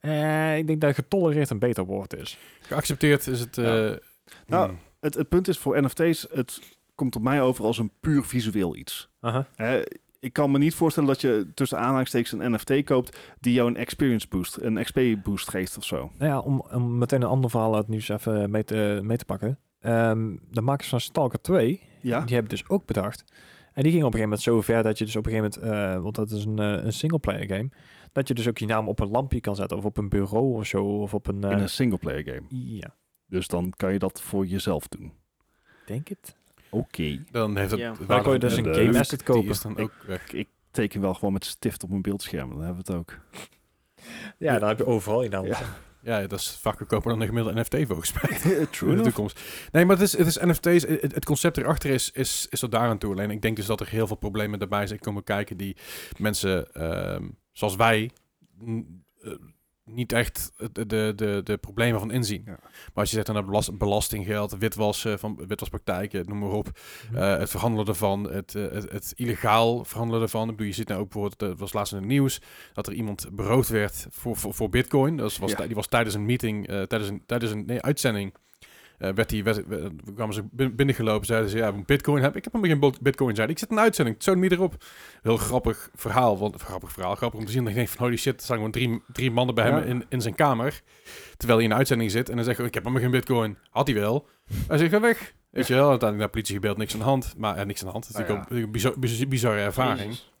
Eh, ik denk dat getolereerd een beter woord is. geaccepteerd is het... eh, Ja. Nou, hmm. Het, het punt is voor NFT's, het komt op mij over als een puur visueel iets. Aha. Hè, ik kan me niet voorstellen dat je tussen aanhalingstekens een NFT koopt die jou een experience boost, een XP boost geeft of zo. Nou ja, om, om meteen een ander verhaal uit het nieuws even mee te, eh, mee te pakken. Ehm, de makers van Stalker 2 Ja, Die hebben dus ook bedacht. En die gingen op een gegeven moment zo ver dat je dus op een gegeven moment, eh, want dat is een, eh, een singleplayer game, dat je dus ook je naam op een lampje kan zetten of op een bureau of zo of op een. eh, in een singleplayer game. Ja, Dus dan kan je dat voor jezelf doen. denk het. Oké. dan heeft het... Ja. het Dan kon je waarde- dus een de game look, asset die kopen. is dan ook weg. Ik teken wel gewoon met stift op mijn beeldscherm, dan hebben we het ook. Ja, dan heb je overal je naam. Ja. Ja, dat is vaak goedkoper dan een gemiddelde NFT volgens mij. True in de enough. toekomst. Nee, maar het is, het is NFT's. Het, het concept erachter is, is, is er daar aan toe. Alleen ik denk dus dat er heel veel problemen daarbij zijn komen kijken die mensen ehm, zoals wij n- eh, niet echt de, de, de, de problemen van inzien. Ja. Maar als je zegt dan belast, belastinggeld, witwassen van witwaspraktijken, noem maar op. Mhm. eh, het verhandelen ervan, het, eh, het, het illegaal verhandelen ervan. Ik bedoel, je ziet nou ook bijvoorbeeld, eh, het was laatst in het nieuws, dat er iemand beroofd werd voor, voor, voor bitcoin. Dat was, Ja. tij- Die was tijdens een meeting, eh, tijdens een, tijdens een nee, uitzending eh, werd die, werd, werd- kwamen ze bin- binnengelopen, zeiden ze, ja, moet bitcoin hebben. Ik heb helemaal geen bot- bitcoin, zeiden Ik zit in een uitzending, zo'n niet erop. Heel grappig verhaal, want, grappig verhaal, grappig om te zien. Dat ik denk van, holy shit, er staan gewoon drie, drie mannen bij Ja. hem in, in zijn kamer. Terwijl hij in een uitzending zit en dan zegt, hij, ik heb helemaal geen bitcoin. Had hij wel. Hij zegt, ga weg. Weet je wel, uiteindelijk naar de politie gebeld, niks aan de hand. Maar eh, niks aan de hand, dat is Nou natuurlijk ook een bizar- bizar- bizarre ervaring. Jezus.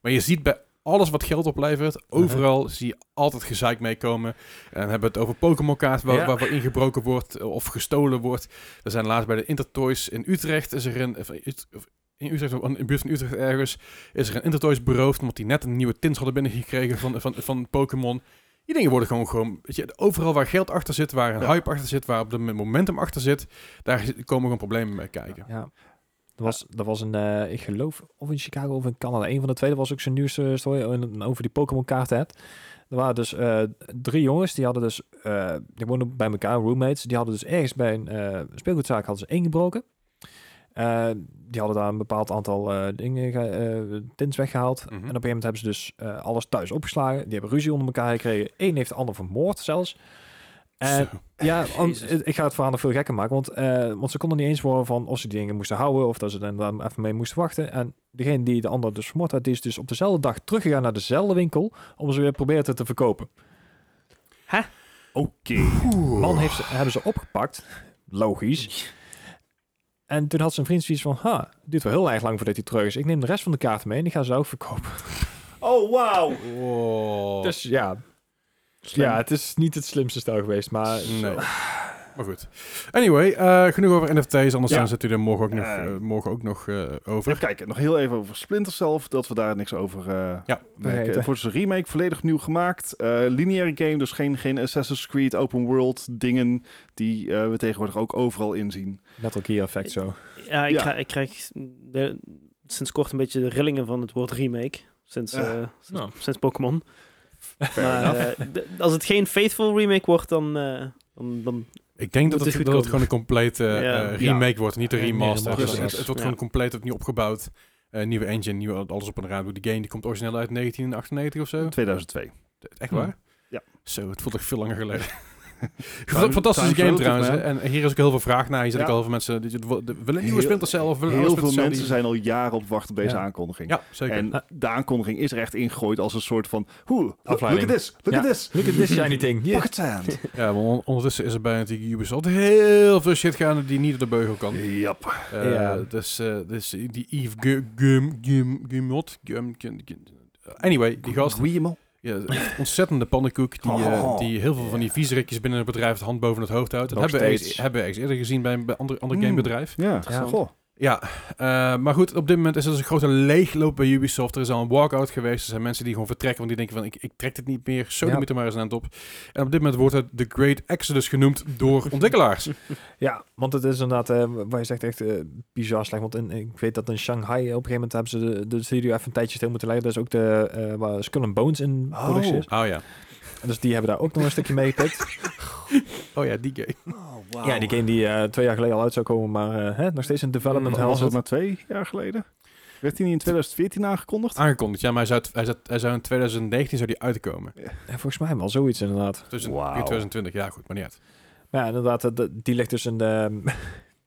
Maar je ziet bij alles wat geld oplevert, overal zie je altijd gezeik meekomen. En dan hebben we het over Pokémon-kaart waar, Ja. waar, waar ingebroken wordt eh, of gestolen wordt. Er zijn laatst bij de Intertoys in Utrecht is er een... of Ut- of In Utrecht, of in de buurt van Utrecht ergens, is er een Intertoys beroofd, omdat die net een nieuwe tins hadden binnengekregen van, van, van Pokémon. Die dingen worden gewoon, gewoon weet je, overal waar geld achter zit, waar een Ja. hype achter zit, waar op de momentum achter zit, daar komen gewoon problemen mee kijken. Ja. Er was, er was een, eh, ik geloof, of in Chicago of in Canada. Een van de twee, dat was ook zijn nieuwste story oh, en over die Pokémon kaarten hebt. Er waren dus eh, drie jongens, die hadden dus, eh, die woonden bij elkaar, roommates. Die hadden dus ergens bij een eh, speelgoedzaak hadden ze ingebroken. Eh, die hadden daar een bepaald aantal eh, dingen, ge- eh tins weggehaald. Mhm. En op een gegeven moment hebben ze dus eh, alles thuis opgeslagen. Die hebben ruzie onder elkaar gekregen. Eén heeft de ander vermoord zelfs. En Zo. ja, want, eh, ik ga het verhaal nog veel gekker maken. Want, eh, want ze konden niet eens worden van of ze die dingen moesten houden of dat ze er dan even mee moesten wachten. En degene die de ander dus vermoord had, die is dus op dezelfde dag teruggegaan naar dezelfde winkel om ze weer proberen te- te verkopen. Oké. Man heeft ze, hebben ze opgepakt, logisch. En toen had zijn vriend zoiets van, ha, het duurt wel heel erg lang voordat hij terug is. Ik neem de rest van de kaarten mee en die gaan ze ook verkopen. Oh, wauw. Wow. Dus ja, ja, het is niet het slimste stel geweest, maar... Nee. Dus, eh, Maar goed. Anyway, eh, genoeg over NFT's. Anders Ja. dan zitten we er morgen ook nog, Eh. eh, morgen ook nog eh, over. Even kijken, nog heel even over Splinter Cell, dat we daar niks over eh Ja. merken. Vergeten. Het wordt dus een remake, volledig nieuw gemaakt. Eh, lineaire game, dus geen, geen Assassin's Creed, open world dingen die eh, we tegenwoordig ook overal inzien. Metal Gear Effect zo. Ja, ik, Ja. Ga, ik krijg de- sinds kort een beetje de rillingen van het woord remake. Sinds, eh, Ja. sinds, Nou. sinds Pokémon. Maar eh, d- als het geen faithful remake wordt, dan... eh, dan, dan Ik denk Moet dat het, het goed dat het komen. gewoon een complete eh, Ja. remake wordt. Niet een Ja, remaster. meer een Dus het, proces. het wordt Ja. gewoon compleet opnieuw opgebouwd. Eh, nieuwe engine, nieuw, alles op een raam. Die game die komt origineel uit 1998 of zo. 2002. Echt Hmm. waar? Mm. Ja. Zo, het voelt echt veel langer geleden. Time- Fantastische time game flew, trouwens. hè. man. En hier is ook heel veel vraag naar. Hier zit Ja. ook al heel veel mensen... die- die- die- die- Willen een nieuwe Heel- Splinter Cell of willen alle Heel veel Splinter Cell mensen die- zijn al jaren op wacht op deze Ja. aankondiging. Ja, zeker. En de aankondiging is er echt ingegooid als een soort van... Hoe, look look at Afleiding. this, look Ja. at this. Look at this shiny thing. Yeah. Pocket sand. Ja, maar on- ondertussen is er bij natuurlijk Ubisoft heel veel shit gaande die niet op de beugel kan. Yep. Eh, Ja. Dus, eh, dus die Yves Gu- Gum- Gum- Gumot. Gum- Gum- Gum- Anyway, die gast. Guillemot. Ja, ontzettende pannenkoek die, eh, Oh. die heel veel van die viezerekjes binnen het bedrijf de hand boven het hoofd houdt. Dat Nog hebben we, eens, steeds. hebben we eens eerder gezien bij een be- ander, ander Mm. gamebedrijf. Ja, Ja. goh. Ja, eh, maar goed, op dit moment is er dus een grote leegloop bij Ubisoft. Er is al een walkout geweest. Er zijn mensen die gewoon vertrekken, want die denken van ik, ik trek dit niet meer. Sony Ja. moet er maar eens een eind op. En op dit moment wordt het The Great Exodus genoemd door ontwikkelaars. Ja, want het is inderdaad, eh waar je zegt, echt eh, bizar slecht. Want in, ik weet dat in Shanghai eh, op een gegeven moment hebben ze de, de studio even een tijdje stil moeten leggen. Dat is ook de, eh, waar Skull and Bones in Oh. productie is. Oh ja. En Dus die hebben daar ook nog een stukje mee gepikt. Oh ja, die game. Ja, die game die eh, twee jaar geleden al uit zou komen, maar eh, hè, nog steeds in development hell Mm. Was dat zit. maar twee jaar geleden? Werd die niet in 2014 aangekondigd? Aangekondigd, ja, maar hij zou, het- hij zou, hij zou in 2019 zou die uitkomen. Eh, volgens mij wel zoiets inderdaad. Dus in Wauw. 2020, ja goed, maar niet uit. Maar ja, inderdaad, eh, dat- die ligt dus in de,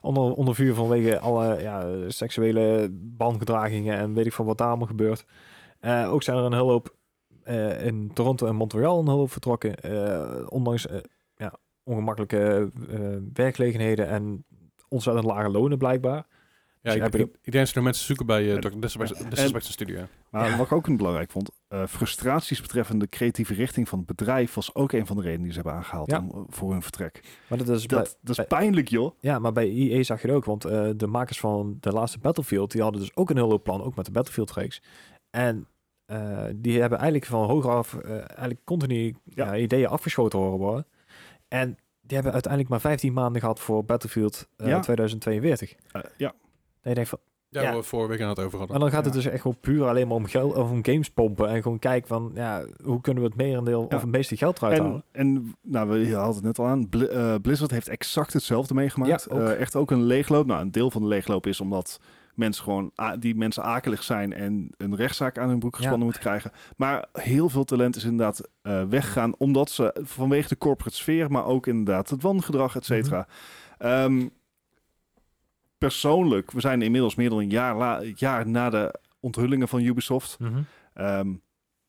onder, onder vuur vanwege alle ja, seksuele wangedragingen en weet ik van wat daar allemaal gebeurt. Eh, ook zijn er een hele hoop eh, in Toronto en Montreal een hele hoop vertrokken. eh, ondanks eh, ja, ongemakkelijke eh, werkgelegenheden en ontzettend lage lonen blijkbaar. Ja, Dus ik, heb ik, je- ik denk dat ze nog mensen zoeken bij eh En- Dr. Disrespect- Disrespect Studio. hè. Maar wat ik ook een belangrijk vond, eh, frustraties betreffende de creatieve richting van het bedrijf was ook een van de redenen die ze hebben aangehaald Ja. om, eh, voor hun vertrek. Maar dat is bij- Dat, dat is pijnlijk, joh. Ja, maar bij EA zag je het ook, want eh, de makers van de laatste Battlefield, die hadden dus ook een heel hoop plan, ook met de Battlefield-reeks. En eh, die hebben eigenlijk van hoger af, eh, eigenlijk continu Ja. ja, ideeën afgeschoten horen worden. En die hebben uiteindelijk maar 15 maanden gehad voor Battlefield eh, Ja. 2042. Eh, ja, En je denkt van, Daar Ja. hebben we vorige week aan het over maar hadden. dan gaat het Ja. dus echt gewoon puur alleen maar om, geld, of om games pompen en gewoon kijken van, ja, hoe kunnen we het merendeel Ja. of het meeste geld eruit halen? en, en nou, we hadden het net al aan, Bli- eh, Blizzard heeft exact hetzelfde meegemaakt. Ja, ook. Eh, echt ook een leegloop. Nou, een deel van de leegloop is omdat mensen gewoon a- die mensen akelig zijn en een rechtszaak aan hun broek gespannen moeten krijgen. Maar heel veel talent is inderdaad eh, weggegaan omdat ze vanwege de corporate sfeer, maar ook inderdaad het wangedrag, et cetera. Mhm. Ehm, persoonlijk, we zijn inmiddels meer dan een jaar, la- jaar na de onthullingen van Ubisoft. Mhm. Ehm,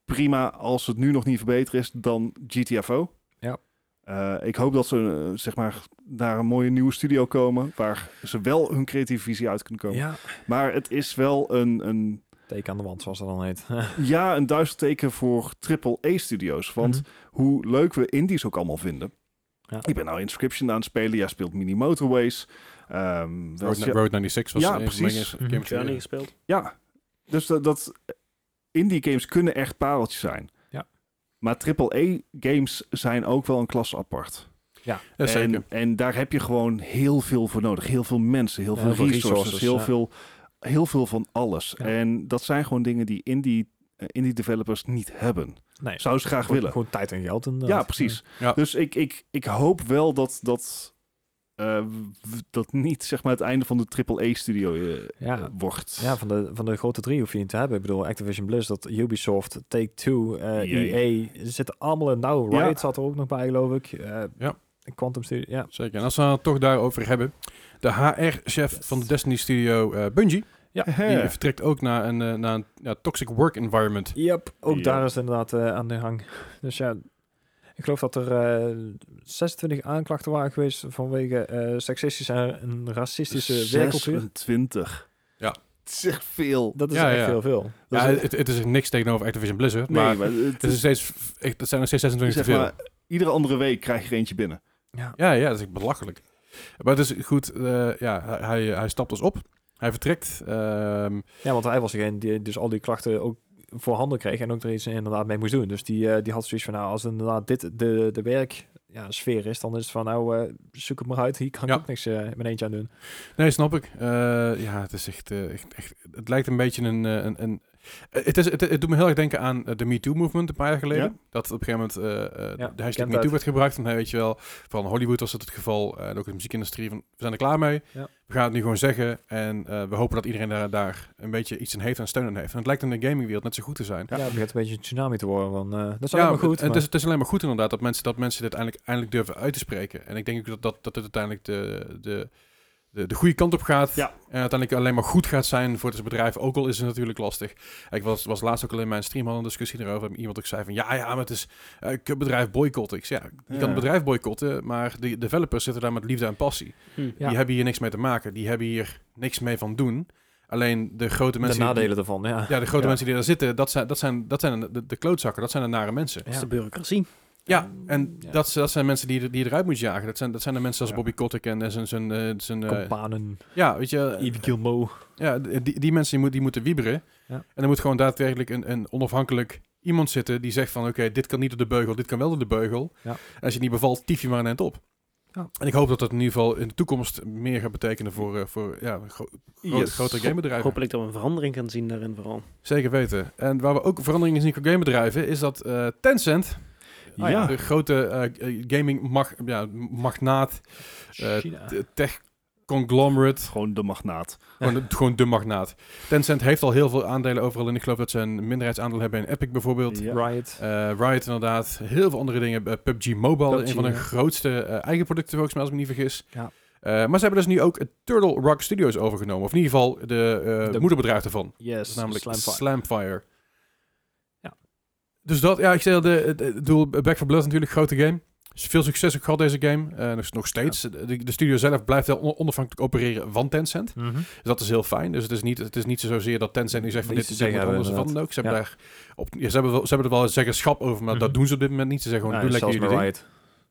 prima als het nu nog niet verbeterd is dan GTFO. Ja. Eh, ik hoop dat ze eh, zeg maar, naar een mooie nieuwe studio komen waar ze wel hun creatieve visie uit kunnen komen. Ja. Maar het is wel een, een, Teken aan de wand, zoals dat dan heet. ja, een duisterteken voor AAA-studio's. Want Mhm. hoe leuk we indies ook allemaal vinden. Ja. Ik ben nou Inscription aan het spelen. Jij speelt Mini Motorways. Ehm, wel- Road, Road 96 was Ja, een van de precies. dingen- Mhm. Game of the Journey Year. gespeeld. Ja, dus dat, dat indie games kunnen echt pareltjes zijn. Ja. Maar AAA games zijn ook wel een klas apart. Ja, zeker. en, en daar heb je gewoon heel veel voor nodig. Heel veel mensen, heel Ja, veel heel veel resources, resources, heel, ja. veel, heel veel van alles. Ja. En dat zijn gewoon dingen die indie, eh, indie developers niet hebben. Nee, Zou ze graag gewoon, willen. gewoon tijd en geld inderdaad. Ja, precies. Ja. Dus ik, ik, ik hoop wel dat dat, eh, w- dat niet zeg maar, het einde van de AAA-studio Ja. eh, wordt. Ja, van de, van de grote drie hoef je niet te hebben. Ik bedoel, Activision Blizzard, Ubisoft, Take-Two, eh EA. EA. Ze zitten allemaal in. Nou, Ja. Riot zat er ook nog bij, geloof ik. Eh, Ja. Quantum Studio, ja. Zeker. En als we het toch daarover hebben. De HR-chef van de Destiny Studio, eh, Bungie, die Hè. vertrekt ook naar een, eh, naar een ja, toxic work environment. Yep, ook Ja. daar is het inderdaad eh, aan de hang. Dus ja, ik geloof dat er eh, 26 aanklachten waren geweest vanwege eh, seksistische en eh, racistische werkcultuur. 26. Ja. Het is echt veel. Dat is Ja, echt ja. heel veel. Dat Ja, is- het, het is niks tegenover Activision Blizzard, nee, maar, maar het het, is is steeds, f- echt, het zijn nog steeds 26 te zeg veel. maar, iedere andere week krijg je er eentje binnen. Ja, ja, dat is echt belachelijk. Maar het is goed, eh, ja, hij- hij, hij stapt dus op. Hij vertrekt. ehm, Ja, want hij was degene die dus al die klachten ook voorhanden kreeg en ook er iets inderdaad mee moest doen. Dus die, eh, die had zoiets van, nou, als inderdaad dit de, de werk... Ja, sfeer is, dan is het van, nou, eh, zoek het maar uit. Hier kan Ja. ik ook niks eh mijn eentje aan doen. nee, snap ik. Eh, ja, het is echt, eh, echt, echt- Het lijkt een beetje een. eh, een, een eh, het, is, het, het doet me heel erg denken aan eh, de MeToo-movement een paar jaar geleden. Ja. Dat op een gegeven moment eh, eh, Ja, de hashtag bekend MeToo uit. werd gebruikt. En dan weet je wel, van Hollywood was dat het geval. eh, en ook de muziekindustrie, van, we zijn er klaar mee. Ja. We gaan het nu gewoon zeggen. En eh, we hopen dat iedereen daar, daar een beetje iets in heeft en steun aan heeft. En het lijkt in de gamingwereld net zo goed te zijn. Ja, het begint een beetje een tsunami te worden. Van, eh, dat is allemaal goed. Het, maar- is, het is alleen maar goed inderdaad dat mensen, dat mensen dit eindelijk, eindelijk durven uit te spreken. En ik denk ook dat, dat, dat het uiteindelijk de, de, de, de goede kant op gaat. Ja. En uiteindelijk alleen maar goed gaat zijn voor het bedrijf. Ook al is het natuurlijk lastig. Ik was, was laatst ook al in mijn stream al een discussie erover. En Iemand ook zei van ja, ja, maar het is eh, ik het bedrijf boycotten. Ik zei, ja, je Ja. kan het bedrijf boycotten, maar de developers zitten daar met liefde en passie. Ja. Die hebben hier niks mee te maken. Die hebben hier niks mee van doen. Alleen de grote mensen... de die- nadelen ervan, ja. ja, de grote Ja. mensen die daar zitten, dat zijn, dat zijn, dat zijn de, de klootzakken. Dat zijn de nare mensen. Dat is de bureaucratie. Ja, en Ehm, Ja. Dat, dat zijn mensen die, je er- die je eruit moet jagen. Dat zijn, dat zijn de mensen als Bobby Kotick en eh, zijn... zijn, eh, zijn eh, Kompanen, ja, weet je... eh, Yves Guillemot. ja, die, die mensen die, moet, die moeten wieberen. Ja. En er moet gewoon daadwerkelijk een, een onafhankelijk iemand zitten die zegt van... Oké, dit kan niet door de beugel, dit kan wel door de beugel. Ja. En als je het niet bevalt, tief je maar een end op. Ja. En ik hoop dat dat in ieder geval in de toekomst meer gaat betekenen voor, eh, voor ja, gro- gro- Yes. grotere gamebedrijven. Hopelijk dat we een verandering gaan zien daarin vooral. Zeker weten. En waar we ook veranderingen zien qua gamebedrijven, is dat eh, Tencent, Ah, ja. de grote eh, eh, gaming mag, ja, magnaat, eh, China. t- tech conglomerate, Gewoon de magnaat. gewoon, de- gewoon de magnaat. Tencent heeft al heel veel aandelen overal in. Ik geloof dat ze een minderheidsaandeel hebben in Epic bijvoorbeeld. Ja. Riot. Eh, Riot inderdaad, heel veel andere dingen. Eh, PUBG Mobile, PUBG, een van hun ja. grootste eh, eigen producten volgens mij, als ik me niet vergis. Ja. Eh, maar ze hebben dus nu ook het Turtle Rock Studios overgenomen. Of in ieder geval de, eh, De- moederbedrijf daarvan. Yes, Dat is namelijk Slamfire. Slamfire. Ja. Dus dat, ja, ik zei al, de, de, ik bedoel, Back for Blood natuurlijk, grote game. Dus veel succes ook gehad deze game. eh, nog- nog steeds. De, de studio zelf blijft wel on- onafhankelijk opereren van Tencent. Mhm. Dus dat is heel fijn. Dus het is niet, het is niet zozeer dat Tencent nu zegt van dit Niets is wat te zeggen anders of wat hebben, dan ook. Ze hebben, Ja. daar op, ja, ze, hebben wel, ze hebben er wel een zeggenschap over, maar dat Mhm. doen ze op dit moment niet. Ze zeggen gewoon, Nou, doe zelfs lekker bij jullie ding.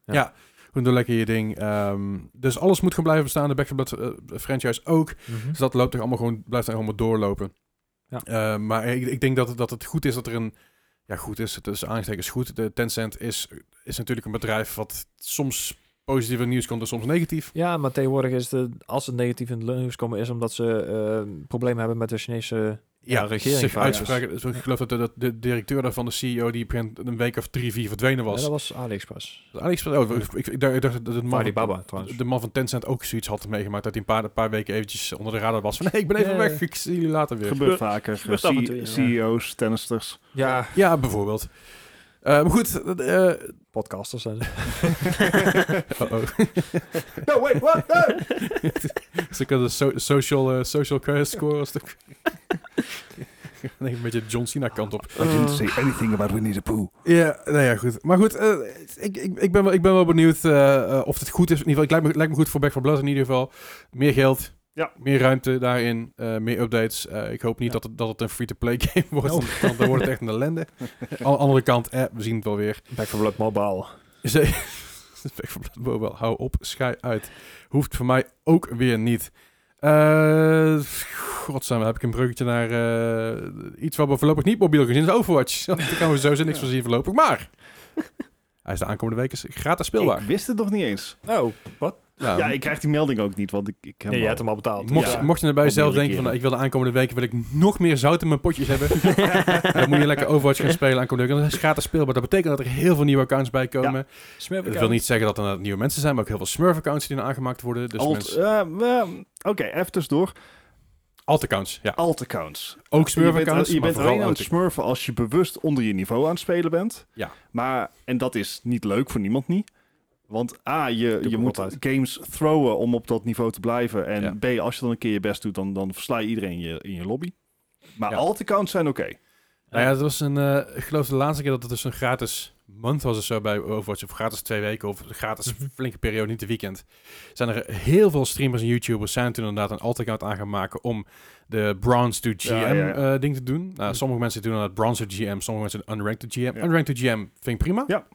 Riot. Gewoon doe lekker je ding. Ehm, dus alles moet gewoon blijven bestaan. De Back for Blood eh, franchise ook. Mhm. Dus dat loopt er allemaal gewoon, blijft er allemaal doorlopen. Ja. Eh, maar ik, ik denk dat, het- dat het goed is dat er een... Ja, goed is, het is aangetekend is goed. De Tencent is, is natuurlijk een bedrijf wat soms positieve nieuws komt en soms negatief. Ja, maar tegenwoordig is het, als het negatief in het nieuws komen, is omdat ze eh, problemen hebben eh, met de Chinese ja, regering zich vaak, uitspraken. Dus ik geloof dat de, dat de directeur daarvan, de CEO, die begint een week of drie, vier verdwenen Ja, was. dat was AliExpress. Alex, oh, ik, ik, ik dacht dat de man, Alibaba trouwens. de man van Tencent ook zoiets had meegemaakt. Dat hij een paar, een paar weken eventjes onder de radar was. Van nee, ik ben even Ja, ja. weg, ik zie jullie later weer. Gebeurt vaker. gebeurt af en C- toe, ja. CEO's, tennisters. Ja, Ja, bijvoorbeeld. Eh, maar goed, dat, eh, podcasters zijn ze. uh-oh. No, wait, what? Dus ik had een so- social, eh, social credit score. Was het ook. Ik denk een beetje de John Cena kant Oh. op. I didn't say anything about Winnie the Pooh. Ja, nou ja, goed. Maar goed, eh, ik, ik, ik, ben wel, ik ben wel benieuwd eh, eh, of het goed is. In ieder geval, het lijkt me, lijkt me goed voor Back for Blood in ieder geval. Meer geld, Ja. meer ruimte daarin, eh, meer updates. Eh, ik hoop niet Ja. dat, het, dat het een free-to-play game wordt, want- want dan wordt het echt een ellende. Aan de andere kant, eh, we zien het wel weer. Back for Blood Mobile. Ze- Back for Blood Mobile, hou op, schei uit. Hoeft voor mij ook weer niet. Eh godsamme, heb ik een bruggetje naar eh, iets wat we voorlopig niet mobiel gezien is Overwatch. Daar gaan we sowieso niks van zien voorlopig, maar... Hij is de aankomende week is gratis speelbaar. Ik wist het nog niet eens. Oh, wat? Nou, Ja, ik krijg die melding ook niet, want ik, ik heb Nee, je hem hebt hem al betaald. mocht, ja. mocht je erbij Al zelf meerdere denken van... keren. nou, ik wil de aankomende weken wil ik nog meer zout in mijn potjes hebben. dan moet je lekker Overwatch gaan spelen aankomende week. Dat is gratis speelbaar. Dat betekent dat er heel veel nieuwe accounts bij komen. Dat Smurf wil account. niet zeggen dat er inderdaad nieuwe mensen zijn... maar ook heel veel Smurf-accounts die dan aangemaakt worden. Dus al. Alt, mensen... eh, eh, Oké, even tussendoor. Alt-accounts, ja. Alt-accounts. Ook Je bent, Smurf-accounts, je maar bent vooral alleen aan het alt smurfen als je bewust onder je niveau aan het spelen bent. Ja. Maar, en dat is niet leuk voor niemand niet. Want A, je, Doe je ik moet altijd. games throwen om op dat niveau te blijven. En Ja. B, als je dan een keer je best doet, dan, dan versla je iedereen in je, in je lobby. Maar Ja. alt-accounts zijn oké. Nou ja, het was een, eh, ik geloof de laatste keer dat het dus een gratis month was of zo bij Overwatch. Of gratis twee weken of gratis Mhm. flinke periode, niet de weekend. Zijn er heel veel streamers en YouTubers zijn toen inderdaad een alt-account aan gaan maken om de bronze to GM Ja, ja, ja. Mhm. eh, ding te doen. Nou, Sommige mensen doen inderdaad bronze to GM, sommige mensen unranked to GM. Ja. Unranked to GM vind ik prima. Ja.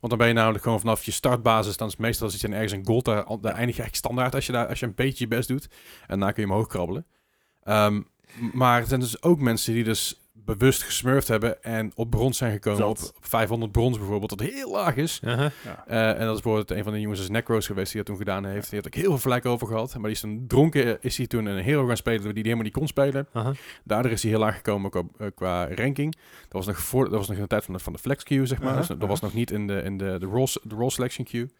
Want dan ben je namelijk gewoon vanaf je startbasis, dan is het meestal als iets en ergens een gold, daar, daar eindig je eigenlijk standaard als je, daar, als je een beetje je best doet. En daarna kun je omhoog krabbelen. Ehm, m- maar er zijn dus ook mensen die dus bewust gesmurfd hebben en op brons zijn gekomen. Op, Dat. op 500 brons bijvoorbeeld, dat heel laag is. Aha. Eh, en dat is bijvoorbeeld een van de jongens is Necros geweest die dat toen gedaan heeft. Die heeft ook heel veel vlek over gehad. Maar die is toen dronken, is hij toen een hero gaan spelen die hij helemaal niet kon spelen. Aha. Daardoor is hij heel laag gekomen ook op- eh, qua ranking. Dat was nog, voor, dat was nog in de tijd van de, van de flex queue, zeg maar. Uh-huh, Dus dat was nog niet in de, in de, de, role, de role selection queue.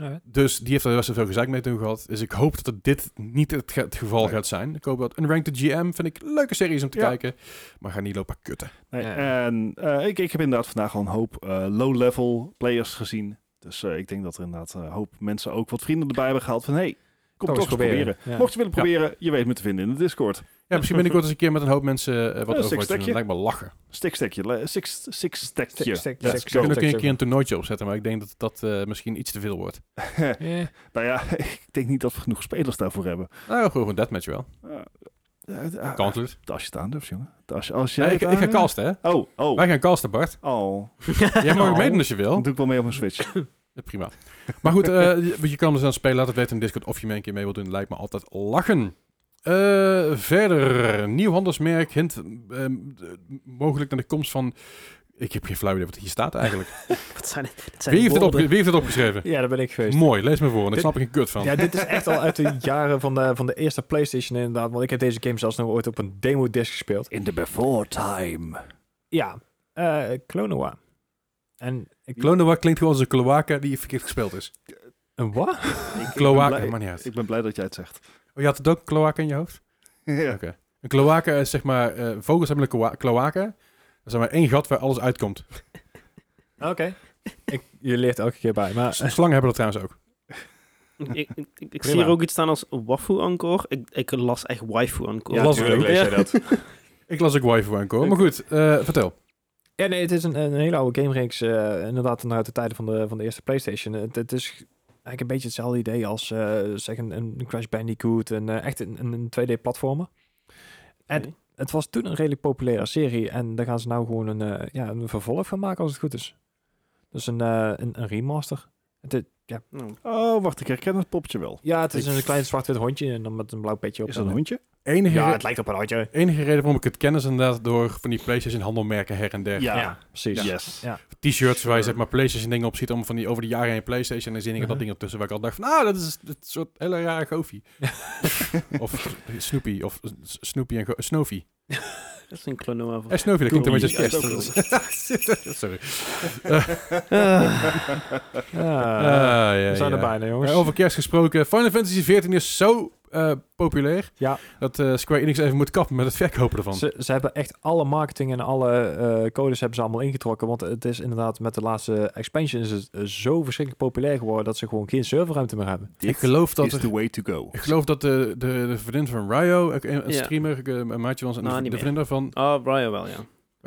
Alright. Dus die heeft er best wel veel gezeik mee toen gehad. Dus ik hoop dat dit niet het, ge- het geval Nee. gaat zijn. Ik hoop dat Unranked GM vind ik een leuke series om te Ja. kijken. Maar ga niet lopen kutten. Nee, Ja. En eh, ik, ik heb inderdaad vandaag al een hoop eh, low-level players gezien. Dus eh, ik denk dat er inderdaad eh, een hoop mensen ook wat vrienden erbij hebben gehaald. Van hey, kom toch eens proberen. Ja. Mocht je willen Ja. proberen, je weet me te vinden in de Discord. Ja, misschien binnenkort eens een keer met een hoop mensen eh, wat six over stackje. Lijkt me lachen. Stik-stekje, le- six- six-stekje. Stik- stik- Let's stik- We go. kunnen ook een zeg keer een toernooitje opzetten, maar ik denk dat dat eh, misschien iets te veel wordt. Ja. Nou ja, ik denk niet dat we genoeg spelers daarvoor hebben. Nou, gewoon een deathmatch wel. Eh, eh, Gauntlet. als je het aandurft, jongen. Als, als jij Ja, ik, het ik ga aandurft- casten, hè? Oh, oh, Wij gaan casten, Bart. oh. Jij mag meedoen als je wil. Dan doe ik wel mee op mijn Switch. Ja, prima. Maar goed, eh, je, je kan hem dus aan spelen. Laat het weten in Discord of je mee een keer mee wilt doen. Lijkt me altijd lachen. Eh, verder, nieuw handelsmerk hint ehm, de- mogelijk naar de komst van... Ik heb geen flauw idee wat hier staat eigenlijk. Wat zijn dit? dit zijn Wie heeft, dit opge- woorden. wie heeft dit opgeschreven? ja, daar ben ik geweest. Mooi, lees me voor, want ik Dit- snap er geen kut van. Ja, dit is echt al uit de jaren van de, van de eerste PlayStation inderdaad. Want ik heb deze game zelfs nog ooit op een demo disc gespeeld. In the before time. Ja, eh Klonoa. En ik... Klonoa klinkt gewoon als een kloaka die verkeerd gespeeld is. Een wat? Kloaka, blij- maar niet uit. ik ben blij dat jij het zegt. Oh, je had het ook kloaka in je hoofd? ja. Oké. Een kloaka is zeg maar... eh, vogels hebben een kloa- kloaka. Dat is maar één gat waar alles uitkomt. Oké. Ik- Je leert elke keer bij. Maar S- Slangen hebben dat trouwens ook. Ik, ik, ik, ik Prima. zie hier ook iets staan als Wafu Encore. Ik, ik las echt Waifu Encore. Ja, Las ik tuurlijk ook. lees Ja. jij Ik las ook waifu aankomen. Maar goed, eh, vertel. Ja, nee, het is een, een hele oude gamereeks. eh inderdaad, nog uit de tijden van de, van de eerste PlayStation. Het, het is eigenlijk een beetje hetzelfde idee als eh, zeg een, een Crash Bandicoot. En, eh, echt een, een, 2D-platformer. En Oké. het was toen een redelijk populaire serie. En daar gaan ze nou gewoon een, eh, ja, een vervolg van maken, als het goed is. Dus een, eh, een, een remaster. Het, het- ja. Nou, Oh, wacht, ik herken het popje wel. ja, het is Ik- een klein zwart-wit hondje. En dan met een blauw petje op. Is dat En- een hondje? Enige, Ja, het lijkt op een hondje. enige reden waarom ik het ken is inderdaad door van die PlayStation handelmerken her en der. Ja. Ja, precies. Yes. Ja. T-shirts waar je zeg maar PlayStation dingen op ziet om van die over de jaren heen PlayStation en dan zie ik dat Mhm. ding ertussen waar ik al dacht van ah dat is een eh, soort hele rare goofy. of Snoopy of S- Snoopy en Go- Snoopy. Dat is een klonoa voor. Hij sneuvelde Doe klinkt een die. beetje als Ja, dat is kerst. Sorry. Ah, Ja, ja, we zijn ja. er bijna, jongens. Ja, over kerst gesproken. Final Fantasy XIV is zo eh, populair Ja. dat eh, Square Enix even moet kappen met het verkopen ervan. Ze, ze hebben echt alle marketing en alle eh, codes hebben ze allemaal ingetrokken. Want het is inderdaad met de laatste expansion is het eh, zo verschrikkelijk populair geworden dat ze gewoon geen serverruimte meer hebben. ik geloof dat is er- the way to go. ik geloof dat de, de, de vriendin van Ryo, ook een, een Ja. streamer, eh, een maatje van ons, en Nou, de, niet de meer. vriendin van... Oh, Brian wel, ja. eh,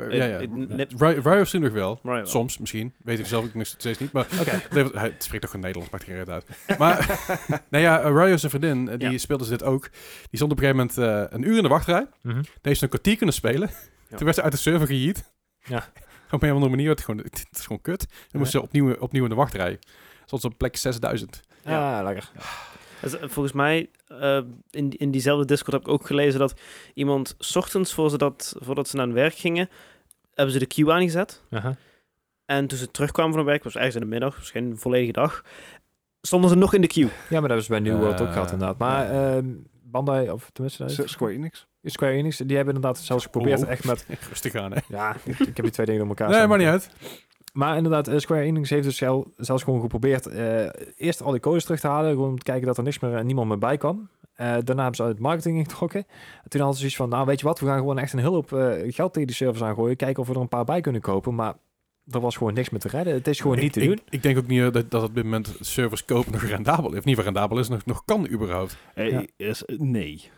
Eh, ja, ja. ik- net- Ryo, Ryo streamt nog wel. Brian wel. Soms, misschien. Weet ik zelf ook nog steeds niet. Maar Oké. Nee, want hij spreekt ook geen Nederlands, maakt geen reet uit. Maar, nou ja, eh, Ryo zijn vriendin, eh, die Ja. speelde ze dit ook. Die stond op een gegeven moment eh, een uur in de wachtrij. Deze heeft een kwartier kunnen spelen. Ja. Toen werd ze uit de server geheat. Ja. Op een of andere manier werd het gewoon, het is gewoon kut. Dan moest ze opnieuw, opnieuw in de wachtrij. Soms op plek 6000. Ja, Ah, lekker. Dus, eh, volgens mij, eh, in, in diezelfde Discord heb ik ook gelezen dat iemand 's ochtends voor ze dat, voordat ze naar hun werk gingen, hebben ze de queue aangezet. En toen ze terugkwamen van hun werk, was ergens in de middag, misschien een volledige dag, stonden ze nog in de queue. Ja, maar dat is bij New World ook Eh, gehad inderdaad. Maar ehm, Bandai, of tenminste eh, Square Enix. Square Enix, die hebben inderdaad zelfs geprobeerd Oh. echt met... Rustig aan, hè? Ja, ik heb die twee dingen door elkaar Nee, staan. maar niet uit. Maar inderdaad, eh, Square Enix heeft dus zel- zelfs gewoon geprobeerd eh, eerst al die codes terug te halen, gewoon om te kijken dat er niks meer en niemand meer bij kwam. Eh, daarna hebben ze uit het marketing ingetrokken. En toen hadden ze zoiets van, nou weet je wat, we gaan gewoon echt een hele hoop eh, geld tegen die servers aangooien, kijken of we er een paar bij kunnen kopen, maar er was gewoon niks meer te redden. Het is gewoon niet ik, te ik- doen. Ik, denk ook niet eh, dat, dat op dit moment servers kopen nog rendabel is. Of niet rendabel is, nog, nog kan überhaupt. Eh, Ja. is- nee.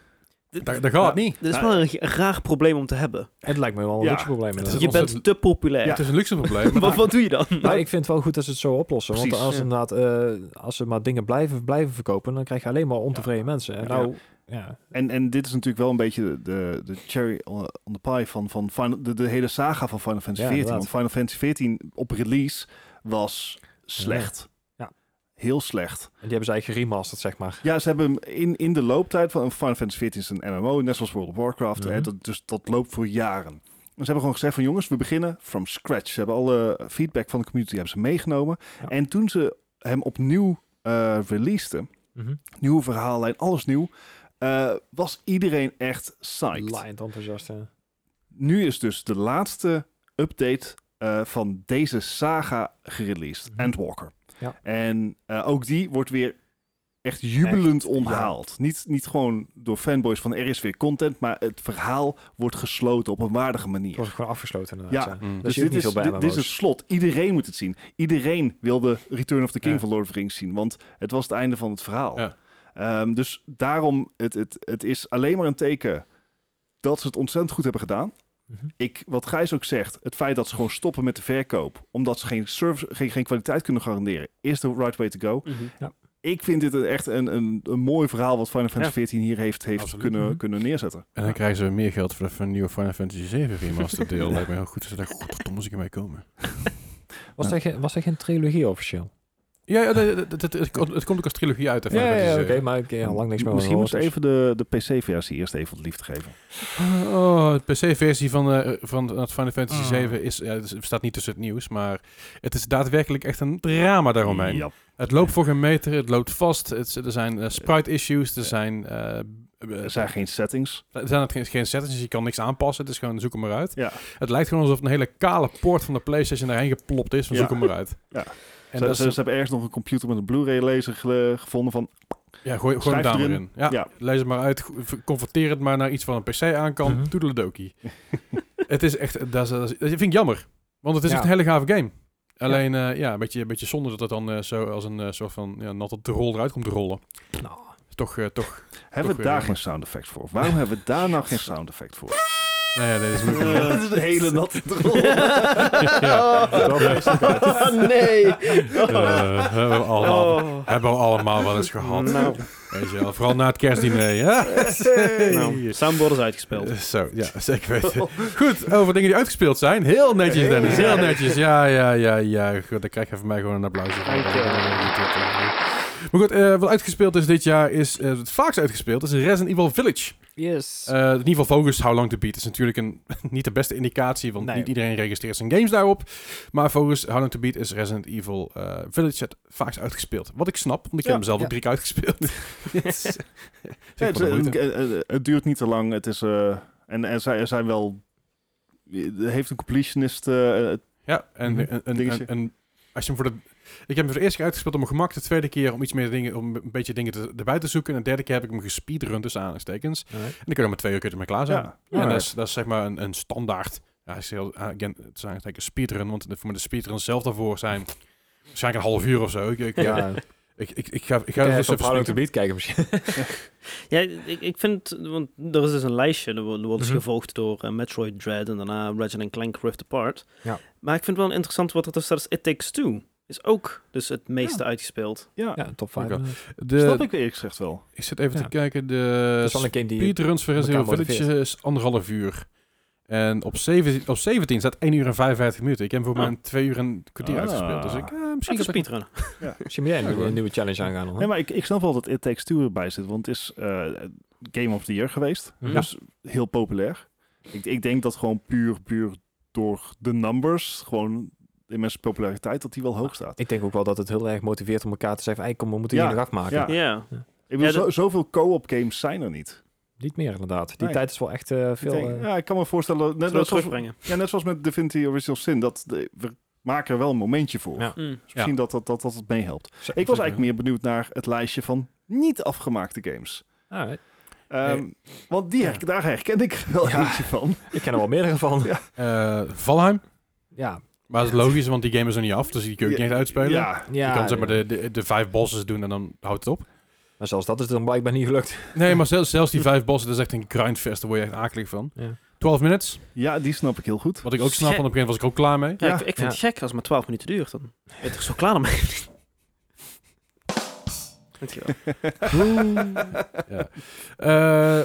Dit, Daar, daar gaat het niet. dit is Nou, wel een ra- raar probleem om te hebben. Het lijkt me wel een Ja. luxe probleem. Het is inderdaad. Je bent ontzettend- te populair. Het is een luxe probleem. Wat, wat doe je dan? Maar ik vind het wel goed dat ze het zo oplossen. Precies. Want als, Ja. inderdaad, eh, als ze maar dingen blijven, blijven verkopen, dan krijg je alleen maar ontevreden mensen. En Ja. nou, ja. En, en dit is natuurlijk wel een beetje de, de, de cherry on on the pie van, van Final- de, de hele saga van Final Fantasy Ja, 14. inderdaad. Want Final Fantasy 14 op release was slecht. Ja. Heel slecht. En die hebben ze eigenlijk geremasterd, zeg maar. Ja, ze hebben hem in, in de looptijd van Final Fantasy 14 is een MMO, net zoals World of Warcraft. Mhm. hè, dat, dus dat loopt voor jaren. En ze hebben gewoon gezegd van jongens, we beginnen from scratch. Ze hebben alle feedback van de community hebben ze meegenomen. Ja. En toen ze hem opnieuw eh releaseden, nieuwe verhaallijn, alles nieuw. Eh, was iedereen echt psyched. Laaiend enthousiast. hè. Nu is dus de laatste update eh, van deze saga gereleased, Mhm. Endwalker. Ja. En eh, ook die wordt weer echt jubelend onthaald. Niet, niet gewoon door fanboys van er is weer content, maar het verhaal wordt gesloten op een waardige Het manier. wordt gewoon afgesloten inderdaad. Ja. Ja. Mm. Dus Dus je hoeft dit niet is, veel bij dit, MMO's. dit is het slot. Iedereen moet het zien. Iedereen wil de Return of the King Ja. van Lord of the Rings zien. Want het was het einde van het verhaal. Ja. Ehm, dus daarom, het, het, het is alleen maar een teken dat ze het ontzettend goed hebben gedaan. Mhm. Ik, wat Gijs ook zegt, het feit dat ze gewoon stoppen met de verkoop... omdat ze geen, service, geen, geen kwaliteit kunnen garanderen... is de right way to go. Ik vind dit een- echt een, een, een mooi verhaal... wat Final Fantasy Ja. 14 hier heeft, heeft Absoluut. kunnen, Mhm. kunnen neerzetten. En dan krijgen ze weer meer geld voor de nieuwe Final Fantasy 7 remaster deel. Lijkt me heel goed. Ze dachten, god, moest ik ermee komen. was, er geen, was er geen trilogie officieel? Ja, ja nee, dat- dat- dat- het, komt- het komt ook als trilogie uit. hè, Final Fantasy oké, 7. maar ik heb al lang niks meer Misschien over moet ze gehoord, dus. even de, de PC-versie eerst even wat liefde geven. Oh, de PC-versie van, eh, van het Final Fantasy Ah. 7 is, ja, het staat niet tussen het nieuws, maar het is daadwerkelijk echt een drama daaromheen. Ja. Het loopt voor geen meter, het loopt vast, het, er zijn eh, sprite-issues, er zijn... eh, eh, Er zijn geen settings. er zijn het geen, geen settings, dus je kan niks aanpassen. Het is gewoon zoek hem maar uit. Ja. Het lijkt gewoon alsof een hele kale poort van de PlayStation daarheen geplopt is. Van Ja. zoek hem maar uit. En En ze, dat ze- is- ze hebben ergens nog een computer met een Blu-ray laser ge- gevonden van... Ja, gooi, gooi hem Schrijf daar maar erin. in. Ja, Ja. Lees het maar uit. go- ver- Converteer het maar naar iets van een PC aan kan. Mhm. Toedeledokie. het is echt... Dat, is, dat, is- dat vind ik jammer. Want het is Ja. echt een hele gave game. Alleen, eh, ja, een beetje, een beetje zonde dat het dan eh, zo als een eh, soort van ja, natte drol eruit komt rollen. Nou. Toch, eh, toch. Hebben weer we daar jammer. geen sound effect voor? Waarom hebben we daar nou geen sound effect voor? Nou ja, nee, dat is moeilijk. dat is een hele natte drol. Oh. nee. Eh, hebben, we allemaal, Oh. hebben we allemaal wel eens gehad. Nou, Weet je wel, vooral na het kerstdiner. Ja? nou, soundboard is uitgespeeld. Oh. Eh, Zo, ja, zeker weten. Goed, over dingen die uitgespeeld zijn. Heel netjes, Dennis. Heel netjes. Ja, ja, ja, ja. Goed, dan krijg je van mij gewoon een applausje. van. Dank je. Maar goed, eh, wat uitgespeeld is dit jaar is... eh, het vaakst uitgespeeld is Resident Evil Village. Yes. Eh, in ieder geval Focus How Long To Beat is natuurlijk een, niet de beste indicatie, want Nee. niet iedereen registreert zijn games daarop. Maar Focus How Long To Beat is Resident Evil eh, Village het vaakst uitgespeeld. Wat ik snap, want ik heb Ja, hem zelf ja. ook drie keer uitgespeeld. Het is echt Ja, wel het, de moeite. eh, eh, eh, het duurt niet te lang. Het is eh, En er zijn, er zijn wel... Er heeft een completionist... eh, eh, Ja, en, Mhm. en, en, Dingetje. en, en als je hem voor de... Ik heb hem voor de eerste keer uitgespeeld om mijn gemak. De tweede keer om iets meer dingen, om een beetje dingen te, erbij te zoeken. En de derde keer heb ik hem gespeedrun tussen aanhalingstekens. En dan kun je er met twee uur kun je ermee klaar zijn. ja. Ja, en Ja. dat is, dat is zeg maar een, een standaard. Ja, ik zeg, heel- ah, again, het zijn eigenlijk een speedrun, want de, voor de speedruns zelf daarvoor zijn waarschijnlijk een half uur of zo. Ik, ik, Ja, ik, ik, ik ga, ik ga ja, dus dus op even Howling to speedrun. Beat kijken misschien. Ja, ik, ik vind, want er is dus een lijstje, er wo- er wordt dus Mhm. gevolgd door eh, Metroid Dread en daarna Ratchet Clank Rift Apart. Ja. Maar ik vind wel interessant wat er tussen staat, is It Takes Two. Is ook dus het meeste Ja. uitgespeeld. ja. Ja, top 5. Oké. Het Snap De, ik eerlijk gezegd wel. ik zit even Ja. te kijken, de is wel een game die... speedruns voor Resident Evil elkaar Village is anderhalf uur. En op 17, op 17 staat 1 uur en 55 minuten. Ik heb hem voor Ah. mijn 2 uur en kwartier Ah. uitgespeeld. Dus ik, eh, misschien Misschien een dat ik... speedrun. Misschien ben jij nog een nieuwe challenge aangaan. hoor. Nee, maar ik, ik snap wel dat It Takes Two erbij zit, want het is eh, Game of the Year geweest. Ja. Dus heel populair. Ik, ik denk dat gewoon puur, puur door de numbers, gewoon in mensen populariteit, dat die wel hoog staat. Ik denk ook wel dat het heel erg motiveert om elkaar te zeggen... "Hey, kom, we moeten Ja, hier nog afmaken. ja. Ja. Ik bedoel, Ja, dat- zo- zoveel co-op games zijn er niet. Niet meer inderdaad. Die Nee. tijd is wel echt eh, Ik veel... denk, eh, ja, ik kan me voorstellen, net, Zullen we net, zoals, terugbrengen? ja, net zoals met Divinity Original Sin, dat de- we maken er wel een momentje voor. Ja. Mm. Dus misschien dat, dat, dat dat het meehelpt. zo- Ik was eigenlijk meer benieuwd naar het lijstje van niet afgemaakte games. Alright. Ehm, Want die her- daar herken ik wel Ja. eentje van. Ik ken er wel meerdere van. Ja. eh, Valheim. Maar dat is logisch, want die game is er niet af. Dus die kun je ook Ja. niet echt uitspelen. Ja, ja, je kan zeg maar ja. de, de, de vijf bosses doen en dan houdt het op. Maar zelfs dat is dan blijkbaar niet gelukt. Nee, maar zelfs, zelfs die vijf bossen, dat is echt een grindfest. Daar word je echt akelig van. Ja. 12 minutes, Ja, die snap ik heel goed. wat ik ook snap, want op een gegeven moment was ik ook klaar mee. Ja, Ja. ik, ik vind Ja. het gek als het maar 12 minuten duurt. Dan ben je toch zo klaar ermee. Dankjewel. Ja.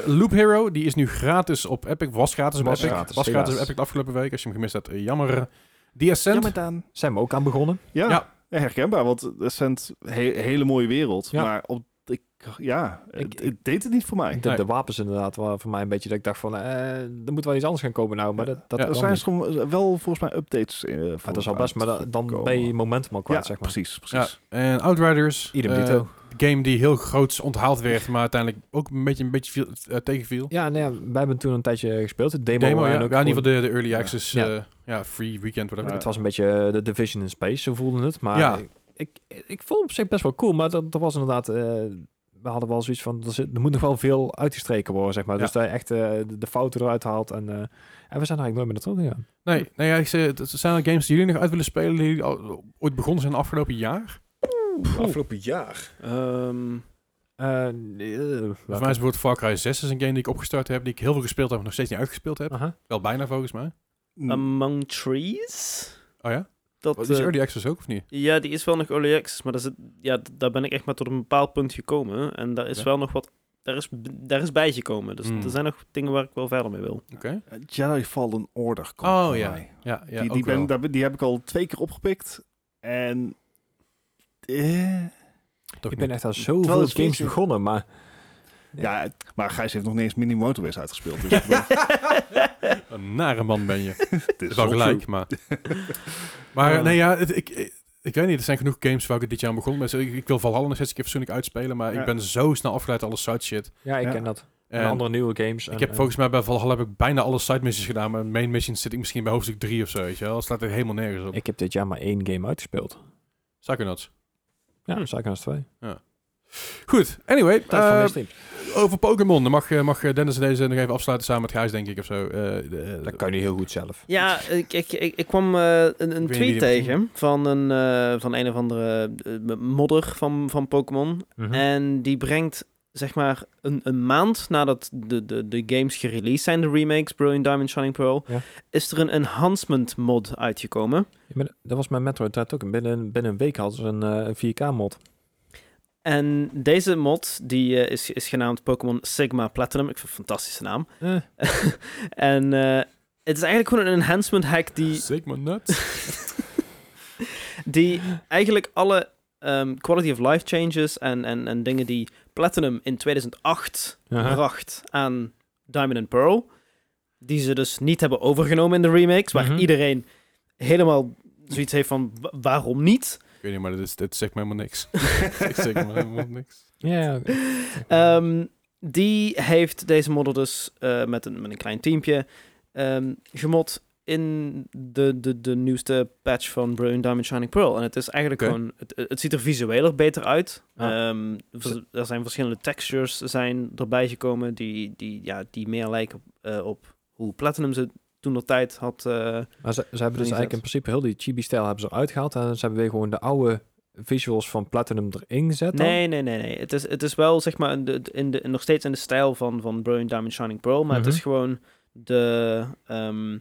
Eh, Loop Hero, die is nu gratis op Epic. Was gratis op Was Epic. gratis, was gratis op helaas. Epic de afgelopen week. Als je hem gemist hebt, eh, jammer. The Ascent. dan. Zijn we ook aan begonnen. Ja, Ja. herkenbaar, want Ascent, he hele mooie wereld. Ja. Maar op, ik, ja, het, Ik- het deed het niet voor mij. De, Nee. de wapens inderdaad waren voor mij een beetje dat ik dacht van... eh er moet wel iets anders gaan komen nou. Maar dat, dat Ja, Er kwam zijn niet. gewoon wel volgens mij updates eh, voor. Maar dat is al best, maar da- dan ben je momentum al Ja, kwijt, zeg maar. precies, Ja, precies. en Outriders. Idem eh, dito. game die heel groots onthaald werd, maar uiteindelijk ook een beetje, een beetje viel, eh, tegenviel. Ja, nee, ja, wij hebben toen een tijdje gespeeld. De demo, Demo, ja. en ja, in ook ieder gewoon- geval de, de early access, Ja. ja. ja, free weekend, whatever. Ja. Het was een beetje eh, de Division in Space, zo voelde het. Maar Ja. ik, ik, ik vond het op zich best wel cool. Maar dat, dat was inderdaad... eh, we hadden wel zoiets van, er, zit- er moet nog wel veel uitgestreken worden, zeg maar. Ja. Dus dat je echt eh, de, de fouten eruit haalt. En, eh, en we zijn er eigenlijk nooit meer naartoe gegaan. Nee, nee ja, ik zei, het zijn er games die jullie nog uit willen spelen, die jullie al- ooit begonnen zijn afgelopen jaar? Afgelopen jaar? Ehm, Mm. Eh, Voor mij is bijvoorbeeld Far Cry 6 is een game die ik opgestart heb, die ik heel veel gespeeld heb, maar nog steeds niet uitgespeeld heb. Wel bijna volgens mij. Ehm, Hm. Among Trees? Oh ja? Dat, Wat is eh, Early Access ook, of niet? Ja, die is wel nog early access, maar daar, zit, ja, d- daar ben ik echt maar tot een bepaald punt gekomen. En daar is Ja. wel nog wat, daar is, b- daar is bijgekomen. Dus Hmm. er zijn nog dingen waar ik wel verder mee wil. Jedi Fallen Order komt Oh, voor ja. mij. Ja, ja die, ook die, ben, wel. daar ben- die heb ik al twee keer opgepikt. En... eh, Toch Ik niet. ben echt aan Terwijl zoveel het games is- begonnen, maar... ja. maar Gijs heeft nog niet eens Mini Motorways uitgespeeld. Dus ik bedoel, Een nare man ben je. het Dat is is wel wel gelijk, zo. maar... maar Ah. nee, ja, het- ik, ik, ik weet niet, er zijn genoeg games waar ik het dit jaar aan begon. ben. Dus Ik, ik wil Valhalla nog steeds een keer fatsoenlijk uitspelen, maar Ja. ik ben zo snel afgeleid door alle side shit. Ja, ik Ja. ken dat. En, En andere nieuwe games. ik en- heb en- volgens mij bij Valhalla heb ik bijna alle side missions gedaan, maar main missions zit ik misschien bij hoofdstuk 3 of zo, weet je wel. Dat slaat er helemaal nergens op. Ik heb dit jaar maar één game uitgespeeld. Psychonauts. Ja, Hm. hm. Psychonauts 2. Goed, anyway. Tijd van eh, mijn stream. over Pokémon. Dan mag, eh, mag Dennis deze nog even afsluiten samen met Gijs, denk ik, of zo. Eh, de- de- Dat kan je heel goed zelf. Ja, ik, ik, ik, ik kwam eh, een, een niet tweet wie dat tegen van een, eh, van een of andere eh, modder van, van Pokémon. Mhm. En die brengt, zeg maar, een, een maand nadat de, de, de games gereleased zijn, de remakes, Brilliant Diamond, Shining Pearl, Ja. is er een enhancement mod uitgekomen. Ja, maar dat was mijn Metroid Dread ook. En Binnen, binnen een week hadden ze een 4K-mod. En deze mod, die eh, is, is genaamd Pokémon Sigma Platinum. Ik vind het een fantastische naam. Eh. En eh, het is eigenlijk gewoon een enhancement hack die, Sigma nuts. die eigenlijk alle ehm, quality of life changes en, en, en dingen die Platinum in 2008 Aha. bracht aan Diamond and Pearl, die ze dus niet hebben overgenomen in de remakes, waar Mhm. iedereen helemaal zoiets heeft van "Wa- waarom niet? ik weet niet, maar dit, is, dit zegt me helemaal niks. ik zeg me helemaal niks. Ja, ja. Ehm, die heeft deze modder dus eh, met, een, met een klein teampje ehm gemod in de, de, de nieuwste patch van Brilliant Diamond Shining Pearl. En het is eigenlijk Oké. gewoon... Het, het ziet er visueel er beter uit. Ja. Ehm, vers- er zijn verschillende textures zijn erbij gekomen die, die, ja, die meer lijken op, eh, op hoe Platinum ze toen de tijd had... eh, Maar ze, ze hebben dus Inzet. eigenlijk in principe heel die chibi-stijl hebben ze eruit gehaald. En ze hebben weer gewoon de oude visuals van Platinum erin gezet. dan. Nee, nee, nee, nee. Het is, het is wel zeg maar in de, in de, in- nog steeds in de stijl van, van Brilliant Diamond Shining Pearl, maar het is Mhm. gewoon de, ehm,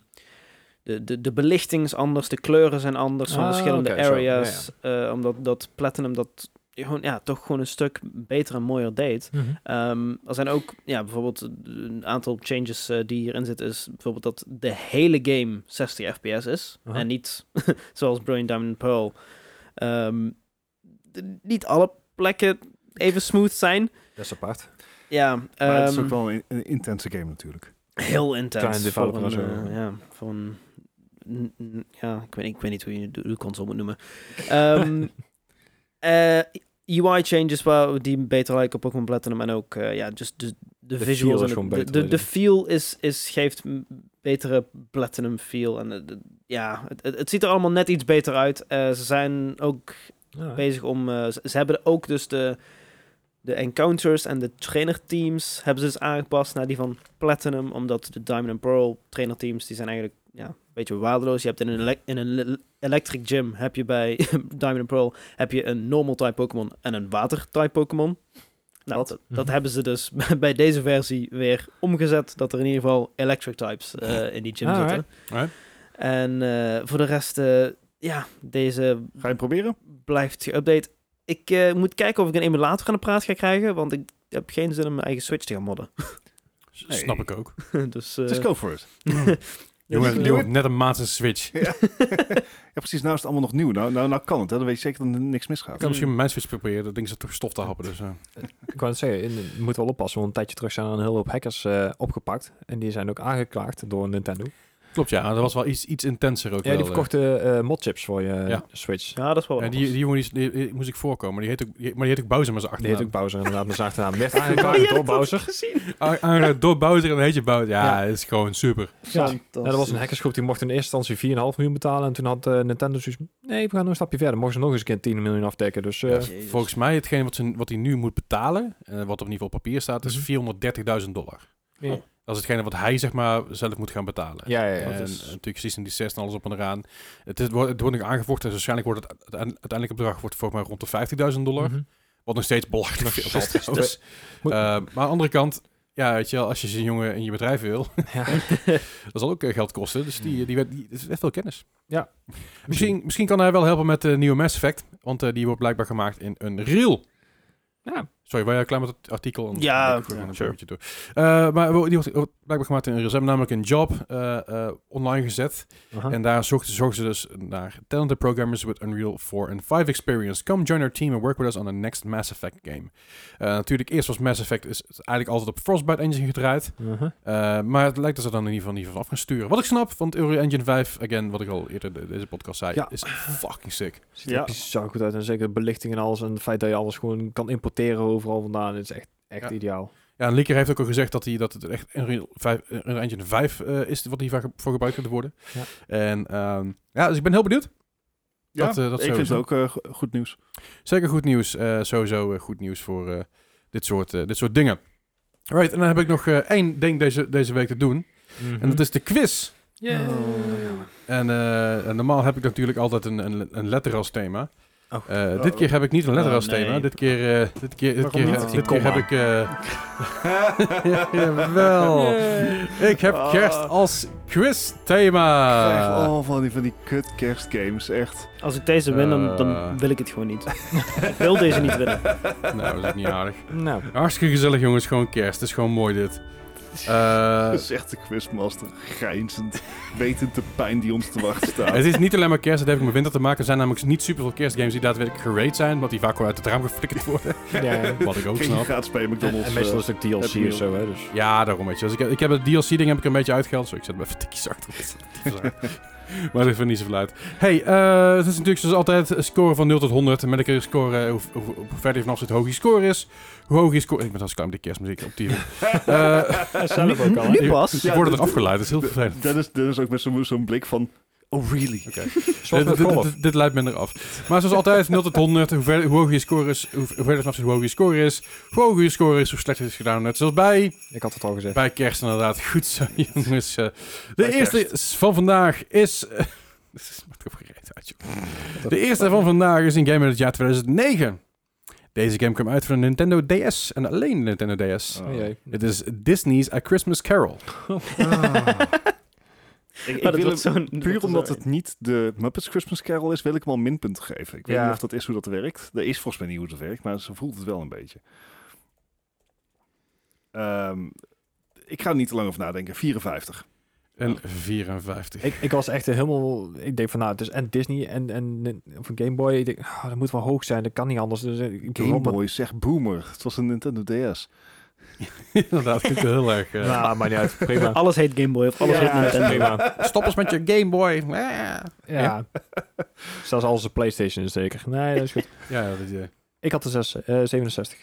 de, de, de belichting is anders, de kleuren zijn anders van Ah, verschillende oké, zo. areas, eh, omdat dat Platinum dat gewoon, ja, toch gewoon een stuk beter en mooier deed. Mhm. Ehm, er zijn ook ja, bijvoorbeeld een aantal changes eh, die hierin zitten. Is bijvoorbeeld dat de hele game 60 fps is. Aha. En niet zoals Brilliant Diamond Pearl. Ehm, d- niet alle plekken even smooth zijn. Dat is apart. Ja, Maar het is ehm, ook wel een, een intense game natuurlijk. heel Klein intens. Voor developer een, en zo. eh, ja, voor een- n- n- ja, ik weet, ik weet niet hoe je de, de console moet noemen. Ehm, eh, UI changes waar, die beter lijken op Pokémon Platinum en ook eh, ja, dus de, de, feel visuals. is en gewoon de, beter, de, weet de je. feel is, is, geeft m- betere Platinum feel. En eh, de- ja, het, het- het ziet er allemaal net iets beter uit. Eh, ze zijn ook Ja. bezig om. eh, ze, ze hebben ook dus de, de encounters en de trainerteams hebben ze dus aangepast naar die van Platinum. Omdat de Diamond and Pearl trainerteams, die zijn eigenlijk ja, een beetje waardeloos. Je hebt in een, elec- in een le- electric gym heb je bij Diamond and Pearl heb je een normal type Pokémon en een water type Pokémon. Nou, dat, dat Mhm. hebben ze dus bij deze versie weer omgezet. Dat er in ieder geval electric types eh, in die gym Alright. zitten. Ah, Alright. En eh, voor de rest, eh, ja, deze Ga je hem proberen? blijft geüpdate. Ik eh, moet kijken of ik een emulator aan de praat ga krijgen, want ik heb geen zin om mijn eigen Switch te gaan modden. S- Snap ik ook. dus, eh, Just go for it. Jongen, doe jongen, het. net een maat zijn Switch. Ja, precies. Nou is het allemaal nog nieuw. Nou, nou, nou kan het. Hè. Dan weet je zeker dat er niks Ik misgaat. Hmm. kan misschien met mijn Switch proberen. Dat ding zit toch stof te happen. Dus, eh. Ik wou het zeggen, in- je moet wel oppassen, want een tijdje terug zijn er een hele hoop hackers eh, opgepakt. En die zijn ook aangeklaagd door Nintendo. Klopt, ja. Dat was wel iets, iets intenser ook Ja, wel, die eh. verkochten eh, modchips voor je eh, Ja. Switch. ja, dat is wel Ja, wat die, die jongen die, die- die moest ik voorkomen. Die heet ook, die- maar die heet ook Bowser met zijn Die heet ook achternaam. Bowser inderdaad, met zijn achternaam. Werd anders. aangeklaagd Ja, door dat had ik Bowser. gezien. A- aangereden door Bowser en dan heet je Bowser. Ja, Ja. dat is gewoon super. Ja. Ja, er was een hackersgroep die mocht in eerste instantie 4,5 miljoen betalen. En toen had eh, Nintendo zoiets nee, we gaan nog een stapje verder. Mochten ze nog eens een keer 10 miljoen afdekken. Dus eh, Ja, Volgens mij, hetgeen wat, ze, wat hij nu moet betalen, eh, wat op niveau op papier staat, Mhm. is 430.000 dollar. Ja. Dat is hetgene wat hij zeg maar zelf moet gaan betalen. ja, ja. Dus- ja. en Dat eh, is- natuurlijk Season Desist en alles op en eraan. Het, is, het wordt, het wordt nog aangevochten. Dus waarschijnlijk wordt het uite- uiteindelijke bedrag wordt volgens mij rond de 50.000 dollar. Mhm. Wat nog steeds belachelijk veel steeds geld is. veel. Dus, Moet- eh, maar aan de andere kant, ja, weet je wel, als je zo'n jongen in je bedrijf wil, Ja. dat zal ook eh, geld kosten. Dus Mhm. die, die, werd- die, dat is echt wel kennis. Ja. Misschien, misschien kan hij wel helpen met de nieuwe Mass Effect. Want eh, die wordt blijkbaar gemaakt in een reel. Ja. Sorry, waren jij klaar met het artikel? Anders Ja, ben ik gewoon ja, een sure. beetje door. Eh, maar wo- die wordt wordt blijkbaar gemaakt in een reel. Ze hebben namelijk een job eh, eh, online gezet. Aha. En daar zochten, zochten ze dus naar talented programmers with Unreal 4 and 5 experience. Come join our team and work with us on the next Mass Effect game. Eh, natuurlijk, eerst was Mass Effect is is eigenlijk altijd op Frostbite Engine gedraaid. Mhm. Eh, maar het lijkt dat ze dan in ieder geval niet van af gaan sturen. Wat ik snap, want Unreal Engine 5, again, wat ik al eerder in deze podcast zei, Ja. is fucking sick. Ziet er Ja. bizar goed uit. En zeker de belichting en alles. En het feit dat je alles gewoon kan importeren overal vandaan. Het is echt, echt Ja. ideaal. Ja, en Likker heeft ook al gezegd dat, hij, dat het echt Unreal, 5, Unreal Engine 5 eh, is wat hiervoor ge- voor gebruikt gaat worden. Ja. En ehm, ja, dus ik ben heel benieuwd. Ja, dat, eh, dat ik vind sowieso. het ook eh, go- goed nieuws. Zeker goed nieuws. eh, sowieso eh, goed nieuws voor eh, dit, soort, eh, dit soort dingen. Right, en dan heb ik nog eh, één ding deze, deze week te doen. Mhm. En dat is de quiz. Eh. Oh, En, eh, en normaal heb ik natuurlijk altijd een, een, een letter als thema. Oh. Eh, dit keer heb ik niet een letter Oh, als thema. nee. Dit keer, eh, dit keer, dit Waarom keer, niet? dit Oh. keer Komma. heb ik... eh jawel. Ik heb Ah. kerst als quizthema. Krijg al van die, van die kut kerstgames, echt. Als ik deze win, dan, Eh. dan wil ik het gewoon niet. ik wil deze niet winnen. Nou, dat is niet aardig. Nou, Hartstikke gezellig jongens, gewoon kerst. Het is gewoon mooi dit. Eh, Dat is echt de quizmaster, grijnzend, wetend de pijn die ons te wachten staat. het is niet alleen maar kerst, dat heeft ook met winter te maken. Er zijn namelijk niet super veel kerstgames die daadwerkelijk gerate zijn, want die vaak gewoon uit het raam geflikkerd worden. ja. Wat ik ook Geen snap. gratis bij McDonald's. En meestal eh, is het ook DLC Unreal. of zo, hè. Dus. Ja, daarom weet je. Dus ik, heb- ik heb het DLC-ding heb ik een beetje uitgehaald. Zo, ik zet hem even tikjes achter. Maar dat vind niet zoveel uit. Hey, eh, het is natuurlijk zoals altijd een score van 0 tot 100. En met een keer score, eh, hoe, hoe, hoe verder je vanaf zit, hoe hoog je score is. Hoe hoog je score... Ik ben als klaar met die kerstmuziek op die... Eh, Zelf ook al. hè? Nu pas. Die worden er afgeleid, dat is heel vervelend. Dat is, dat is ook met zo'n zo'n blik van... Oh, really? Swap dit, met dit, golf. dit- dit leidt minder af. Maar zoals altijd, 0 tot 100. Hoe, ver- hoe hoger je score is, hoe, hoe verder vanaf zit, hoe hoger je score is. Hoe hoger je score is, hoe slechter het is gedaan. Net zoals bij... Ik had het al gezegd. Bij kerst inderdaad. Goed zo, jongens. Eh, de Bij eerste van vandaag is... eh, Dit is maakt ook geen reet uit, joh. De eerste van vandaag is een game uit het jaar 2009. Deze game kwam uit voor de Nintendo DS en alleen de Nintendo DS. Ah. Oh, jee. Het is Disney's A Christmas Carol. Ah. Ik, ik Maar dat wil het wordt zo'n... Puur omdat het niet de Muppets Christmas Carol is, wil ik hem al een minpunt geven. Ik weet Ja. niet of dat is hoe dat werkt. Dat is volgens mij niet hoe dat werkt, maar ze voelt het wel een beetje. Ehm, ik ga er niet te lang over nadenken. 54. En 54. Ik, ik was echt helemaal... Ik denk van, nou, het is en Disney en, en of een Game Boy. Ik denk, ah, dat moet wel hoog zijn. Dat kan niet anders. Dus eh, ik doe Game wel met- Boy, zeg boomer. Het was een Nintendo DS. inderdaad, klinkt heel erg... eh, Nou, maar niet uit. Prima. Alles heet Game Boy of alles Ja, heet Nintendo. prima. Stop eens met je Game Boy. Ja, Ja. Zelfs als de PlayStation is zeker. Nee, dat is goed. ja dat, eh, Ik had de zes, eh, 67.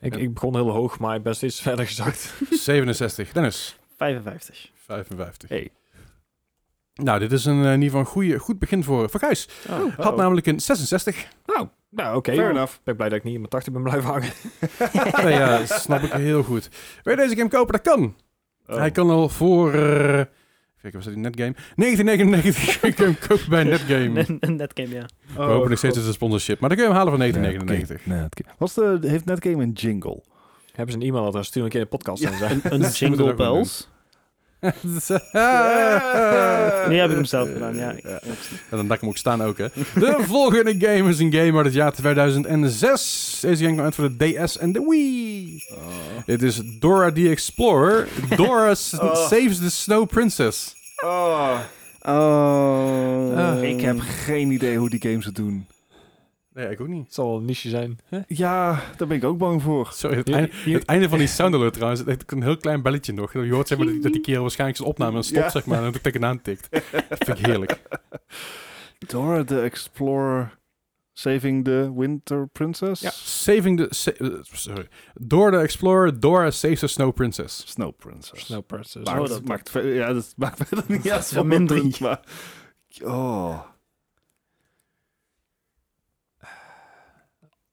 Ik, Ja. ik begon heel hoog, maar ik ben steeds verder gezakt. 67. Dennis, 55. 55. Hey. Nou, dit is een, eh, in ieder geval een goeie, goed begin voor, voor Gijs. Oh. Had namelijk een 66. Nou, oké. Fair Ik enough. ben blij dat ik niet in mijn 80 ben blijven hangen. Nee, ja, dat snap ik heel goed. Wil je deze game kopen? Dat kan. Oh. Oh. Hij kan al voor... eh, Kijk, was dat die netgame? 1999 kun je hem kopen bij netgame. Net- Net game, ja. We hopen nog steeds dat het een sponsorship. Maar dan kun je hem halen van 1999. Nee, Wat de, heeft Netgame een jingle? Hebben ze een e-mailadres? Stuur een keer een podcast. aan ze. Een moeten we er jingle ook mee bells. Eh, Nu heb ik hem zelf gedaan, ja. Ik- En dan dat ik hem ook staan ook, hè. De volgende game is een game uit het jaar 2006. Deze game kwam uit voor de DS en de Wii. Oh. Dit is Dora the Explorer. Dora s- Oh. Saves the Snow Princess. Oh. Ah. Ik heb geen idee hoe die games het doen. Nee, ik ook niet. Het zal wel een niche zijn. Hè? Ja, daar ben ik ook bang voor. Sorry, het, Je- einde, je- het einde van die sound alert trouwens, het heeft een heel klein belletje nog. Je hoort zeg maar dat- dat die kerel waarschijnlijk zijn opname dan stopt Ja. zeg maar en dan tegenaan tikt. Dat vind ik heerlijk. Dora the Explorer Saving the Winter Princess? Saving the... sa- eh, sorry. Dora the Explorer, Dora Saves the Snow Princess. Snow Princess. Snow Princess. Maar Oh, dat dat- maakt, ver- ja, dat maakt verder niet Dat uit is van wel mijn min punt, maar... Oh.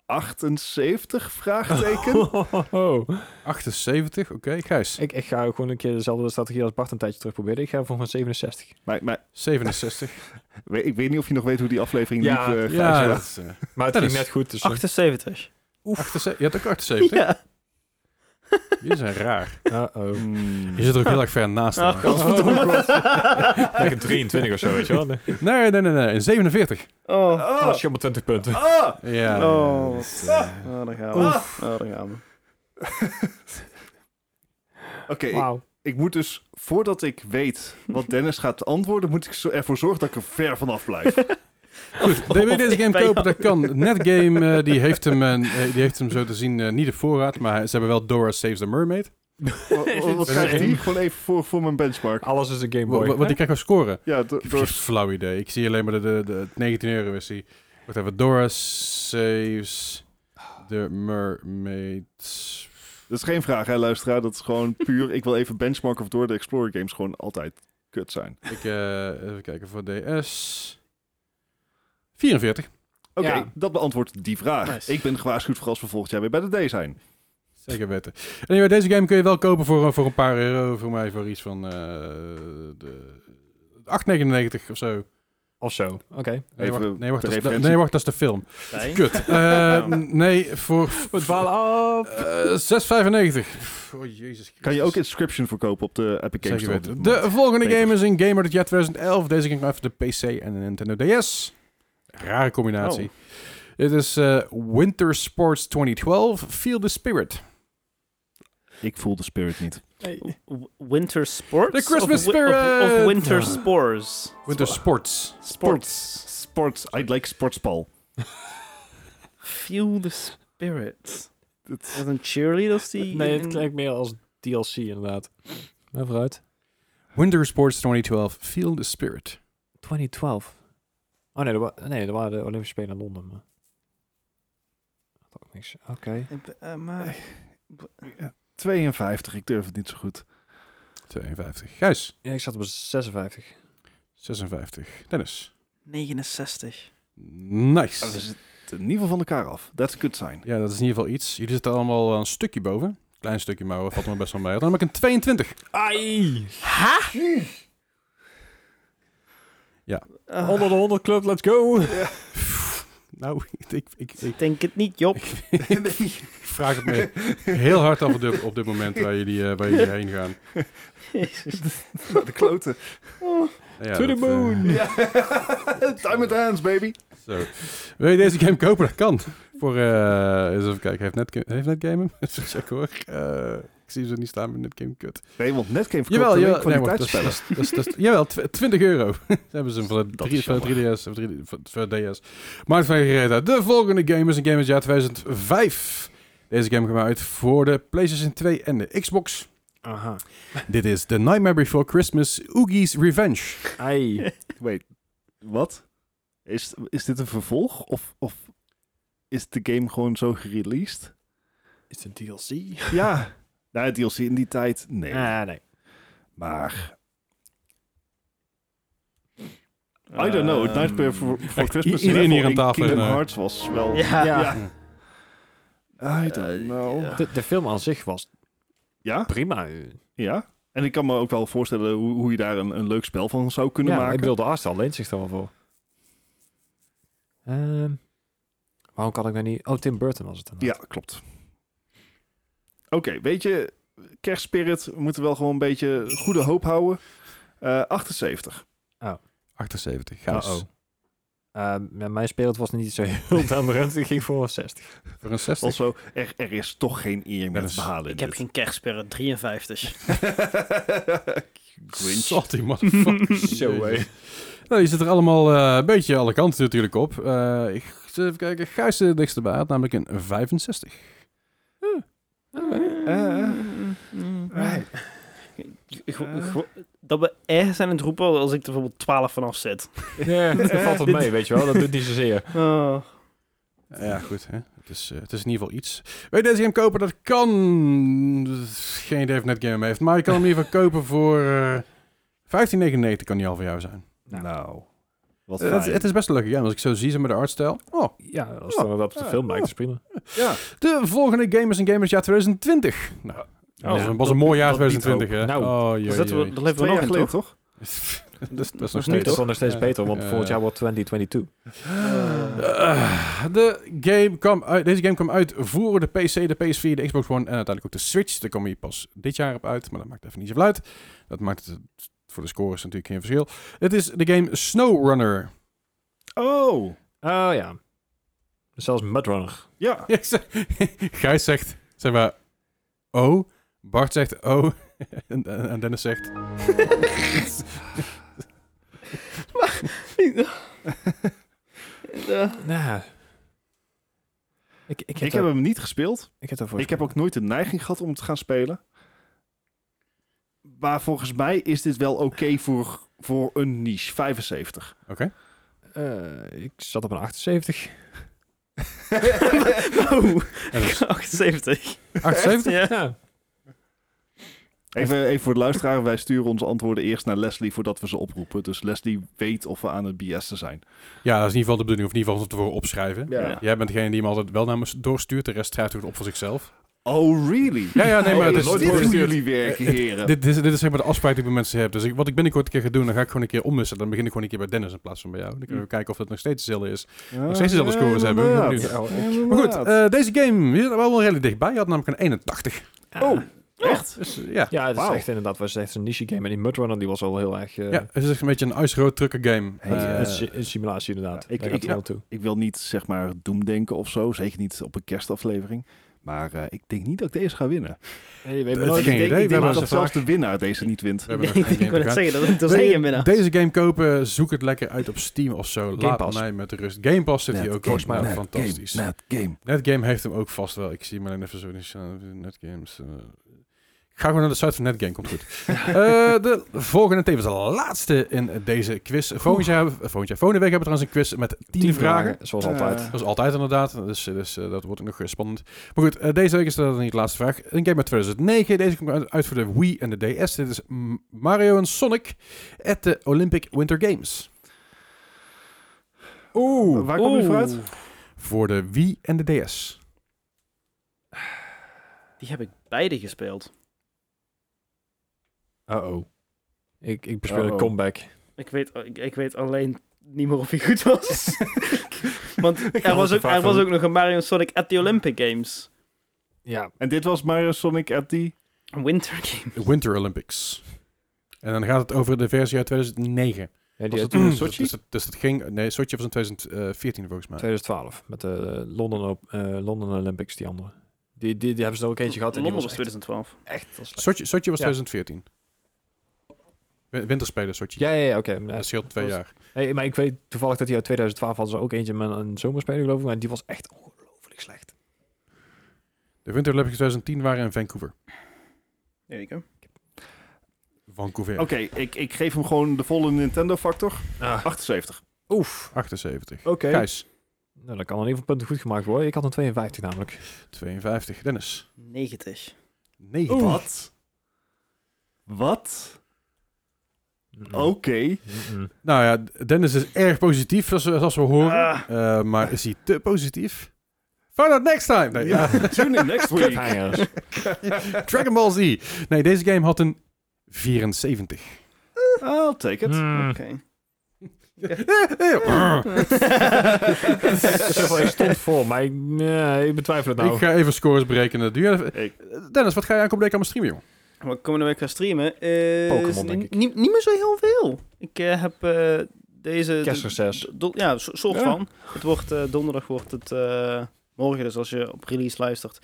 78? Vraagteken? Oh. 78, oké. Gijs, Ik, ik ga ook gewoon een keer dezelfde strategie als Bart een tijdje terug proberen. Ik ga voor een 67. maar, maar 67. we- ik weet niet of je nog weet hoe die aflevering Ja, liep. eh, Gijs, ja, maar- dat is, eh, Maar het Dat ging is- net goed. Dus, eh, 78. 78. Je had ook 78? Ja. Die zijn raar. eh, Uh-oh. Hmm. Je zit er ook heel erg ver naast. Ah. aan. Lekker 23 of zo, weet je wel. Nee. Nee, nee, nee, nee. een 47. Oh. Ah. Oh, shit, maar 20 punten. Ja. Oh. dat is, eh, Oh, daar gaan we. Oh, daar gaan we. Oké, ik- Wauw. ik moet dus, voordat ik weet wat Dennis gaat antwoorden, moet ik zo- ervoor zorgen dat ik er ver vanaf blijf. Goed, wil je Of deze ik game ben kopen? jou. Dat kan. Netgame eh, die heeft, hem, eh, eh, die heeft hem zo te zien eh, niet de voorraad, maar ze hebben wel Dora Saves the Mermaid. Wa- wa- Wat is krijg ik echt- die? Gewoon even voor, voor mijn benchmark. Alles is een Game Wa- wa- Boy. Want die krijgt wel scoren. Ja, do- Ik heb geen door... flauw idee. Ik zie alleen maar de, de, de het 19 euro is die. Wacht even, Dora Saves the Mermaid. Dat is geen vraag, hè, luisteraar. Dat is gewoon puur... Ik wil even benchmarken of door de Explorer games gewoon altijd kut zijn. Ik, eh, even kijken voor DS. 44. Oké, Ja. dat beantwoordt die vraag. Nice. Ik ben gewaarschuwd voor als we volgend jaar weer bij de D zijn. Zeker weten. Anyway, deze game kun je wel kopen voor, eh, voor een paar euro. Voor mij voor iets van eh, de 8,99 of zo. Of zo. Oké. Nee, Even wacht, nee, wacht, de dat is de- referentie. nee, wacht, dat is de film. Nee. Kut. Eh, Nou. n- Nee, voor We dwalen af. eh, 6,95. Oh, jezus Kan je ook Christus. inscription verkopen op de Epic Zeker Games Store? weten. op dit De moment? volgende Beter. game is een game uit het jaar 2011. Deze ging uit voor de PC en de Nintendo DS. Rare combinatie. Oh. Dit is eh, Winter Sports 2012. Feel the Spirit. Ik voel de spirit niet. W- Winter The sports? Christmas Of wi- Of, spirit! of winter spores. Winter Sports. Sports. Sports. I like sportsbal. Feel the spirit. Dat- Is dat een cheerleader als die... Nee, in- het klinkt meer als DLC inderdaad. Maar vooruit. Winter Sports 2012. Feel the Spirit. 2012. Oh nee, dat, wa- nee, dat waren de Olympische Spelen in Londen. Maar... Had ook niks. Oké. Ik ben- eh, maar... 52, ik durf het niet zo goed. 52. Gijs, Ja, ik zat op 56. 56. Dennis. 69. Ah, we Nice. zitten in ieder geval van elkaar af. That's a good sign. Ja, dat is in ieder geval iets. Jullie zitten allemaal een stukje boven. Klein stukje, maar dat valt me best wel mee. Dan heb ik een 22. Ai! Oh. Ah, 100 de 100 club, let's go! Nou, ik, ik, ik, ik ik denk het niet, Job. vraag het me heel hard af op dit, op dit moment waar jullie, eh, waar jullie heen gaan. De kloten. Nou ja, to the dat, eh, moon! Time and hands, baby. Zo. Wil je deze game kopen? Dat kan. Voor, eh eens even kijken, heeft Netgame heeft Netgame hem? Even checken hoor. Eh, ik zie ze niet staan met Netgame, kut. Nee, want Netgame verkoopt Jawel, alleen jawel. Nee, wacht, dat is- kwaliteitsspellen. dat is- dat is- jawel, tw- 20 euro. Ze hebben ze hem voor de Dat drie- is voor de 3DS of 3D voor- voor de DS. Maakt van gereed uit. eh, De volgende game is een game uit het jaar 2005. Deze game kwam uit voor de PlayStation 2 en de Xbox. Aha. Dit is The Nightmare Before Christmas, Oogie's Revenge. Ai. Wait, wat? Is, is dit een vervolg? Of, of is de game gewoon zo gereleased? Is het een DLC? ja. Nou, DLC in die tijd, nee. Ah, nee. Maar, I don't know. Ehm, Nightmare for, for echt Christmas iedereen level hier aan in tafel Kingdom en, eh, Hearts was wel... Ja. Ja. I don't know. Eh, De, de film aan zich was Ja, prima. ja. En ik kan me ook wel voorstellen hoe, hoe je daar een, een leuk spel van zou kunnen Ja, maken. ik bedoel, de artstijl leent zich daar wel voor. Ehm, waarom kan ik daar niet... Oh, Tim Burton was het dan. Ja, klopt. Oké, weet je, kerstspirit, we moeten wel gewoon een beetje goede hoop houden. Eh, 78. 78, Gijs. Uh-oh. oh. Ehm, ja, mijn speelt was niet zo heel down Ik ging voor 60. Voor een 60. Also, er, er is toch geen eer Dat meer is- te behalen. Ik heb geen kerstperren, 53. Grinch. Salty motherfucker. Zo, hé. Jezus. Nou, je zit er allemaal eh, een beetje alle kanten natuurlijk op. Eh, ik zal even kijken. Gijs de dichtste bij had namelijk een 65. Oh, Eh, Mm, Ge- ge- Dat we echt zijn aan het roepen als ik er bijvoorbeeld 12 vanaf zet. Ja, dat valt wel mee, weet je wel. Dat doet niet zozeer. Ja, goed. Hè? Het, is, eh, het is in ieder geval iets. Weet je deze game kopen? Dat kan. Geen idee of Netgame heeft. Maar je kan hem in ieder geval kopen voor... eh, 15,99 kan die al voor jou zijn. nou, wat Eh, fijn. het, het is best een leuke game. Als ik zo zie ze met de artstijl. Oh. Ja, Oh, als Ja. het dan dat op de Ja. film lijkt, is prima. ja. De volgende game is een game uit het jaar 2020. Nou, dat was, ja, een, was dat- een mooi jaar dat biedt 2020, hè? hoop. oh, Dus jee, dat, we, jee. dat leven we Twee nog jaar in, geleden, toch? toch? dat, is- dat is nog is steeds. nu Het is dan nog steeds Ja. beter, want Ja. volgend jaar wordt 2022. Eh, de game kwam uit, deze game kwam uit voor de PC, de PS4, de Xbox One en uiteindelijk ook de Switch. Daar kwam hij pas dit jaar op uit, maar dat maakt even niet zoveel uit. Dat maakt het voor de scores natuurlijk geen verschil. Het is de game SnowRunner. Oh, Oh ja. Zelfs Mudrunner. ja. Ja, ik zeg- Gijs zegt, zeg maar, oh. Bart zegt, oh. en, en en Dennis zegt, Nou. Ik, ik, heb Ik heb hem niet gespeeld. ik heb daarvoor Ik heb ook nooit de neiging gehad om het te gaan spelen. Maar volgens mij is dit wel oké voor, voor een niche. 75. oké. Eh, ik zat op een 78. Oh, En dat is 78. 78? Ja. Ja. Even, even voor de luisteraar, wij sturen onze antwoorden eerst naar Leslie voordat we ze oproepen. Dus Leslie weet of we aan het BS zijn. Ja, dat is in ieder geval de bedoeling, of in ieder geval van tevoren opschrijven. Ja. Jij bent degene die hem altijd wel naar me doorstuurt, de rest schrijft hij het op voor zichzelf. Oh, really? Ja, ja, nee, maar het Oh, is- nooit het is- voor jullie werken, Eh, heren. Dit, dit, is, dit is zeg maar de afspraak die ik met mensen heb. Dus ik, wat ik binnenkort een keer ga doen, dan ga ik gewoon een keer ommissen. Dan begin ik gewoon een keer bij Dennis in plaats van bij jou. Dan kunnen we kijken of dat nog steeds dezelfde is. nog steeds dezelfde scores hebben. Ik ben inderdaad. benieuwd. Oh, Maar goed, Inderdaad. eh, deze game, je zit er wel redelijk dichtbij. Je had namelijk een 81. Ah, oh, echt? Dus eh, ja. Ja, het is Wauw. echt inderdaad was echt een niche game. En die Mudrunner die was al heel erg... eh, ja, het is echt een beetje een ice road trucker game. Hey, Eh, een si- een simulatie inderdaad. ja, ik- Daar ik- gaat het ja. wel toe. Ik wil niet, zeg maar, doemdenken of zo. Zeker niet op een kerstaflevering. Maar eh, ik denk niet dat ik deze ga winnen. Hey, we hebben hebben nooit- nooit... ik denk, idee, ik we denk hebben dat ze zelfs vaak- de winnaar deze niet wint. we hebben Nee, nog geen ik game wil te het gaan. zeggen, dat is Wil je één binnen. Deze game kopen, zoek het lekker uit op Steam of zo. Laat Pass. mij met de rust. Game Pass zit hier ook game, volgens mij net fantastisch. Game, net game. Netgame heeft hem ook vast wel. Ik zie hem alleen even zo. in de- Netgames. eh. Ga gewoon naar de site van NetGain, komt goed. Eh, de volgende, tevens de laatste in deze quiz. Volgend jaar, eh, volgend jaar, volgende week hebben we trouwens een quiz met 10 vragen. Zoals altijd. Eh, Dat is altijd inderdaad, dus, dus eh, dat wordt ook nog eh, spannend. Maar goed, eh, deze week is dat niet de laatste vraag. Een game uit 2009, deze komt uit- uit voor de Wii en de DS. Dit is mm, Mario en Sonic at the Olympic Winter Games. Oeh. Waar kom je vooruit? Voor de Wii en de DS. Die heb ik beide gespeeld. Uh-oh. Ik, ik bespeel Uh-oh. een comeback. Ik weet, ik, ik weet alleen niet meer of hij goed was. Want er was, te ook, vaak er was van. ook nog een Mario Sonic at the Olympic Games. Ja. En dit was Mario Sonic at the... Een Winter Game. De Winter Olympics. En dan gaat het over de versie uit 2009. ja Was die dat uit toen in Sochi? Dus, dat- dus dat ging... Nee, Sochi was in 2014 volgens mij. 2012. Met de eh, London, Op- eh, London Olympics, die andere. Die, die, die hebben ze er ook eentje gehad. En die Londen was was echt, 2012. echt heel slecht. Sochi, Sochi was Ja. 2014. Win- Winterspelen Sochi. Ja, ja, ja, oké. Dat scheelt twee was- jaar. Nee, maar ik weet toevallig dat die uit 2012 hadden ze ook eentje met een zomerspeler, geloof ik. Maar die was echt ongelooflijk slecht. De Winter Olympics 2010 waren in Vancouver. Zeker. Vancouver. Oké, ik, ik geef hem gewoon de volle Nintendo-factor. Ah. 78. Oef. 78. Oké. Gijs, Nou, dan kan in ieder geval punten goed gemaakt worden. Ik had een 52 namelijk. 52. Dennis, 90. 90. Wat? Wat? Oké. Oh. Mm-mm. Nou ja, Dennis is erg positief, zoals we, zoals we horen. Ah. Eh, maar is hij te positief? Find out next time! Nee, ja. Tune in next week. Cliffhangers. Dragon Ball Z. Nee, deze game had een 74. I'll take it. Mm. Oké. Mm. Zo van, Ik stond voor, maar ik, nee, ik betwijfel het nou. Ik ga even scores berekenen. Doe jij even- Ik- Dennis, wat ga je aankomende week allemaal streamen, joh? Wat komende week gaan streamen eh, is Pokémon, denk ni- ik. Niet, niet meer zo heel veel. Ik eh, heb eh, deze... Kerstreces. do- do- Ja, so- soort Ja. van. Het wordt, eh, donderdag wordt het eh, morgen, dus als je op release luistert.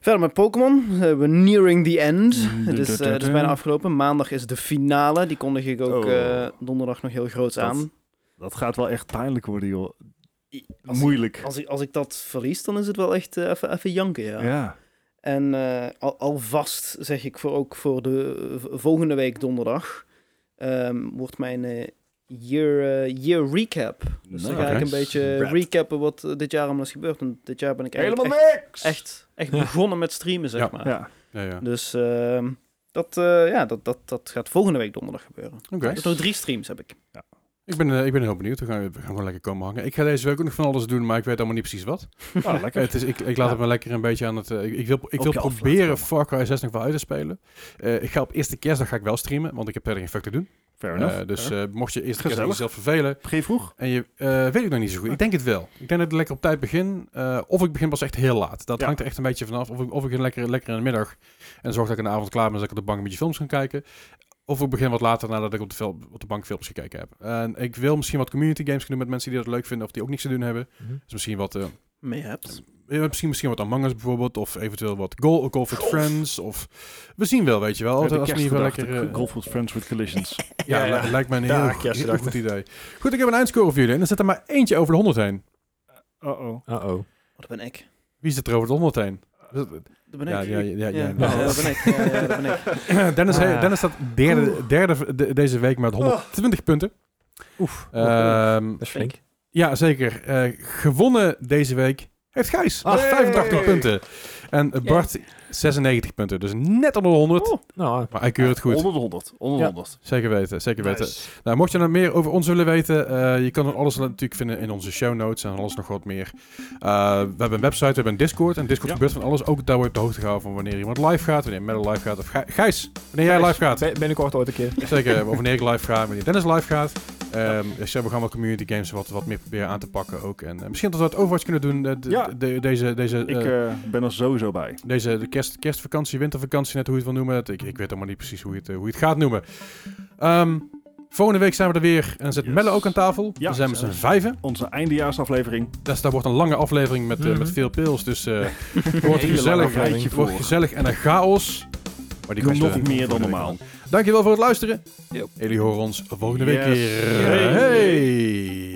Verder met Pokémon. We hebben nearing the end. Het is, eh, het is bijna afgelopen. Maandag is de finale. Die kondig ik ook Oh. eh, donderdag nog heel groots Dat- aan. Dat gaat wel echt pijnlijk worden, joh. I- Als, Moeilijk. als, ik, als ik dat verlies, dan is het wel echt eh, even, even janken, ja. Ja. En eh, al, alvast zeg ik voor ook voor de eh, v- volgende week donderdag ehm, wordt mijn eh, year, eh, year recap. Dus dan ga Nice. ik een beetje Rad. recappen wat eh, dit jaar allemaal is gebeurd. En dit jaar ben ik eigenlijk Helemaal niks! echt, echt, echt begonnen met streamen, zeg Ja. maar. Ja. Ja, ja. Oké. Dus ehm, dat, eh, ja, dat, dat, dat gaat volgende week donderdag gebeuren. Dus nog drie streams heb ik. Ik, ben, eh, ik ben heel benieuwd. We gaan, we gaan gewoon lekker komen hangen. Ik ga deze week ook nog van alles doen, maar ik weet allemaal niet precies wat. Nou, lekker. Het is, ik, ik laat het me lekker een beetje aan het... eh, ik, ik wil, ik Op wil je af laten proberen komen. Far Cry 6 nog wel uit te spelen. Eh, ik ga op eerste kerstdag ga ik wel streamen, want ik heb verder geen fuck te doen. Fair enough. Eh, dus eh, mocht je eerste kerstdag Gezellig. jezelf vervelen... Begin je vroeg? En je eh, weet ik nog niet zo goed. Ik denk het wel. Ik denk dat ik lekker op tijd begin. eh, of ik begin pas echt heel laat. Dat Ja. hangt er echt een beetje vanaf. Of ik, of ik een lekker, lekker in de middag en zorg dat ik in de avond klaar ben, zodat ik op de bank een beetje films kan kijken. Of ik begin wat later nadat ik op de, film, op de bank films gekeken heb. En ik wil misschien wat community games gaan doen met mensen die dat leuk vinden of die ook niks te doen hebben. Mhm. Dus misschien wat eh, Mee hebt. ja, misschien, misschien wat Among Us bijvoorbeeld, of eventueel wat Golf, golf with Friends, of... We zien wel, weet je wel. Als, als we in ieder geval lekker... eh, Golf with Friends with Collisions. ja, Ja, ja. li- lijkt mij een heel, Daar, goed- kerstdag. heel goed idee. Goed, ik heb een eindscore voor jullie. En er zit er maar eentje over de 100 heen. Uh-oh. Uh-oh. Wat Oh, ben ik? Wie zit er over de 100 heen? Dat ben ik. Ja, ja, ja, ja, ja. ja, dat ben ik. Ja, ja, dat ben ik. Dennis, he- Ah. Dennis staat derde, derde de- deze week met 120 punten. Oef. Ehm, dat is flink. ja, zeker. Eh, gewonnen deze week heeft Gijs. met Hey. 85 punten. En Bart 96 punten. Dus net onder de 100. Nou, Maar hij keurt het goed. Onder de 100. Onder de Ja. 100. Zeker weten, zeker weten. Nou, mocht je nou meer over ons willen weten, eh, je kan dan alles natuurlijk vinden in onze show notes en alles nog wat meer. Eh, we hebben een website, we hebben een Discord. En Discord Ja. gebeurt van alles. Ook daar wordt de hoogte gehouden van wanneer iemand live gaat, wanneer Metal live gaat. Of Gij- Gijs, wanneer jij live gaat. Ben, binnenkort ooit een keer. Zeker, of wanneer ik live ga, wanneer Dennis live gaat. Ehm, dus ja, we gaan wat community games wat, wat meer proberen aan te pakken ook. En eh, misschien dat we wat Overwatch kunnen doen eh, de- Ja. de- deze, deze, Ik eh, eh, ben er sowieso bij. deze de kerst, kerstvakantie, wintervakantie, net hoe je het wil noemen. Het- Ik, ik weet allemaal niet precies hoe je het, eh, hoe je het gaat noemen. Ehm, volgende week zijn we er weer. En dan zit Yes. Melle ook aan tafel. Ja, we zijn met z'n gezellig. vijven. Onze eindejaarsaflevering. Dus dat wordt een lange aflevering met, eh, Mhm. met veel pils. Dus eh, het wordt Hele gezellig. lange Het rijtje wordt voor. gezellig en een chaos. Maar die komt Nog er. meer dan normaal. Dankjewel voor het luisteren. Yep. Jullie horen ons volgende week Yes. weer. Yay. Hey.